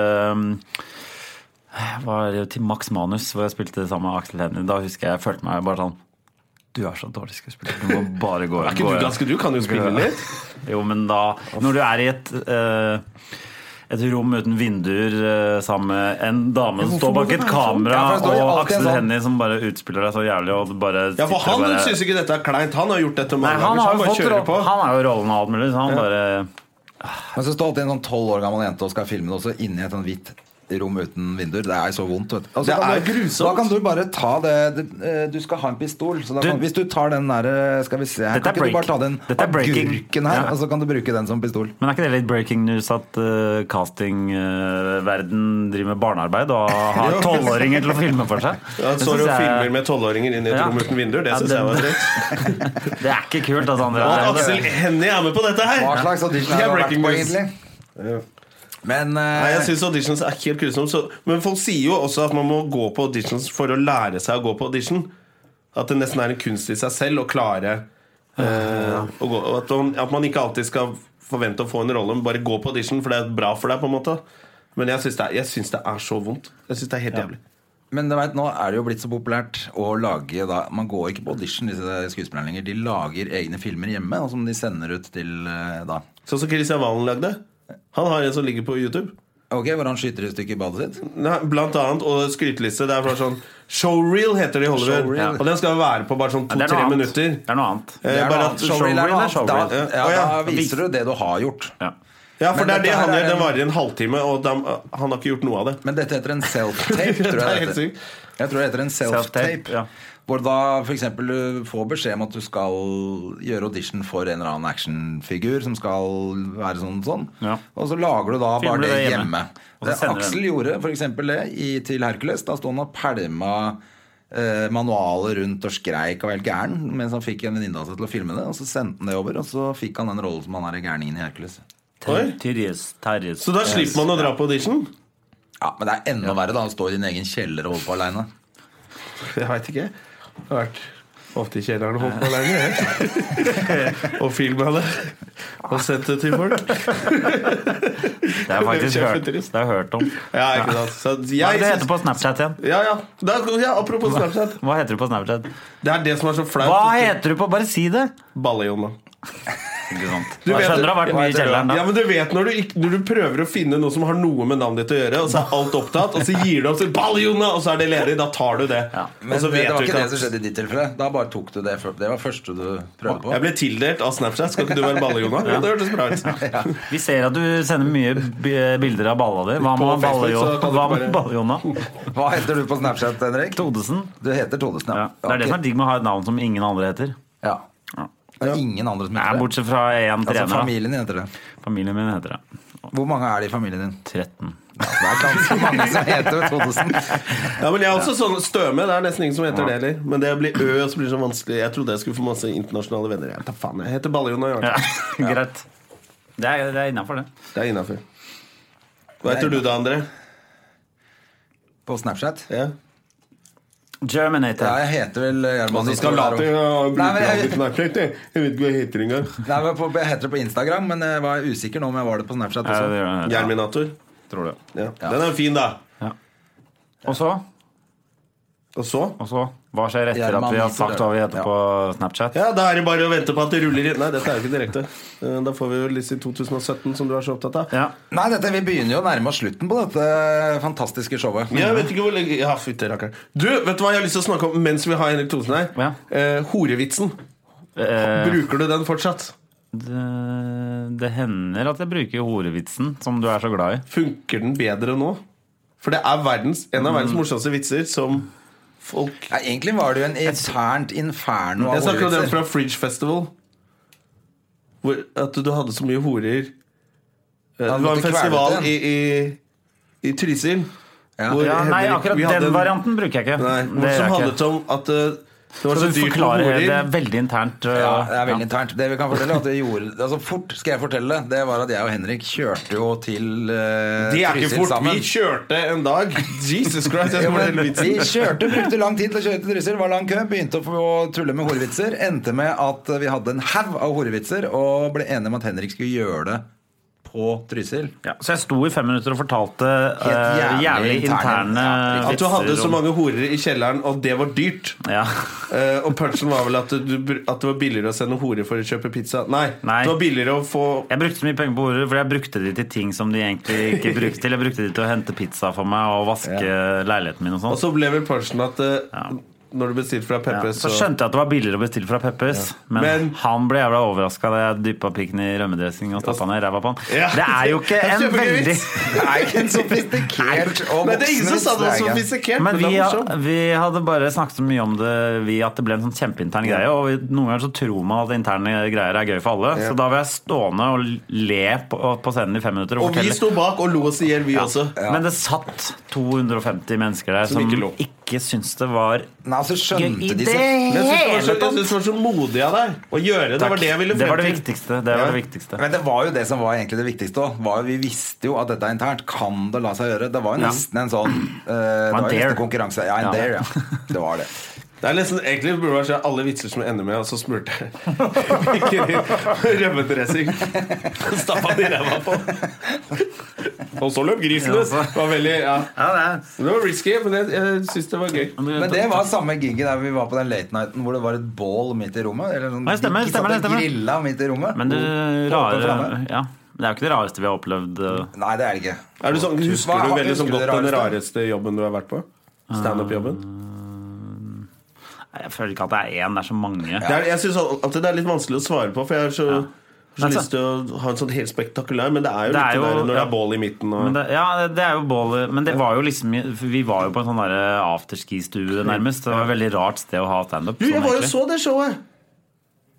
Speaker 3: eh, var til Max Manus, hvor jeg spilte sammen med Aksel Hennie. Da husker jeg jeg følte meg bare sånn Du er så dårlig skuespiller. Du må bare gå.
Speaker 1: Er ikke
Speaker 3: gå
Speaker 1: du
Speaker 3: hjem.»
Speaker 1: ganske du? Kan jo spille litt.
Speaker 3: Jo, men da Når du er i et eh, et rom uten vinduer eh, sammen med en dame som står bak et kamera,
Speaker 2: Ja, for det står jo
Speaker 3: og
Speaker 2: alltid en
Speaker 3: Aksel
Speaker 2: sånn-
Speaker 3: Hennie som bare utspiller deg så jævlig og bare
Speaker 1: Ja, for
Speaker 3: sitter og
Speaker 1: han
Speaker 3: bare-
Speaker 1: syns ikke dette er kleint. Han har gjort dette
Speaker 3: Nei,
Speaker 1: mange
Speaker 3: han
Speaker 1: ganger. så
Speaker 3: har
Speaker 1: Han
Speaker 3: jo
Speaker 1: bare
Speaker 3: fått
Speaker 1: kjører
Speaker 3: rollen-
Speaker 1: på.
Speaker 3: Han har jo rollen og alt mulig, så han bare
Speaker 2: Men så står alltid en sånn tolv år gammel jente og skal filme det også inni et sånt hvitt rom uten vinduer. Det er så vondt. Vet du. Og så
Speaker 1: Det
Speaker 2: kan
Speaker 1: er
Speaker 2: du-
Speaker 1: grusomt.
Speaker 2: Da kan du bare ta det det- eh, Du skal ha en pistol. Så da
Speaker 3: Du-
Speaker 2: kan, hvis du tar den der eh, Skal vi se her,
Speaker 3: Dette
Speaker 2: kan
Speaker 3: er
Speaker 2: ikke du bare ta
Speaker 3: break.
Speaker 2: den
Speaker 3: Dette er breaking.
Speaker 2: agurken her,
Speaker 3: Ja.
Speaker 2: og så kan du bruke den som pistol?
Speaker 3: Men er ikke det litt breaking news at uh, castingverden driver med barnearbeid og har
Speaker 1: Ja.
Speaker 3: tolvåringer til å filme for seg?
Speaker 1: Ja,
Speaker 3: Det
Speaker 1: står
Speaker 3: synes
Speaker 1: og
Speaker 3: jeg-
Speaker 1: filmer med tolvåringer inn i et
Speaker 3: Ja.
Speaker 1: rom uten vinduer. Det
Speaker 3: Ja,
Speaker 1: syns
Speaker 3: det-
Speaker 1: jeg var dritt.
Speaker 3: Det er ikke kult, altså, André.
Speaker 1: Og
Speaker 3: Det er-
Speaker 1: Aksel Hennie er med på dette her!
Speaker 2: Hva slags audition
Speaker 1: Det
Speaker 2: har
Speaker 1: er
Speaker 2: du vært
Speaker 1: breaking
Speaker 2: på,
Speaker 1: news.
Speaker 2: egentlig? Men eh,
Speaker 1: Nei, jeg synes auditions er helt grusomt. så- Men folk sier jo også at man må gå på auditions for å lære seg å gå på audition. At det nesten er en kunst i seg selv å klare eh, å gå, og at, man, at man ikke alltid skal forvente å få en rolle, men bare gå på audition, for det er bra for deg. på en måte Men jeg syns det, er- jeg synes det er så vondt. Jeg synes det er helt jævlig.
Speaker 2: Men du vet, nå er det jo blitt så populært å lage da, Man går ikke på audition, disse skuespillerne lenger. De lager egne filmer hjemme og som de sender ut til eh, da.
Speaker 1: Sånn som Christian Valen lagde. Han har en som ligger på YouTube.
Speaker 2: Ok, Hvor han skyter i stykker badet sitt?
Speaker 1: Nei, Blant annet, og skryteliste. Det er bare sånn Showreel heter det i Hollywood.
Speaker 2: Showreel.
Speaker 1: Og den skal være på bare sånn
Speaker 3: det er
Speaker 1: to-tre
Speaker 3: noe annet.
Speaker 1: minutter.
Speaker 3: Det er noe annet.
Speaker 1: Eh,
Speaker 2: Det er noe
Speaker 1: bare
Speaker 2: annet.
Speaker 1: at
Speaker 2: Showreel er noe
Speaker 3: showreel
Speaker 2: annet.
Speaker 3: er
Speaker 2: Da,
Speaker 3: showreel.
Speaker 2: ja,
Speaker 1: Å, ja.
Speaker 2: da viser du det du har gjort.
Speaker 3: Ja.
Speaker 1: Ja, for
Speaker 2: Men
Speaker 1: det er det
Speaker 2: dette
Speaker 1: han
Speaker 2: her
Speaker 1: gjør.
Speaker 2: er
Speaker 1: Den
Speaker 2: en-
Speaker 1: varer i en halvtime, og dem- han har ikke gjort noe av det.
Speaker 2: Men dette heter en self-tape,
Speaker 1: Det er
Speaker 2: tror jeg.
Speaker 1: helt
Speaker 2: det heter.
Speaker 1: sykt.
Speaker 2: Jeg tror det heter en
Speaker 3: Self-tape, ja.
Speaker 2: self-tape. Hvor da f.eks. du får beskjed om at du skal gjøre audition for en eller annen actionfigur som skal være sånn og sånn.
Speaker 3: Ja.
Speaker 2: Og så lager du da
Speaker 3: Filmer
Speaker 2: bare
Speaker 3: du
Speaker 2: det
Speaker 3: det hjemme.
Speaker 2: hjemme.
Speaker 3: Og så
Speaker 2: Det
Speaker 3: sender du
Speaker 2: Aksel gjorde f.eks. det i, til Hercules. Da sto han og pælma eh, manualet rundt og skreik og var helt gæren mens han fikk en venninne av seg til å filme det. Og så sendte han det over, og så fikk han den rollen som han er i gærningen i Hercules.
Speaker 1: Oi.
Speaker 3: Tyrjes, Terjes.
Speaker 1: Så da slipper man å dra på audition?
Speaker 2: Ja, Men det er enda verre da å stå i din egen kjeller og holde på aleine.
Speaker 1: Jeg veit ikke. Jeg har vært ofte i kjelleren og holdt på lenge. jeg. og filma det. Og sendt det til folk.
Speaker 3: Det har jeg faktisk
Speaker 1: Det er
Speaker 3: hørt,
Speaker 1: kjempetrist.
Speaker 3: det har jeg hørt om.
Speaker 1: Ja, ikke sant. Så
Speaker 3: Hva
Speaker 1: jeg
Speaker 3: er det det
Speaker 1: synes-
Speaker 3: heter på Snapchat igjen?
Speaker 1: ja, ja. Da, ja, apropos Snapchat.
Speaker 3: Hva heter du på Snapchat?
Speaker 1: Det er det som er så
Speaker 3: Hva
Speaker 1: flaut.
Speaker 3: heter du på Bare si det!
Speaker 1: Balle-Jonna.
Speaker 3: Ikke sant.
Speaker 1: Du
Speaker 3: jeg
Speaker 1: vet-
Speaker 3: skjønner det har vært mye i kjelleren da.
Speaker 1: Ja, men du vet når du, ikke, når du prøver å finne noe som har noe med navnet ditt å gjøre, og så er alt opptatt, og så gir du opp, så, Ball, Jonna! og så er det ledig. Da tar du det.
Speaker 3: Ja.
Speaker 2: Men
Speaker 1: og så
Speaker 2: det,
Speaker 1: vet
Speaker 2: det var
Speaker 1: du
Speaker 2: ikke
Speaker 1: ikke
Speaker 2: det som skjedde i ditt tilfelle. Da bare tok du det før- Det var første du prøvde på.
Speaker 1: Jeg ble tildelt av Snapchat. Skal ikke du være balle, Jonna? Ja. Det hørtes bra ut.
Speaker 3: Vi ser at du sender mye b- bilder av balla di. Hva
Speaker 1: På
Speaker 3: med
Speaker 1: Facebook så kan du bare-
Speaker 3: Balle-Jonna?
Speaker 2: Hva heter du på Snapchat, Henrik?
Speaker 3: Todesen?
Speaker 2: Du heter Todesen, ja.
Speaker 3: Ja. Det er det som er digg med å ha et navn som ingen andre heter.
Speaker 2: ja. Det er ingen andre som
Speaker 3: Nei,
Speaker 2: heter det.
Speaker 3: bortsett fra én
Speaker 2: Altså
Speaker 3: trener. da.
Speaker 2: Familien din heter det.
Speaker 3: Familien min heter det.
Speaker 2: Hvor mange er det i familien din?
Speaker 3: 13.
Speaker 2: Ja, det er ganske mange som heter Todesen.
Speaker 1: Ja, men jeg er også sånn Støme. Det er nesten ingen som heter det heller. Men det blir Ø, og så blir det så vanskelig. Jeg trodde jeg skulle få masse internasjonale venner. Jeg, tar faen, jeg heter Balle-Jonna.
Speaker 3: Ja,
Speaker 1: Ja.
Speaker 3: Greit. Det er, det er innafor, det.
Speaker 1: Det er innafor. Hva heter du da, André?
Speaker 2: På Snapchat?
Speaker 1: Ja.
Speaker 2: Ja,
Speaker 3: Germanator.
Speaker 2: jeg heter vel eh, Gjerman.
Speaker 1: Du skal late og
Speaker 2: Nei,
Speaker 1: bruke
Speaker 2: men
Speaker 1: alle
Speaker 2: jeg-
Speaker 1: Snapchat, jeg. Jeg vet ikke hva jeg heter engang.
Speaker 2: Nei, men på- jeg heter det på Instagram, men jeg var usikker nå om jeg var det på Snapchat
Speaker 3: Ja,
Speaker 2: også.
Speaker 3: det gjør jeg.
Speaker 1: Jerminator.
Speaker 3: Tror det.
Speaker 1: Ja. Den er jo fin, da.
Speaker 3: Og så?
Speaker 1: Og så?
Speaker 3: Og så? Hva skjer etter at vi har sagt hva vi heter på Snapchat?
Speaker 1: Ja, Da er det bare å vente på at det ruller inn. Nei, dette er jo ikke direkte. Eh, Da får vi jo Lizzie 2017, som du er så opptatt av.
Speaker 3: Ja.
Speaker 2: Nei, dette, vi begynner jo å nærme oss slutten på dette eh, fantastiske showet.
Speaker 1: Jeg vet ikke hvor lenge Ja, fytti rakkeren. Du, vet du hva jeg har lyst til å snakke om mens vi har Henrik Thonsen her?
Speaker 3: Ja.
Speaker 1: Eh, horevitsen.
Speaker 3: Eh,
Speaker 1: Bruker du den fortsatt?
Speaker 3: det, Eh, det hender at jeg bruker horevitsen, som du er så glad i.
Speaker 1: Funker den bedre nå? For det er verdens, en av verdens
Speaker 2: Mm.
Speaker 1: morsomste vitser som folk
Speaker 2: Ja, egentlig var det jo en internt inferno av
Speaker 1: Jeg snakker om den
Speaker 2: ordvitser.
Speaker 1: fra Fridge Festival. Hvor at du hadde så mye horer. Eh, Det
Speaker 2: du
Speaker 1: var en
Speaker 2: måtte kvele
Speaker 1: festival
Speaker 2: den.
Speaker 1: i, i, i Trysil.
Speaker 2: Ja.
Speaker 1: hvor
Speaker 3: Ja, nei,
Speaker 1: Henrik-
Speaker 3: akkurat
Speaker 1: vi hadde
Speaker 3: den
Speaker 1: en-
Speaker 3: varianten bruker jeg ikke.
Speaker 1: Nei,
Speaker 3: det
Speaker 1: som
Speaker 3: gjør jeg
Speaker 1: handlet
Speaker 3: ikke.
Speaker 1: om at eh, det var så
Speaker 3: Skal du
Speaker 1: dyrt med
Speaker 3: forklare det? Det
Speaker 1: horer.
Speaker 3: er veldig internt. eh,
Speaker 2: Ja, det er veldig internt. Det vi kan fortelle er at vi gjorde, altså fort skal jeg fortelle det, det var at jeg og Henrik kjørte jo til eh,
Speaker 1: Det er ikke
Speaker 2: Trysil
Speaker 1: fort.
Speaker 2: sammen.
Speaker 1: Vi kjørte en dag. Jesus Christ. Jeg
Speaker 2: Jo,
Speaker 1: skal
Speaker 2: men
Speaker 1: fortelle
Speaker 2: vi
Speaker 1: vitsen.
Speaker 2: kjørte, brukte lang tid til å kjøre til Trysil, var lang kø, begynte å få tulle med horevitser. Endte med at vi hadde en haug av horevitser, og ble enige om at Henrik skulle gjøre det på Trysil.
Speaker 3: Ja, så jeg sto i fem minutter og fortalte eh,
Speaker 2: Helt jævlig
Speaker 3: jævlig
Speaker 2: interne-
Speaker 3: interne
Speaker 2: Ja,
Speaker 1: At du hadde så
Speaker 3: om-
Speaker 1: mange horer i kjelleren, og det var dyrt.
Speaker 3: ja.
Speaker 1: Eh, og punchen var vel at, du, at det var billigere å sende horer for å kjøpe pizza. Nei,
Speaker 3: Nei.
Speaker 1: det var billigere å få
Speaker 3: Jeg brukte så mye penger på horer, for jeg brukte de til ting som de egentlig ikke brukte til. Jeg brukte de til å hente pizza for meg og vaske leiligheten min og
Speaker 1: Og
Speaker 3: sånn.
Speaker 1: så ble vel punchen at eh,
Speaker 3: Ja.
Speaker 1: når du bestilte fra
Speaker 3: Ja.
Speaker 1: Peppes.
Speaker 3: Så skjønte jeg at det var billigere å bestille fra Peppers, men,
Speaker 1: Men-
Speaker 3: han ble jævla overraska da jeg dyppa pikken i rømmedressing og stappa den i ræva på han.
Speaker 1: Ja.
Speaker 3: Det er jo ikke
Speaker 1: Det er
Speaker 3: en
Speaker 1: kjempegøy
Speaker 3: veldig
Speaker 1: vits.
Speaker 2: Det er ikke en sofistikert og
Speaker 1: Nei, det er ingen som sa det var
Speaker 2: voksenvits, det er ikke.
Speaker 1: sofistikert,
Speaker 3: Men
Speaker 1: men,
Speaker 3: vi,
Speaker 1: det er morsomt.
Speaker 3: vi hadde bare snakket så mye om det vi, at det ble en sånn kjempeintern greie. Og vi, noen ganger så tror man at interne greier er gøy for alle. Så da var jeg stående og le på, på scenen i fem minutter.
Speaker 1: Og vi
Speaker 3: fortelle.
Speaker 1: sto bak og lo oss i hjel, vi også.
Speaker 3: Men det satt 250 mennesker der som,
Speaker 1: ikke lo.
Speaker 3: ikke, syntes det var
Speaker 2: Nei, altså
Speaker 3: gøy i
Speaker 2: skjønte de
Speaker 3: det
Speaker 2: så
Speaker 1: Men jeg syns det, var
Speaker 3: hele
Speaker 1: så- jeg synes
Speaker 3: tatt.
Speaker 1: det var så modig av deg å gjøre det. Det var det jeg ville
Speaker 3: Det var det
Speaker 1: frem til.
Speaker 3: viktigste. Det var det
Speaker 2: Ja.
Speaker 3: viktigste.
Speaker 2: Men det var jo det som var egentlig det viktigste også, var jo Vi visste jo at dette er internt. Kan det la seg gjøre? Det var jo
Speaker 3: Ja.
Speaker 2: nesten en sånn eh, Det var jo
Speaker 3: dare.
Speaker 2: nesten konkurranse. Ja, en
Speaker 3: Ja.
Speaker 2: dare, ja. Det var det.
Speaker 1: Det er nesten, egentlig burde det være sånn alle vitser som ender med Og så smurte jeg rømmedressing. Stappa de ræva på. Og så løp grisen
Speaker 3: Ja,
Speaker 1: løs.
Speaker 3: så-
Speaker 1: Det var veldig, ja.
Speaker 3: Ja, det er-
Speaker 1: Det var risky, men jeg, jeg syns det var gøy.
Speaker 2: Men det var samme gigget der vi var på den late nighten hvor det var et bål midt i rommet. Eller sånn,
Speaker 3: Ja, stemmer,
Speaker 2: de
Speaker 3: stemmer,
Speaker 2: satt og
Speaker 3: stemmer.
Speaker 2: grilla midt i rommet.
Speaker 3: Men det
Speaker 2: Åpent
Speaker 3: rare
Speaker 2: framme.
Speaker 3: ja, Det er jo ikke det rareste vi har opplevd. eh.
Speaker 2: Nei, det er det ikke.
Speaker 1: Er du sånn,
Speaker 2: Hva-
Speaker 1: husker du veldig
Speaker 2: husker
Speaker 1: som
Speaker 2: du
Speaker 1: godt
Speaker 2: det
Speaker 1: den
Speaker 2: rareste?
Speaker 1: rareste jobben du har vært på? Standup-jobben?
Speaker 3: Nei, Jeg føler ikke at det er én, det er så mange.
Speaker 1: Det er- Jeg syns alltid det er litt vanskelig å svare på, for jeg har så, så
Speaker 3: Altså-
Speaker 1: lyst til å ha en sånn helt spektakulær, men det er jo
Speaker 3: Det
Speaker 1: litt
Speaker 3: er
Speaker 1: det
Speaker 3: jo-
Speaker 1: der når det
Speaker 3: ja.
Speaker 1: er bål i midten og
Speaker 3: Men det, ja, det er jo bålet Men det var jo liksom for Vi var jo på en sånn der afterski-stue, nærmest. Det var et veldig rart sted å ha standup.
Speaker 1: Du, jeg
Speaker 3: sånn
Speaker 1: var jo
Speaker 3: egentlig.
Speaker 1: så det showet!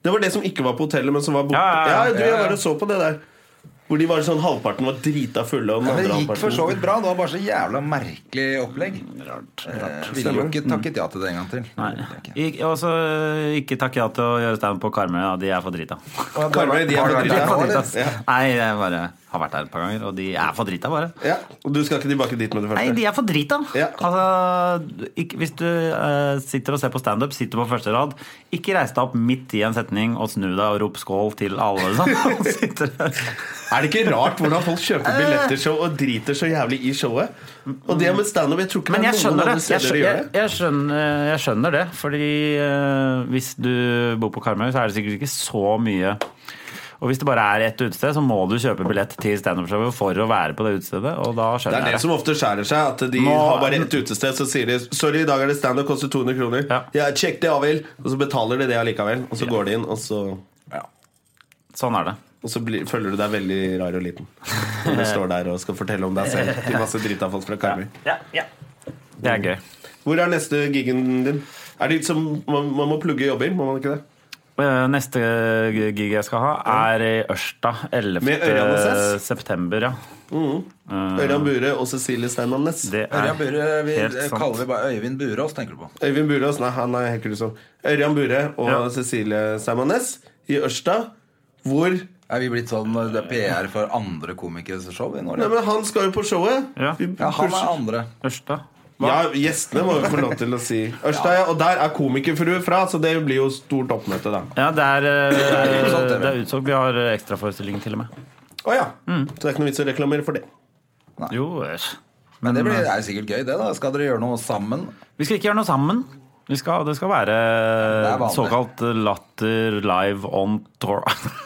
Speaker 1: Det var det som ikke var på hotellet, men som var borte.
Speaker 3: Ja,
Speaker 1: Ja,
Speaker 3: ja, ja.
Speaker 1: du, jeg var og så på det der. Hvor de var sånn halvparten var drita fulle, og den
Speaker 2: Ja, men
Speaker 1: andre
Speaker 2: det gikk for så
Speaker 1: halvparten
Speaker 2: vidt bra. Det var bare så jævla merkelig opplegg.
Speaker 3: Rart, Mm.
Speaker 2: Eh, Ville jo ikke takket ja til det en gang til.
Speaker 3: Nei. Ik- Og så eh, ikke takk ja til å gjøre standup på Karmøy. Ja, de er for drita.
Speaker 1: Karmøy, de er for drita.
Speaker 3: For drita. Nei, jeg bare har vært der et par ganger, og de er for drita, bare.
Speaker 1: Ja, Og du skal ikke tilbake dit med det
Speaker 3: Nei,
Speaker 1: første?
Speaker 3: de er for drita.
Speaker 1: Ja.
Speaker 3: Altså, ikke, hvis du eh, sitter og ser på standup, sitter på første rad, ikke reis deg opp midt i en setning og snu deg og rop skål til alle. Sånn. Sitter der.
Speaker 1: Er det ikke rart hvordan folk kjøper billettershow og driter så jævlig i showet? Og det med standup Jeg tror ikke
Speaker 3: Men
Speaker 1: det
Speaker 3: jeg
Speaker 1: er noen
Speaker 3: skjønner det.
Speaker 1: andre
Speaker 3: Jeg
Speaker 1: steder de gjør
Speaker 3: skjønner,
Speaker 1: det.
Speaker 3: jeg skjønner, eh, jeg skjønner det. Fordi eh, hvis du bor på Karmøy, så er det sikkert ikke så mye. Og hvis det bare er ett utested, så må du kjøpe billett til standup-showet for å være på det utestedet. Og da
Speaker 1: Det er
Speaker 3: skjønner
Speaker 1: det
Speaker 3: jeg det.
Speaker 1: som ofte skjærer seg. At de
Speaker 3: Nå-
Speaker 1: har bare ett utested, så sier de 'Sorry, i dag er det standup, koster 200 kroner'.
Speaker 3: Ja.
Speaker 1: Ja, sjekk det, Avild. Og så betaler de det allikevel. Og så går de inn, og så,
Speaker 3: Sånn er det.
Speaker 1: og så blir, føler du deg veldig rar og liten. Når du står der og skal fortelle om deg selv til masse drita folk fra Karmøy.
Speaker 3: Det er gøy.
Speaker 1: Hvor er neste gigen din? Er det som, man, man må plugge jobber, må man ikke det?
Speaker 3: Eh, Neste gig jeg skal ha, er i Ørsta
Speaker 1: Med Ørjan og Sess?
Speaker 3: 11. september. Ja.
Speaker 1: Ørjan Bure og Cecilie Steinmannes.
Speaker 3: Det er
Speaker 2: Ørjan Bure vi,
Speaker 3: helt sant.
Speaker 2: kaller vi bare Øyvind Burås, tenker du på.
Speaker 1: Øyvind Burås, nei, han er hekkelsom. Ørjan Bure og
Speaker 3: Ja.
Speaker 1: Cecilie Steinmannes i Ørsta. Hvor Nei,
Speaker 2: Er vi blitt sånn eh, det er PR for andre komikeres show i Norge?
Speaker 1: men Han skal jo på showet!
Speaker 3: Ja.
Speaker 1: Vi
Speaker 2: Ja, han er
Speaker 1: pusher-
Speaker 2: andre.
Speaker 3: Ørsta.
Speaker 1: ja, Gjestene må jo få lov til å si Ørsta, ja. Og der er komikerfrue fra, så det blir jo stort oppmøte, da.
Speaker 3: Ja, det er, eh,
Speaker 2: Det er utsolgt, det.
Speaker 3: det er utsolgt. Vi har ekstraforestilling til og med.
Speaker 1: Å ja. Så det er ikke noe vits å reklamere for det.
Speaker 3: Jo, æsj.
Speaker 2: Men det
Speaker 3: eh,
Speaker 2: blir, er sikkert gøy, det. da Skal dere gjøre noe sammen?
Speaker 3: Vi skal ikke gjøre noe sammen. Vi skal, det skal være
Speaker 2: er vanlig.
Speaker 3: såkalt latter live on tour.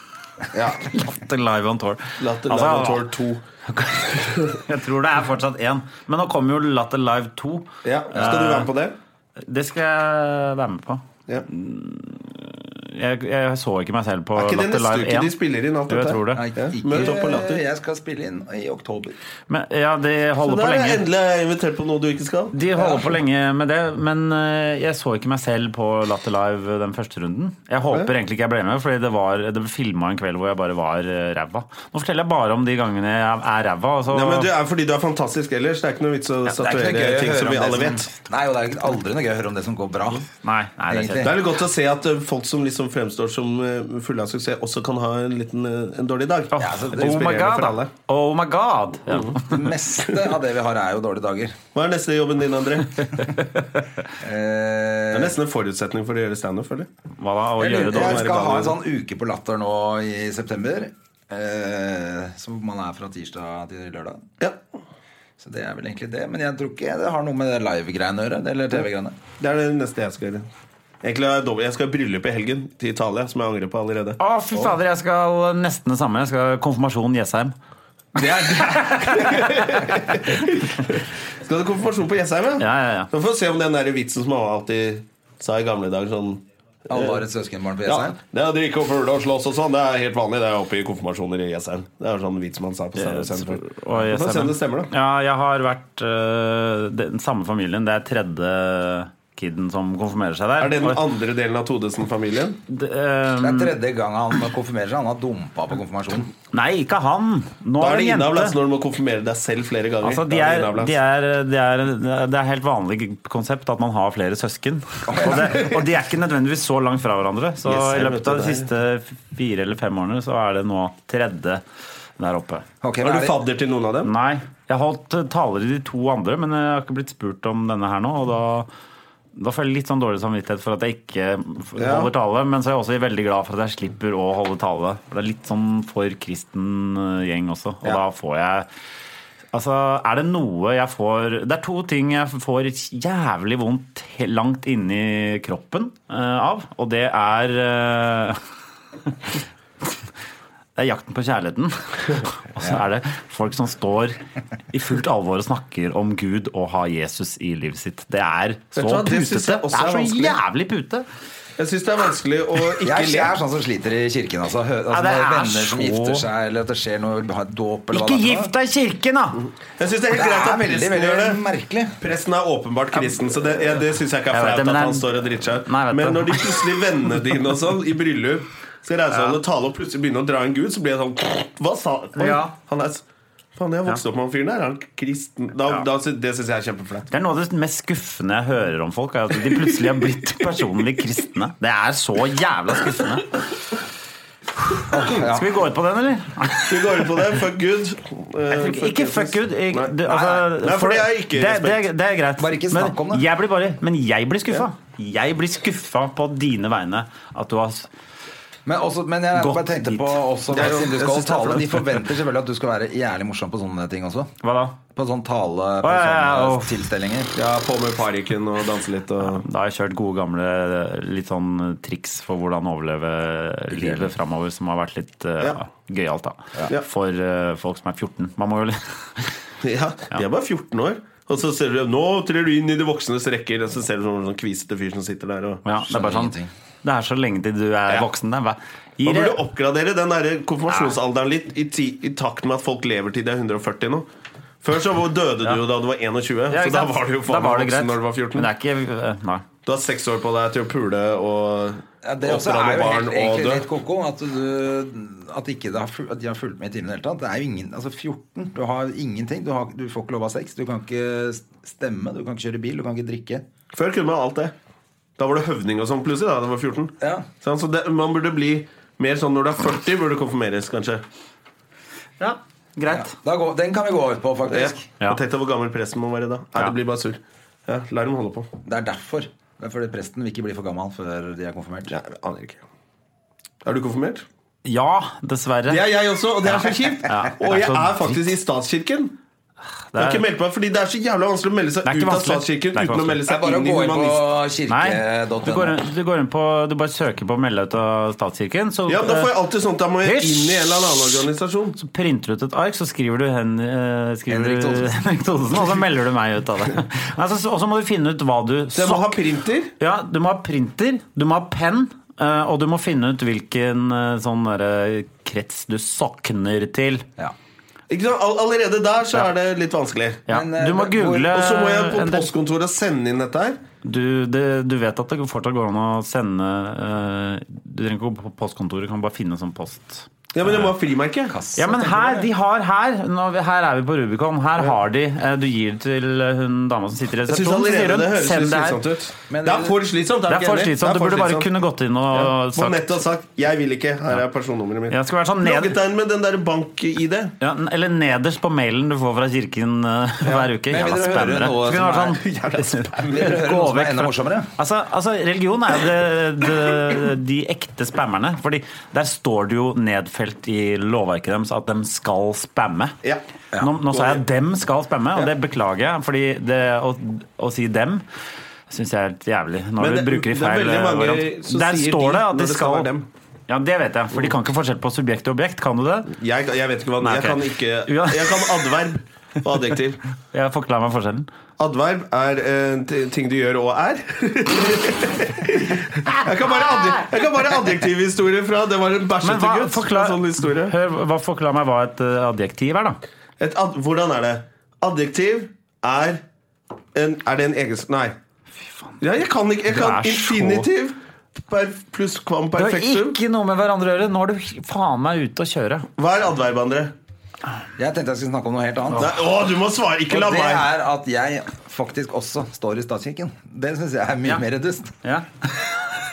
Speaker 3: latter live on tour.
Speaker 1: Latter
Speaker 3: Altså,
Speaker 1: Laborator 2.
Speaker 3: Jeg tror det er fortsatt én. Men nå kommer jo Latter live 2.
Speaker 1: Ja. Skal du være med på det?
Speaker 3: Det skal jeg være med på.
Speaker 1: Ja.
Speaker 3: Eh, Jeg, jeg så ikke meg selv på
Speaker 1: Er ikke det
Speaker 3: Latter
Speaker 1: neste
Speaker 3: Live
Speaker 1: uke
Speaker 3: 1.
Speaker 1: de spiller inn alt
Speaker 3: Jo, jeg
Speaker 1: dette?
Speaker 3: tror det.
Speaker 2: Nei,
Speaker 1: Ja,
Speaker 2: ikke,
Speaker 1: møt opp på Latter.
Speaker 2: jeg skal spille inn i oktober.
Speaker 3: Men, ja, de holder
Speaker 1: Da
Speaker 3: på
Speaker 1: er jeg
Speaker 3: lenge.
Speaker 1: endelig invitert på noe du ikke skal.
Speaker 3: De holder på lenge med det, men eh, jeg så ikke meg selv på Latter Live eh, den første runden. Jeg håper egentlig ikke jeg ble med, Fordi det, var- det ble filma en kveld hvor jeg bare var eh, ræva. Nå forteller jeg bare om de gangene jeg er ræva. Og så,
Speaker 1: Ja, men du er fordi du er fantastisk ellers. Det er ikke noe vits å
Speaker 2: Det er ikke noe
Speaker 1: statuere
Speaker 2: gøy å
Speaker 1: ting
Speaker 2: høre
Speaker 1: som
Speaker 2: om
Speaker 1: vi
Speaker 2: det
Speaker 1: alle
Speaker 2: som-
Speaker 1: vet.
Speaker 2: Nei, og det er aldri noe gøy å høre om det som går bra.
Speaker 3: Nei, nei, det er
Speaker 2: Egentlig.
Speaker 3: kjedelig.
Speaker 1: Det er litt godt å se at eh, folk som liksom fremstår som eh, fulle av suksess, også kan ha en liten eh, en dårlig dag.
Speaker 3: Åh,
Speaker 2: Ja, så det
Speaker 1: er
Speaker 3: oh my
Speaker 1: inspirerende for
Speaker 3: god!
Speaker 1: alle. Mm.
Speaker 3: Oh my god. Ja.
Speaker 2: Det meste av det vi har, er jo dårlige dager.
Speaker 1: Hva er neste jobben din, André? Det
Speaker 2: Eh,
Speaker 1: er nesten en forutsetning for å gjøre standup, føler jeg.
Speaker 3: Hva da? Å
Speaker 2: Eh, jeg,
Speaker 3: gjøre
Speaker 2: lurer- jeg
Speaker 3: dårlig
Speaker 2: skal ha en sånn uke på Latter nå i september. Eh, som man er fra tirsdag til lørdag.
Speaker 1: Ja.
Speaker 2: Så det er vel egentlig det. Men jeg tror ikke det har noe med det live-greiene å gjøre. Eller TV-greiene.
Speaker 1: Det er det neste jeg skal gjøre. Egentlig har jeg dobbelt- Jeg skal i bryllup i helgen til Italia, som jeg angrer på allerede.
Speaker 3: Å, fy fader, jeg skal nesten det samme. Jeg skal Konfirmasjon Jessheim.
Speaker 2: Det er
Speaker 1: Skal du ha konfirmasjon på Jessheim?
Speaker 3: Ja, ja, ja.
Speaker 1: Da får vi se om den der vitsen som alltid sa i gamle dager sånn
Speaker 2: Alle har et søskenbarn på
Speaker 1: ja,
Speaker 2: Jessheim?
Speaker 1: det å drikke og fugle og slåss og sånn, det er helt vanlig. Det er oppe i konfirmasjoner i Jessheim. Det er sånn vits man sa på Steinar Senter.
Speaker 3: Og jeg
Speaker 1: Få se om det stemmer, da.
Speaker 3: Ja, jeg har vært øh, den samme familien. Det er tredje kiden som konfirmerer seg der.
Speaker 1: Er det den
Speaker 3: Og-
Speaker 1: andre delen av Todesen-familien?
Speaker 3: d- øh,
Speaker 2: Det er tredje gang han konfirmerer seg. Han har dumpa på konfirmasjonen.
Speaker 3: nei, ikke han! Nå
Speaker 1: Da er det
Speaker 3: det en
Speaker 1: innavl
Speaker 3: jente.
Speaker 1: altså, når du må konfirmere deg selv flere ganger.
Speaker 3: Altså, de
Speaker 1: Da
Speaker 3: er,
Speaker 1: det innavl, altså.
Speaker 3: de er, de er, det er helt vanlig konsept at man har flere søsken. Og, det, og de er ikke nødvendigvis så langt fra hverandre. Så
Speaker 1: Yes,
Speaker 3: i
Speaker 1: jeg vet
Speaker 3: løpet av de
Speaker 1: det.
Speaker 3: siste fire eller fem årene så er det nå tredje der oppe.
Speaker 2: Ok, hva
Speaker 1: Er
Speaker 2: er
Speaker 1: du
Speaker 2: det-
Speaker 1: fadder til noen av dem?
Speaker 3: Nei. Jeg har holdt eh, taler i de to andre, men jeg har ikke blitt spurt om denne her nå. Og da, da føler jeg litt sånn dårlig samvittighet for at jeg ikke f-
Speaker 1: Ja.
Speaker 3: holder tale. Men så er jeg også veldig glad for at jeg slipper å holde tale. For det er litt sånn for kristen eh, gjeng også. Og
Speaker 2: Ja.
Speaker 3: da får jeg Altså, er det noe jeg får Det er to ting jeg får jævlig vondt he- langt inni kroppen eh, av, og det er eh, Det er jakten på kjærligheten. og så er det folk som står i fullt alvor og snakker om Gud og har Jesus i livet sitt. Det er så
Speaker 1: Vet du hva, det synes
Speaker 3: putete.
Speaker 1: jeg
Speaker 3: Det
Speaker 1: også
Speaker 3: er
Speaker 1: er
Speaker 3: så
Speaker 1: vanskelig.
Speaker 3: jævlig pute.
Speaker 1: Jeg syns det er vanskelig å
Speaker 2: Jeg
Speaker 1: ikke
Speaker 2: er, jeg er
Speaker 1: le.
Speaker 2: sånn som sliter i kirken, altså. Hø, altså
Speaker 3: Ja, det
Speaker 2: når
Speaker 3: er
Speaker 2: venner som
Speaker 3: så-
Speaker 2: gifter seg, eller at det skjer noe har et dåp, eller hva det er
Speaker 3: Ikke
Speaker 2: for noe.
Speaker 3: gift deg i kirken, da!
Speaker 1: Jeg syns det er helt greit
Speaker 2: Det er
Speaker 1: at
Speaker 2: veldig,
Speaker 1: presten gjør
Speaker 2: veldig
Speaker 1: det.
Speaker 2: merkelig.
Speaker 1: Presten er åpenbart kristen, så det, ja, det syns jeg ikke er
Speaker 3: Jeg vet
Speaker 1: flaut
Speaker 3: det, men
Speaker 1: at
Speaker 3: det er-
Speaker 1: han står og driter seg ut.
Speaker 3: Nei, jeg vet
Speaker 1: Men
Speaker 3: det.
Speaker 1: når de plutselig vennene dine og sånn, i bryllup, skal reise seg og tale og plutselig begynne å dra en gud, så blir jeg sånn Hva sa Oi,
Speaker 3: Ja.
Speaker 1: han? Er, s- faen, jeg har vokst opp med han fyren der. Er han kristen? Da,
Speaker 3: Ja.
Speaker 1: da, sy- det syns jeg er kjempeflaut.
Speaker 3: Det er noe av det mest skuffende jeg hører om folk, er at de plutselig har blitt personlig kristne. Det er så jævla skuffende.
Speaker 2: ja.
Speaker 3: Skal vi gå ut på den, eller?
Speaker 1: Vi går ut på det. Fuck good. Eh,
Speaker 3: Jeg tror ikke- Ikke
Speaker 1: Jesus.
Speaker 3: fuck good. Jeg,
Speaker 1: Nei.
Speaker 3: det, altså,
Speaker 1: Nei, for det er ikke
Speaker 3: det, det,
Speaker 1: respekt.
Speaker 3: er- det er greit.
Speaker 2: Bare ikke snakk om det.
Speaker 3: Men jeg blir, bare, men jeg blir skuffa. Jeg blir skuffa på dine vegne. At du har
Speaker 2: Men, også, men jeg
Speaker 3: Godt
Speaker 2: bare tenkte
Speaker 3: dit.
Speaker 2: på også,
Speaker 1: Det er jo-
Speaker 2: siden du
Speaker 1: jeg
Speaker 2: skal
Speaker 1: synes det er
Speaker 2: tale,
Speaker 1: flaut.
Speaker 2: De forventer selvfølgelig at du skal være jævlig morsom på sånne ting også.
Speaker 3: Hva da?
Speaker 2: På sånn tale, på
Speaker 3: Å, ja, ja,
Speaker 2: sånne
Speaker 3: uff.
Speaker 2: tilstelninger.
Speaker 1: Ja, på med parykken og danse litt og
Speaker 3: Da har jeg kjørt gode gamle litt sånn triks for hvordan overleve livet framover, som har vært litt uh,
Speaker 1: Ja.
Speaker 3: gøyalt, da.
Speaker 1: Ja.
Speaker 3: For eh, folk som er 14. Man må jo litt
Speaker 1: Ja, de er bare 14 år. Og så ser du nå trer du inn i de voksnes rekker, og så ser du sånn, sånn kvisete fyr som sitter der og
Speaker 3: ja, Det er bare sånn
Speaker 2: ingenting.
Speaker 3: Det er så lenge til du er
Speaker 1: Ja.
Speaker 3: voksen. Det. er hva- Gi
Speaker 1: Man
Speaker 3: det-
Speaker 1: burde oppgradere den der konfirmasjonsalderen litt i, ti, i takt med at folk lever til de er 140 nå. Før så var- døde du jo da du var 21,
Speaker 3: Ja,
Speaker 1: så
Speaker 3: ikke
Speaker 1: da
Speaker 3: sant?
Speaker 1: var du jo
Speaker 3: Da
Speaker 1: faen
Speaker 3: var
Speaker 1: meg
Speaker 3: det greit.
Speaker 1: voksen når du var
Speaker 3: Men
Speaker 1: 14.
Speaker 3: det er ikke eh, Nei.
Speaker 1: Du har seks år på deg til å pule og
Speaker 2: Ja, det også
Speaker 1: oppdra
Speaker 2: er
Speaker 1: med
Speaker 2: jo
Speaker 1: barn
Speaker 2: helt,
Speaker 1: og
Speaker 2: egentlig
Speaker 1: dø.
Speaker 2: litt koko at, du, at, ikke det har, ful- at de har fulgt med i timen i det hele tatt. Det er jo ingen, altså 14, du har ingenting. Du, har, du får ikke lov av sex. Du kan ikke stemme, du kan ikke kjøre bil, du kan ikke drikke.
Speaker 1: Før kunne man alt det. Da var det høvding og sånn plutselig da da du var 14.
Speaker 2: Ja.
Speaker 1: Sånn, så det, man burde bli mer sånn når du er 40, burde du konfirmeres, kanskje.
Speaker 3: Ja, greit.
Speaker 2: Da går, den kan vi gå ut på,
Speaker 1: Ja.
Speaker 2: faktisk.
Speaker 3: Ja.
Speaker 1: Og Tenk deg hvor gammel presten må være da. Nei,
Speaker 3: Ja.
Speaker 1: det blir bare surr. Ja, la dem holde på.
Speaker 2: Det er derfor. Det er fordi presten vil ikke bli for gammel før de er konfirmert.
Speaker 1: Ja, jeg aner ikke. Er du konfirmert?
Speaker 3: Ja, dessverre.
Speaker 1: Det er jeg også, og det er så kjipt.
Speaker 3: Ja, det er
Speaker 1: Og jeg
Speaker 3: så
Speaker 1: er faktisk i statskirken. Jeg har ikke meldt meg, fordi Det er så jævla vanskelig å melde seg
Speaker 3: Det er
Speaker 1: ut
Speaker 3: ikke
Speaker 1: av
Speaker 3: vanskelig.
Speaker 1: statskirken
Speaker 3: Det er ikke
Speaker 1: uten å
Speaker 3: vanskelig.
Speaker 1: melde
Speaker 2: Det er
Speaker 1: seg
Speaker 2: bare å
Speaker 1: inn i
Speaker 2: gå inn på
Speaker 1: humanist.
Speaker 3: Nei,
Speaker 2: kirke.no.
Speaker 3: du går, inn- du går inn på Du bare søker på å melde deg ut av statskirken, så,
Speaker 1: Ja, men Da får jeg alltid sånn at jeg må inn
Speaker 3: Hysj!
Speaker 1: i en eller annen organisasjon.
Speaker 3: så printer du ut et ark, så skriver du, hen, eh, skriver
Speaker 2: Henrik
Speaker 3: du
Speaker 2: Thodesen.
Speaker 3: Henrik Thodesen, og så melder du meg ut av det. Nei, så- så- Og så må du finne ut hva du
Speaker 1: Så jeg må
Speaker 3: Sokk.
Speaker 1: ha printer.
Speaker 3: Ja, du må ha printer, du må ha penn, eh, og du må finne ut hvilken eh, sånn derre krets du sokner til.
Speaker 2: Ja.
Speaker 1: Ikke sant? All, allerede der så er det litt vanskelig.
Speaker 3: Ja,
Speaker 2: Men, eh,
Speaker 3: du må
Speaker 2: hvor-
Speaker 3: google
Speaker 1: Og så må jeg på
Speaker 3: Eh, en del-
Speaker 1: postkontoret og sende inn dette her.
Speaker 3: Du, det, du vet at det fortsatt går an å sende eh, Du trenger ikke gå på postkontoret, du kan bare finne sånn post.
Speaker 1: Ja, Men jeg må ha frimerke.
Speaker 3: Ja, men her, de har her nå, Her er vi på Rubicon. Her har de eh, Du gir det til eh, hun dama som sitter i
Speaker 1: Jeg synes
Speaker 3: resepsjonen, så
Speaker 1: allerede
Speaker 3: sier hun
Speaker 1: Det høres litt
Speaker 3: send det
Speaker 1: slitsomt
Speaker 3: her.
Speaker 1: ut.
Speaker 2: Men-
Speaker 1: Det er for slitsomt. er
Speaker 3: Det er
Speaker 1: ikke
Speaker 3: for
Speaker 1: enig.
Speaker 3: slitsomt.
Speaker 1: Det er
Speaker 3: Du
Speaker 1: for
Speaker 3: burde bare
Speaker 1: slitsomt.
Speaker 3: kunne gått inn og
Speaker 1: Må
Speaker 3: sagt
Speaker 1: nettopp sagt 'jeg vil ikke'. Her er personnummeret mitt.
Speaker 3: Ja, det skal være sånn ned-
Speaker 1: Logget deg inn med den der bank-ID.
Speaker 3: ja, n- Eller nederst på mailen du får fra kirken eh, hver uke.
Speaker 2: Men vil
Speaker 3: Jævla
Speaker 2: dere høre
Speaker 3: spennere.
Speaker 2: noe
Speaker 3: Så kunne det
Speaker 2: som
Speaker 3: vært sånn,
Speaker 1: Jævla spam.
Speaker 2: Vil dere høre
Speaker 3: Gå
Speaker 2: noe som
Speaker 3: vekk
Speaker 2: er enda
Speaker 3: fra-
Speaker 2: morsommere?
Speaker 3: Altså, altså, religion er jo det, det, de ekte spammerne. Fordi der står det jo nedfelt i lovverket deres at de skal spamme.
Speaker 1: Ja.
Speaker 3: Nå, nå sa jeg at dem skal spamme, og
Speaker 1: Ja.
Speaker 3: det beklager jeg. Fordi det å, å si dem syns jeg er helt jævlig. Når
Speaker 1: Men
Speaker 3: du
Speaker 1: det-
Speaker 3: bruker i
Speaker 1: det er
Speaker 3: feil eh,
Speaker 1: veldig mange
Speaker 3: variant.
Speaker 1: som
Speaker 3: Der
Speaker 1: sier de
Speaker 3: står det at
Speaker 1: når
Speaker 3: de
Speaker 1: det skal
Speaker 3: skal
Speaker 1: være dem.
Speaker 3: Ja, det vet jeg. For de kan ikke forskjell på subjekt og objekt. Kan du det?
Speaker 1: Jeg, jeg vet ikke hva
Speaker 3: Nei,
Speaker 1: Jeg
Speaker 3: ok.
Speaker 1: kan ikke
Speaker 3: Ja.
Speaker 1: Jeg kan adverb. og adjektiv.
Speaker 3: Jeg forklarer meg forskjellen.
Speaker 1: Adverb er eh, t- ting du gjør og er. jeg kan bare, adje- jeg kan bare adjektivhistorie fra Det var en
Speaker 3: Men
Speaker 1: bæsjete
Speaker 3: hva,
Speaker 1: gutt.
Speaker 3: forklar,
Speaker 1: en Sånn historie.
Speaker 3: hør, hva, forklar meg hva et eh, adjektiv er, da.
Speaker 1: Et ad, hvordan er det? Adjektiv er en, Er det en egenskap Nei. Ja, jeg kan ikke Jeg
Speaker 3: Du
Speaker 1: kan
Speaker 3: er så-
Speaker 1: infinitiv per, pluss kvam
Speaker 3: Det har
Speaker 1: perfektum.
Speaker 3: ikke noe med hverandre å gjøre. Nå er du faen meg ute å kjøre.
Speaker 1: Hva er adverb, André?
Speaker 2: Jeg tenkte jeg skulle snakke om noe helt annet.
Speaker 1: Nei, å, du må svare! Ikke la
Speaker 2: Og det
Speaker 1: meg!
Speaker 2: er at jeg faktisk også står i statskirken. Det syns jeg er mye
Speaker 3: Ja.
Speaker 2: mer dust.
Speaker 3: Ja.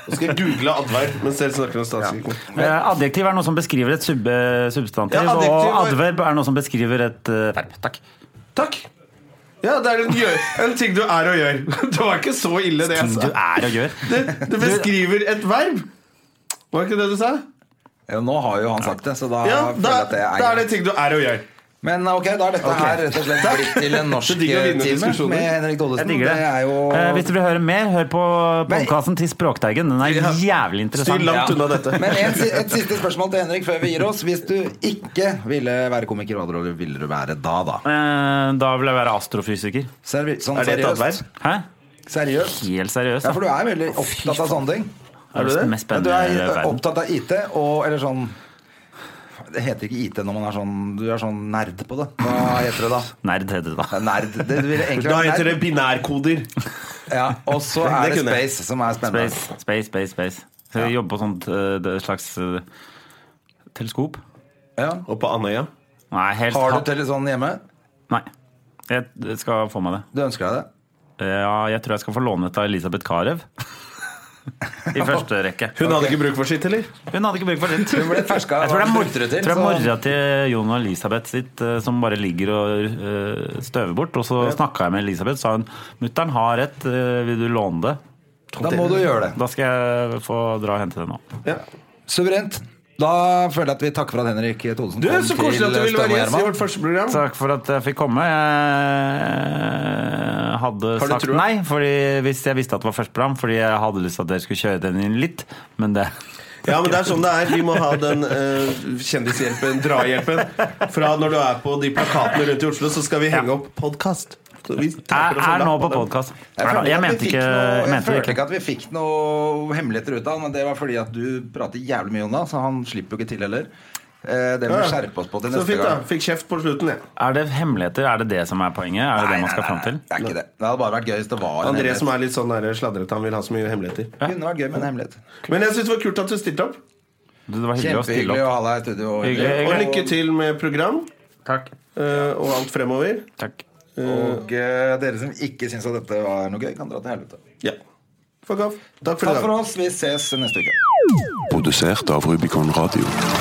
Speaker 1: Nå skal jeg google adverb mens dere snakker om statskirken.
Speaker 3: Eh, Adjektiv er noe som beskriver et sub substantiv,
Speaker 1: Ja, adjektiv
Speaker 3: og
Speaker 1: er-
Speaker 3: adverb er noe som beskriver et eh, verb. Takk.
Speaker 1: Takk. Ja, det er en, gjør, en ting du er og gjør. Det var ikke så ille, det altså. jeg
Speaker 3: Mm, Du
Speaker 1: sa.
Speaker 3: er og gjør.
Speaker 1: Det, det beskriver et verb. Var ikke det du sa?
Speaker 2: Ja, nå har jo han sagt det, så da
Speaker 1: Ja, da,
Speaker 2: føler jeg at det er
Speaker 1: da er det ting du er og gjør.
Speaker 2: Men ok, da er dette her rett og slett blitt til en norsk eh,
Speaker 1: Det digger å vinne
Speaker 2: time
Speaker 1: diskusjoner.
Speaker 2: med Henrik
Speaker 3: Jeg
Speaker 2: Dollesen.
Speaker 3: digger det.
Speaker 2: er jo
Speaker 3: Eh, Hvis du vil høre mer, hør på
Speaker 2: Men-
Speaker 3: podkasten til Språkteigen. Den er
Speaker 1: Ja. Styr
Speaker 3: jævlig interessant.
Speaker 1: langt unna dette.
Speaker 2: Men en, si- et siste spørsmål til Henrik før vi gir oss. Hvis du ikke ville være komiker, hva da ville du være da, da?
Speaker 3: Eh, Da vil jeg være astrofysiker.
Speaker 2: Servi sånn
Speaker 1: Er det et
Speaker 2: seriøst.
Speaker 1: adverb?
Speaker 3: Hæ?
Speaker 2: Seriøst.
Speaker 3: Helt seriøst.
Speaker 2: Ja,
Speaker 3: da.
Speaker 2: for du er veldig opptatt av sånne ting.
Speaker 3: Det er
Speaker 1: du det?
Speaker 3: det mest
Speaker 2: Ja, du
Speaker 3: spennende i
Speaker 2: er
Speaker 3: verden.
Speaker 2: opptatt av IT og eller sånn Det heter ikke IT når man er sånn Du er sånn nerd på det. Hva heter det da?
Speaker 3: Nerd heter det da.
Speaker 2: Nerd. Det ville egentlig
Speaker 1: Da
Speaker 2: vært
Speaker 1: heter
Speaker 2: nerd.
Speaker 1: det binærkoder.
Speaker 2: Ja, og så
Speaker 1: Det-
Speaker 2: er
Speaker 1: det
Speaker 2: det
Speaker 1: kunne jeg.
Speaker 2: space som er spennende.
Speaker 3: Space, space, space. space. Så jeg jobber på sånt eh, det slags eh, teleskop.
Speaker 2: Ja.
Speaker 1: Og på Andøya.
Speaker 3: Nei, helt
Speaker 2: Har du
Speaker 3: ha-
Speaker 2: til sånn hjemme?
Speaker 3: Nei. Jeg skal få meg det.
Speaker 2: Du ønsker deg det?
Speaker 3: Ja, jeg tror jeg skal få låne et av Elisabeth Carew. I første rekke.
Speaker 1: Hun hadde ikke bruk for sitt, eller?
Speaker 3: Hun hadde ikke bruk for sitt.
Speaker 2: Hun ble ferska
Speaker 3: Jeg tror det er, mor
Speaker 2: brukte det til,
Speaker 3: tror det er
Speaker 2: så-
Speaker 3: mora til Jon og Elisabeth sitt eh, som bare ligger og eh, støver bort. Og så snakka jeg med Elisabeth, sa hun mutter'n har et, eh, vil du låne det?
Speaker 2: Da må du gjøre det.
Speaker 3: Da skal jeg få dra og hente det nå.
Speaker 1: Ja.
Speaker 2: Suverent. Da føler jeg at vi takker for at Henrik Thodesen eh,
Speaker 1: Du, Så koselig at du ville
Speaker 2: Støm og
Speaker 1: være gjest
Speaker 2: Gjerman.
Speaker 1: i vårt første program.
Speaker 3: Takk for at jeg fikk komme. Jeg hadde
Speaker 1: du
Speaker 3: sagt
Speaker 1: trua?
Speaker 3: nei fordi hvis jeg visste at det var første program, fordi jeg hadde lyst til at dere skulle kjøre den inn litt, men det
Speaker 1: Ja, men det er sånn det er. Vi må ha den eh, kjendishjelpen, drahjelpen. Fra når du er på de plakatene rundt i Oslo, så skal vi henge opp podkast.
Speaker 3: Jeg er nå på podkast.
Speaker 2: Jeg føler
Speaker 3: Jeg
Speaker 2: at vi
Speaker 3: mente
Speaker 2: fikk
Speaker 3: ikke
Speaker 2: noe- Jeg
Speaker 3: jeg mente det
Speaker 2: føler
Speaker 3: ikke.
Speaker 2: ikke at vi fikk noe hemmeligheter ut av han, men det var fordi at du prater jævlig mye om det, så han slipper jo ikke til heller. Eh, Det må vi skjerpe oss på til
Speaker 1: Så
Speaker 2: neste
Speaker 1: fint, da.
Speaker 2: gang.
Speaker 1: Fikk kjeft på slutten, jeg.
Speaker 3: Er det hemmeligheter? Er det det som er poenget? Er det det man skal fram til?
Speaker 2: Det er ikke det. Det hadde bare vært gøy hvis det var en
Speaker 1: André
Speaker 2: hemmelighet.
Speaker 1: som er litt sånn der sladrete, han vil ha så mye hemmeligheter.
Speaker 2: Det kunne vært gøy med en hemmelighet.
Speaker 1: Men jeg syns det var kult at du stilte opp.
Speaker 3: Det var hyggelig å stille
Speaker 2: Kjempehyggelig
Speaker 3: opp.
Speaker 2: å ha deg i studio.
Speaker 3: Hyggelig.
Speaker 1: Og lykke til med program
Speaker 3: Takk.
Speaker 1: eh, og alt fremover.
Speaker 3: Takk.
Speaker 2: Og eh, dere som ikke syns at dette var noe gøy, kan dra til helvete.
Speaker 1: Ja. Fuck off. Takk for i
Speaker 2: Takk
Speaker 1: dag.
Speaker 2: for oss. Vi ses neste uke.
Speaker 4: Produsert av Rubicon Radio.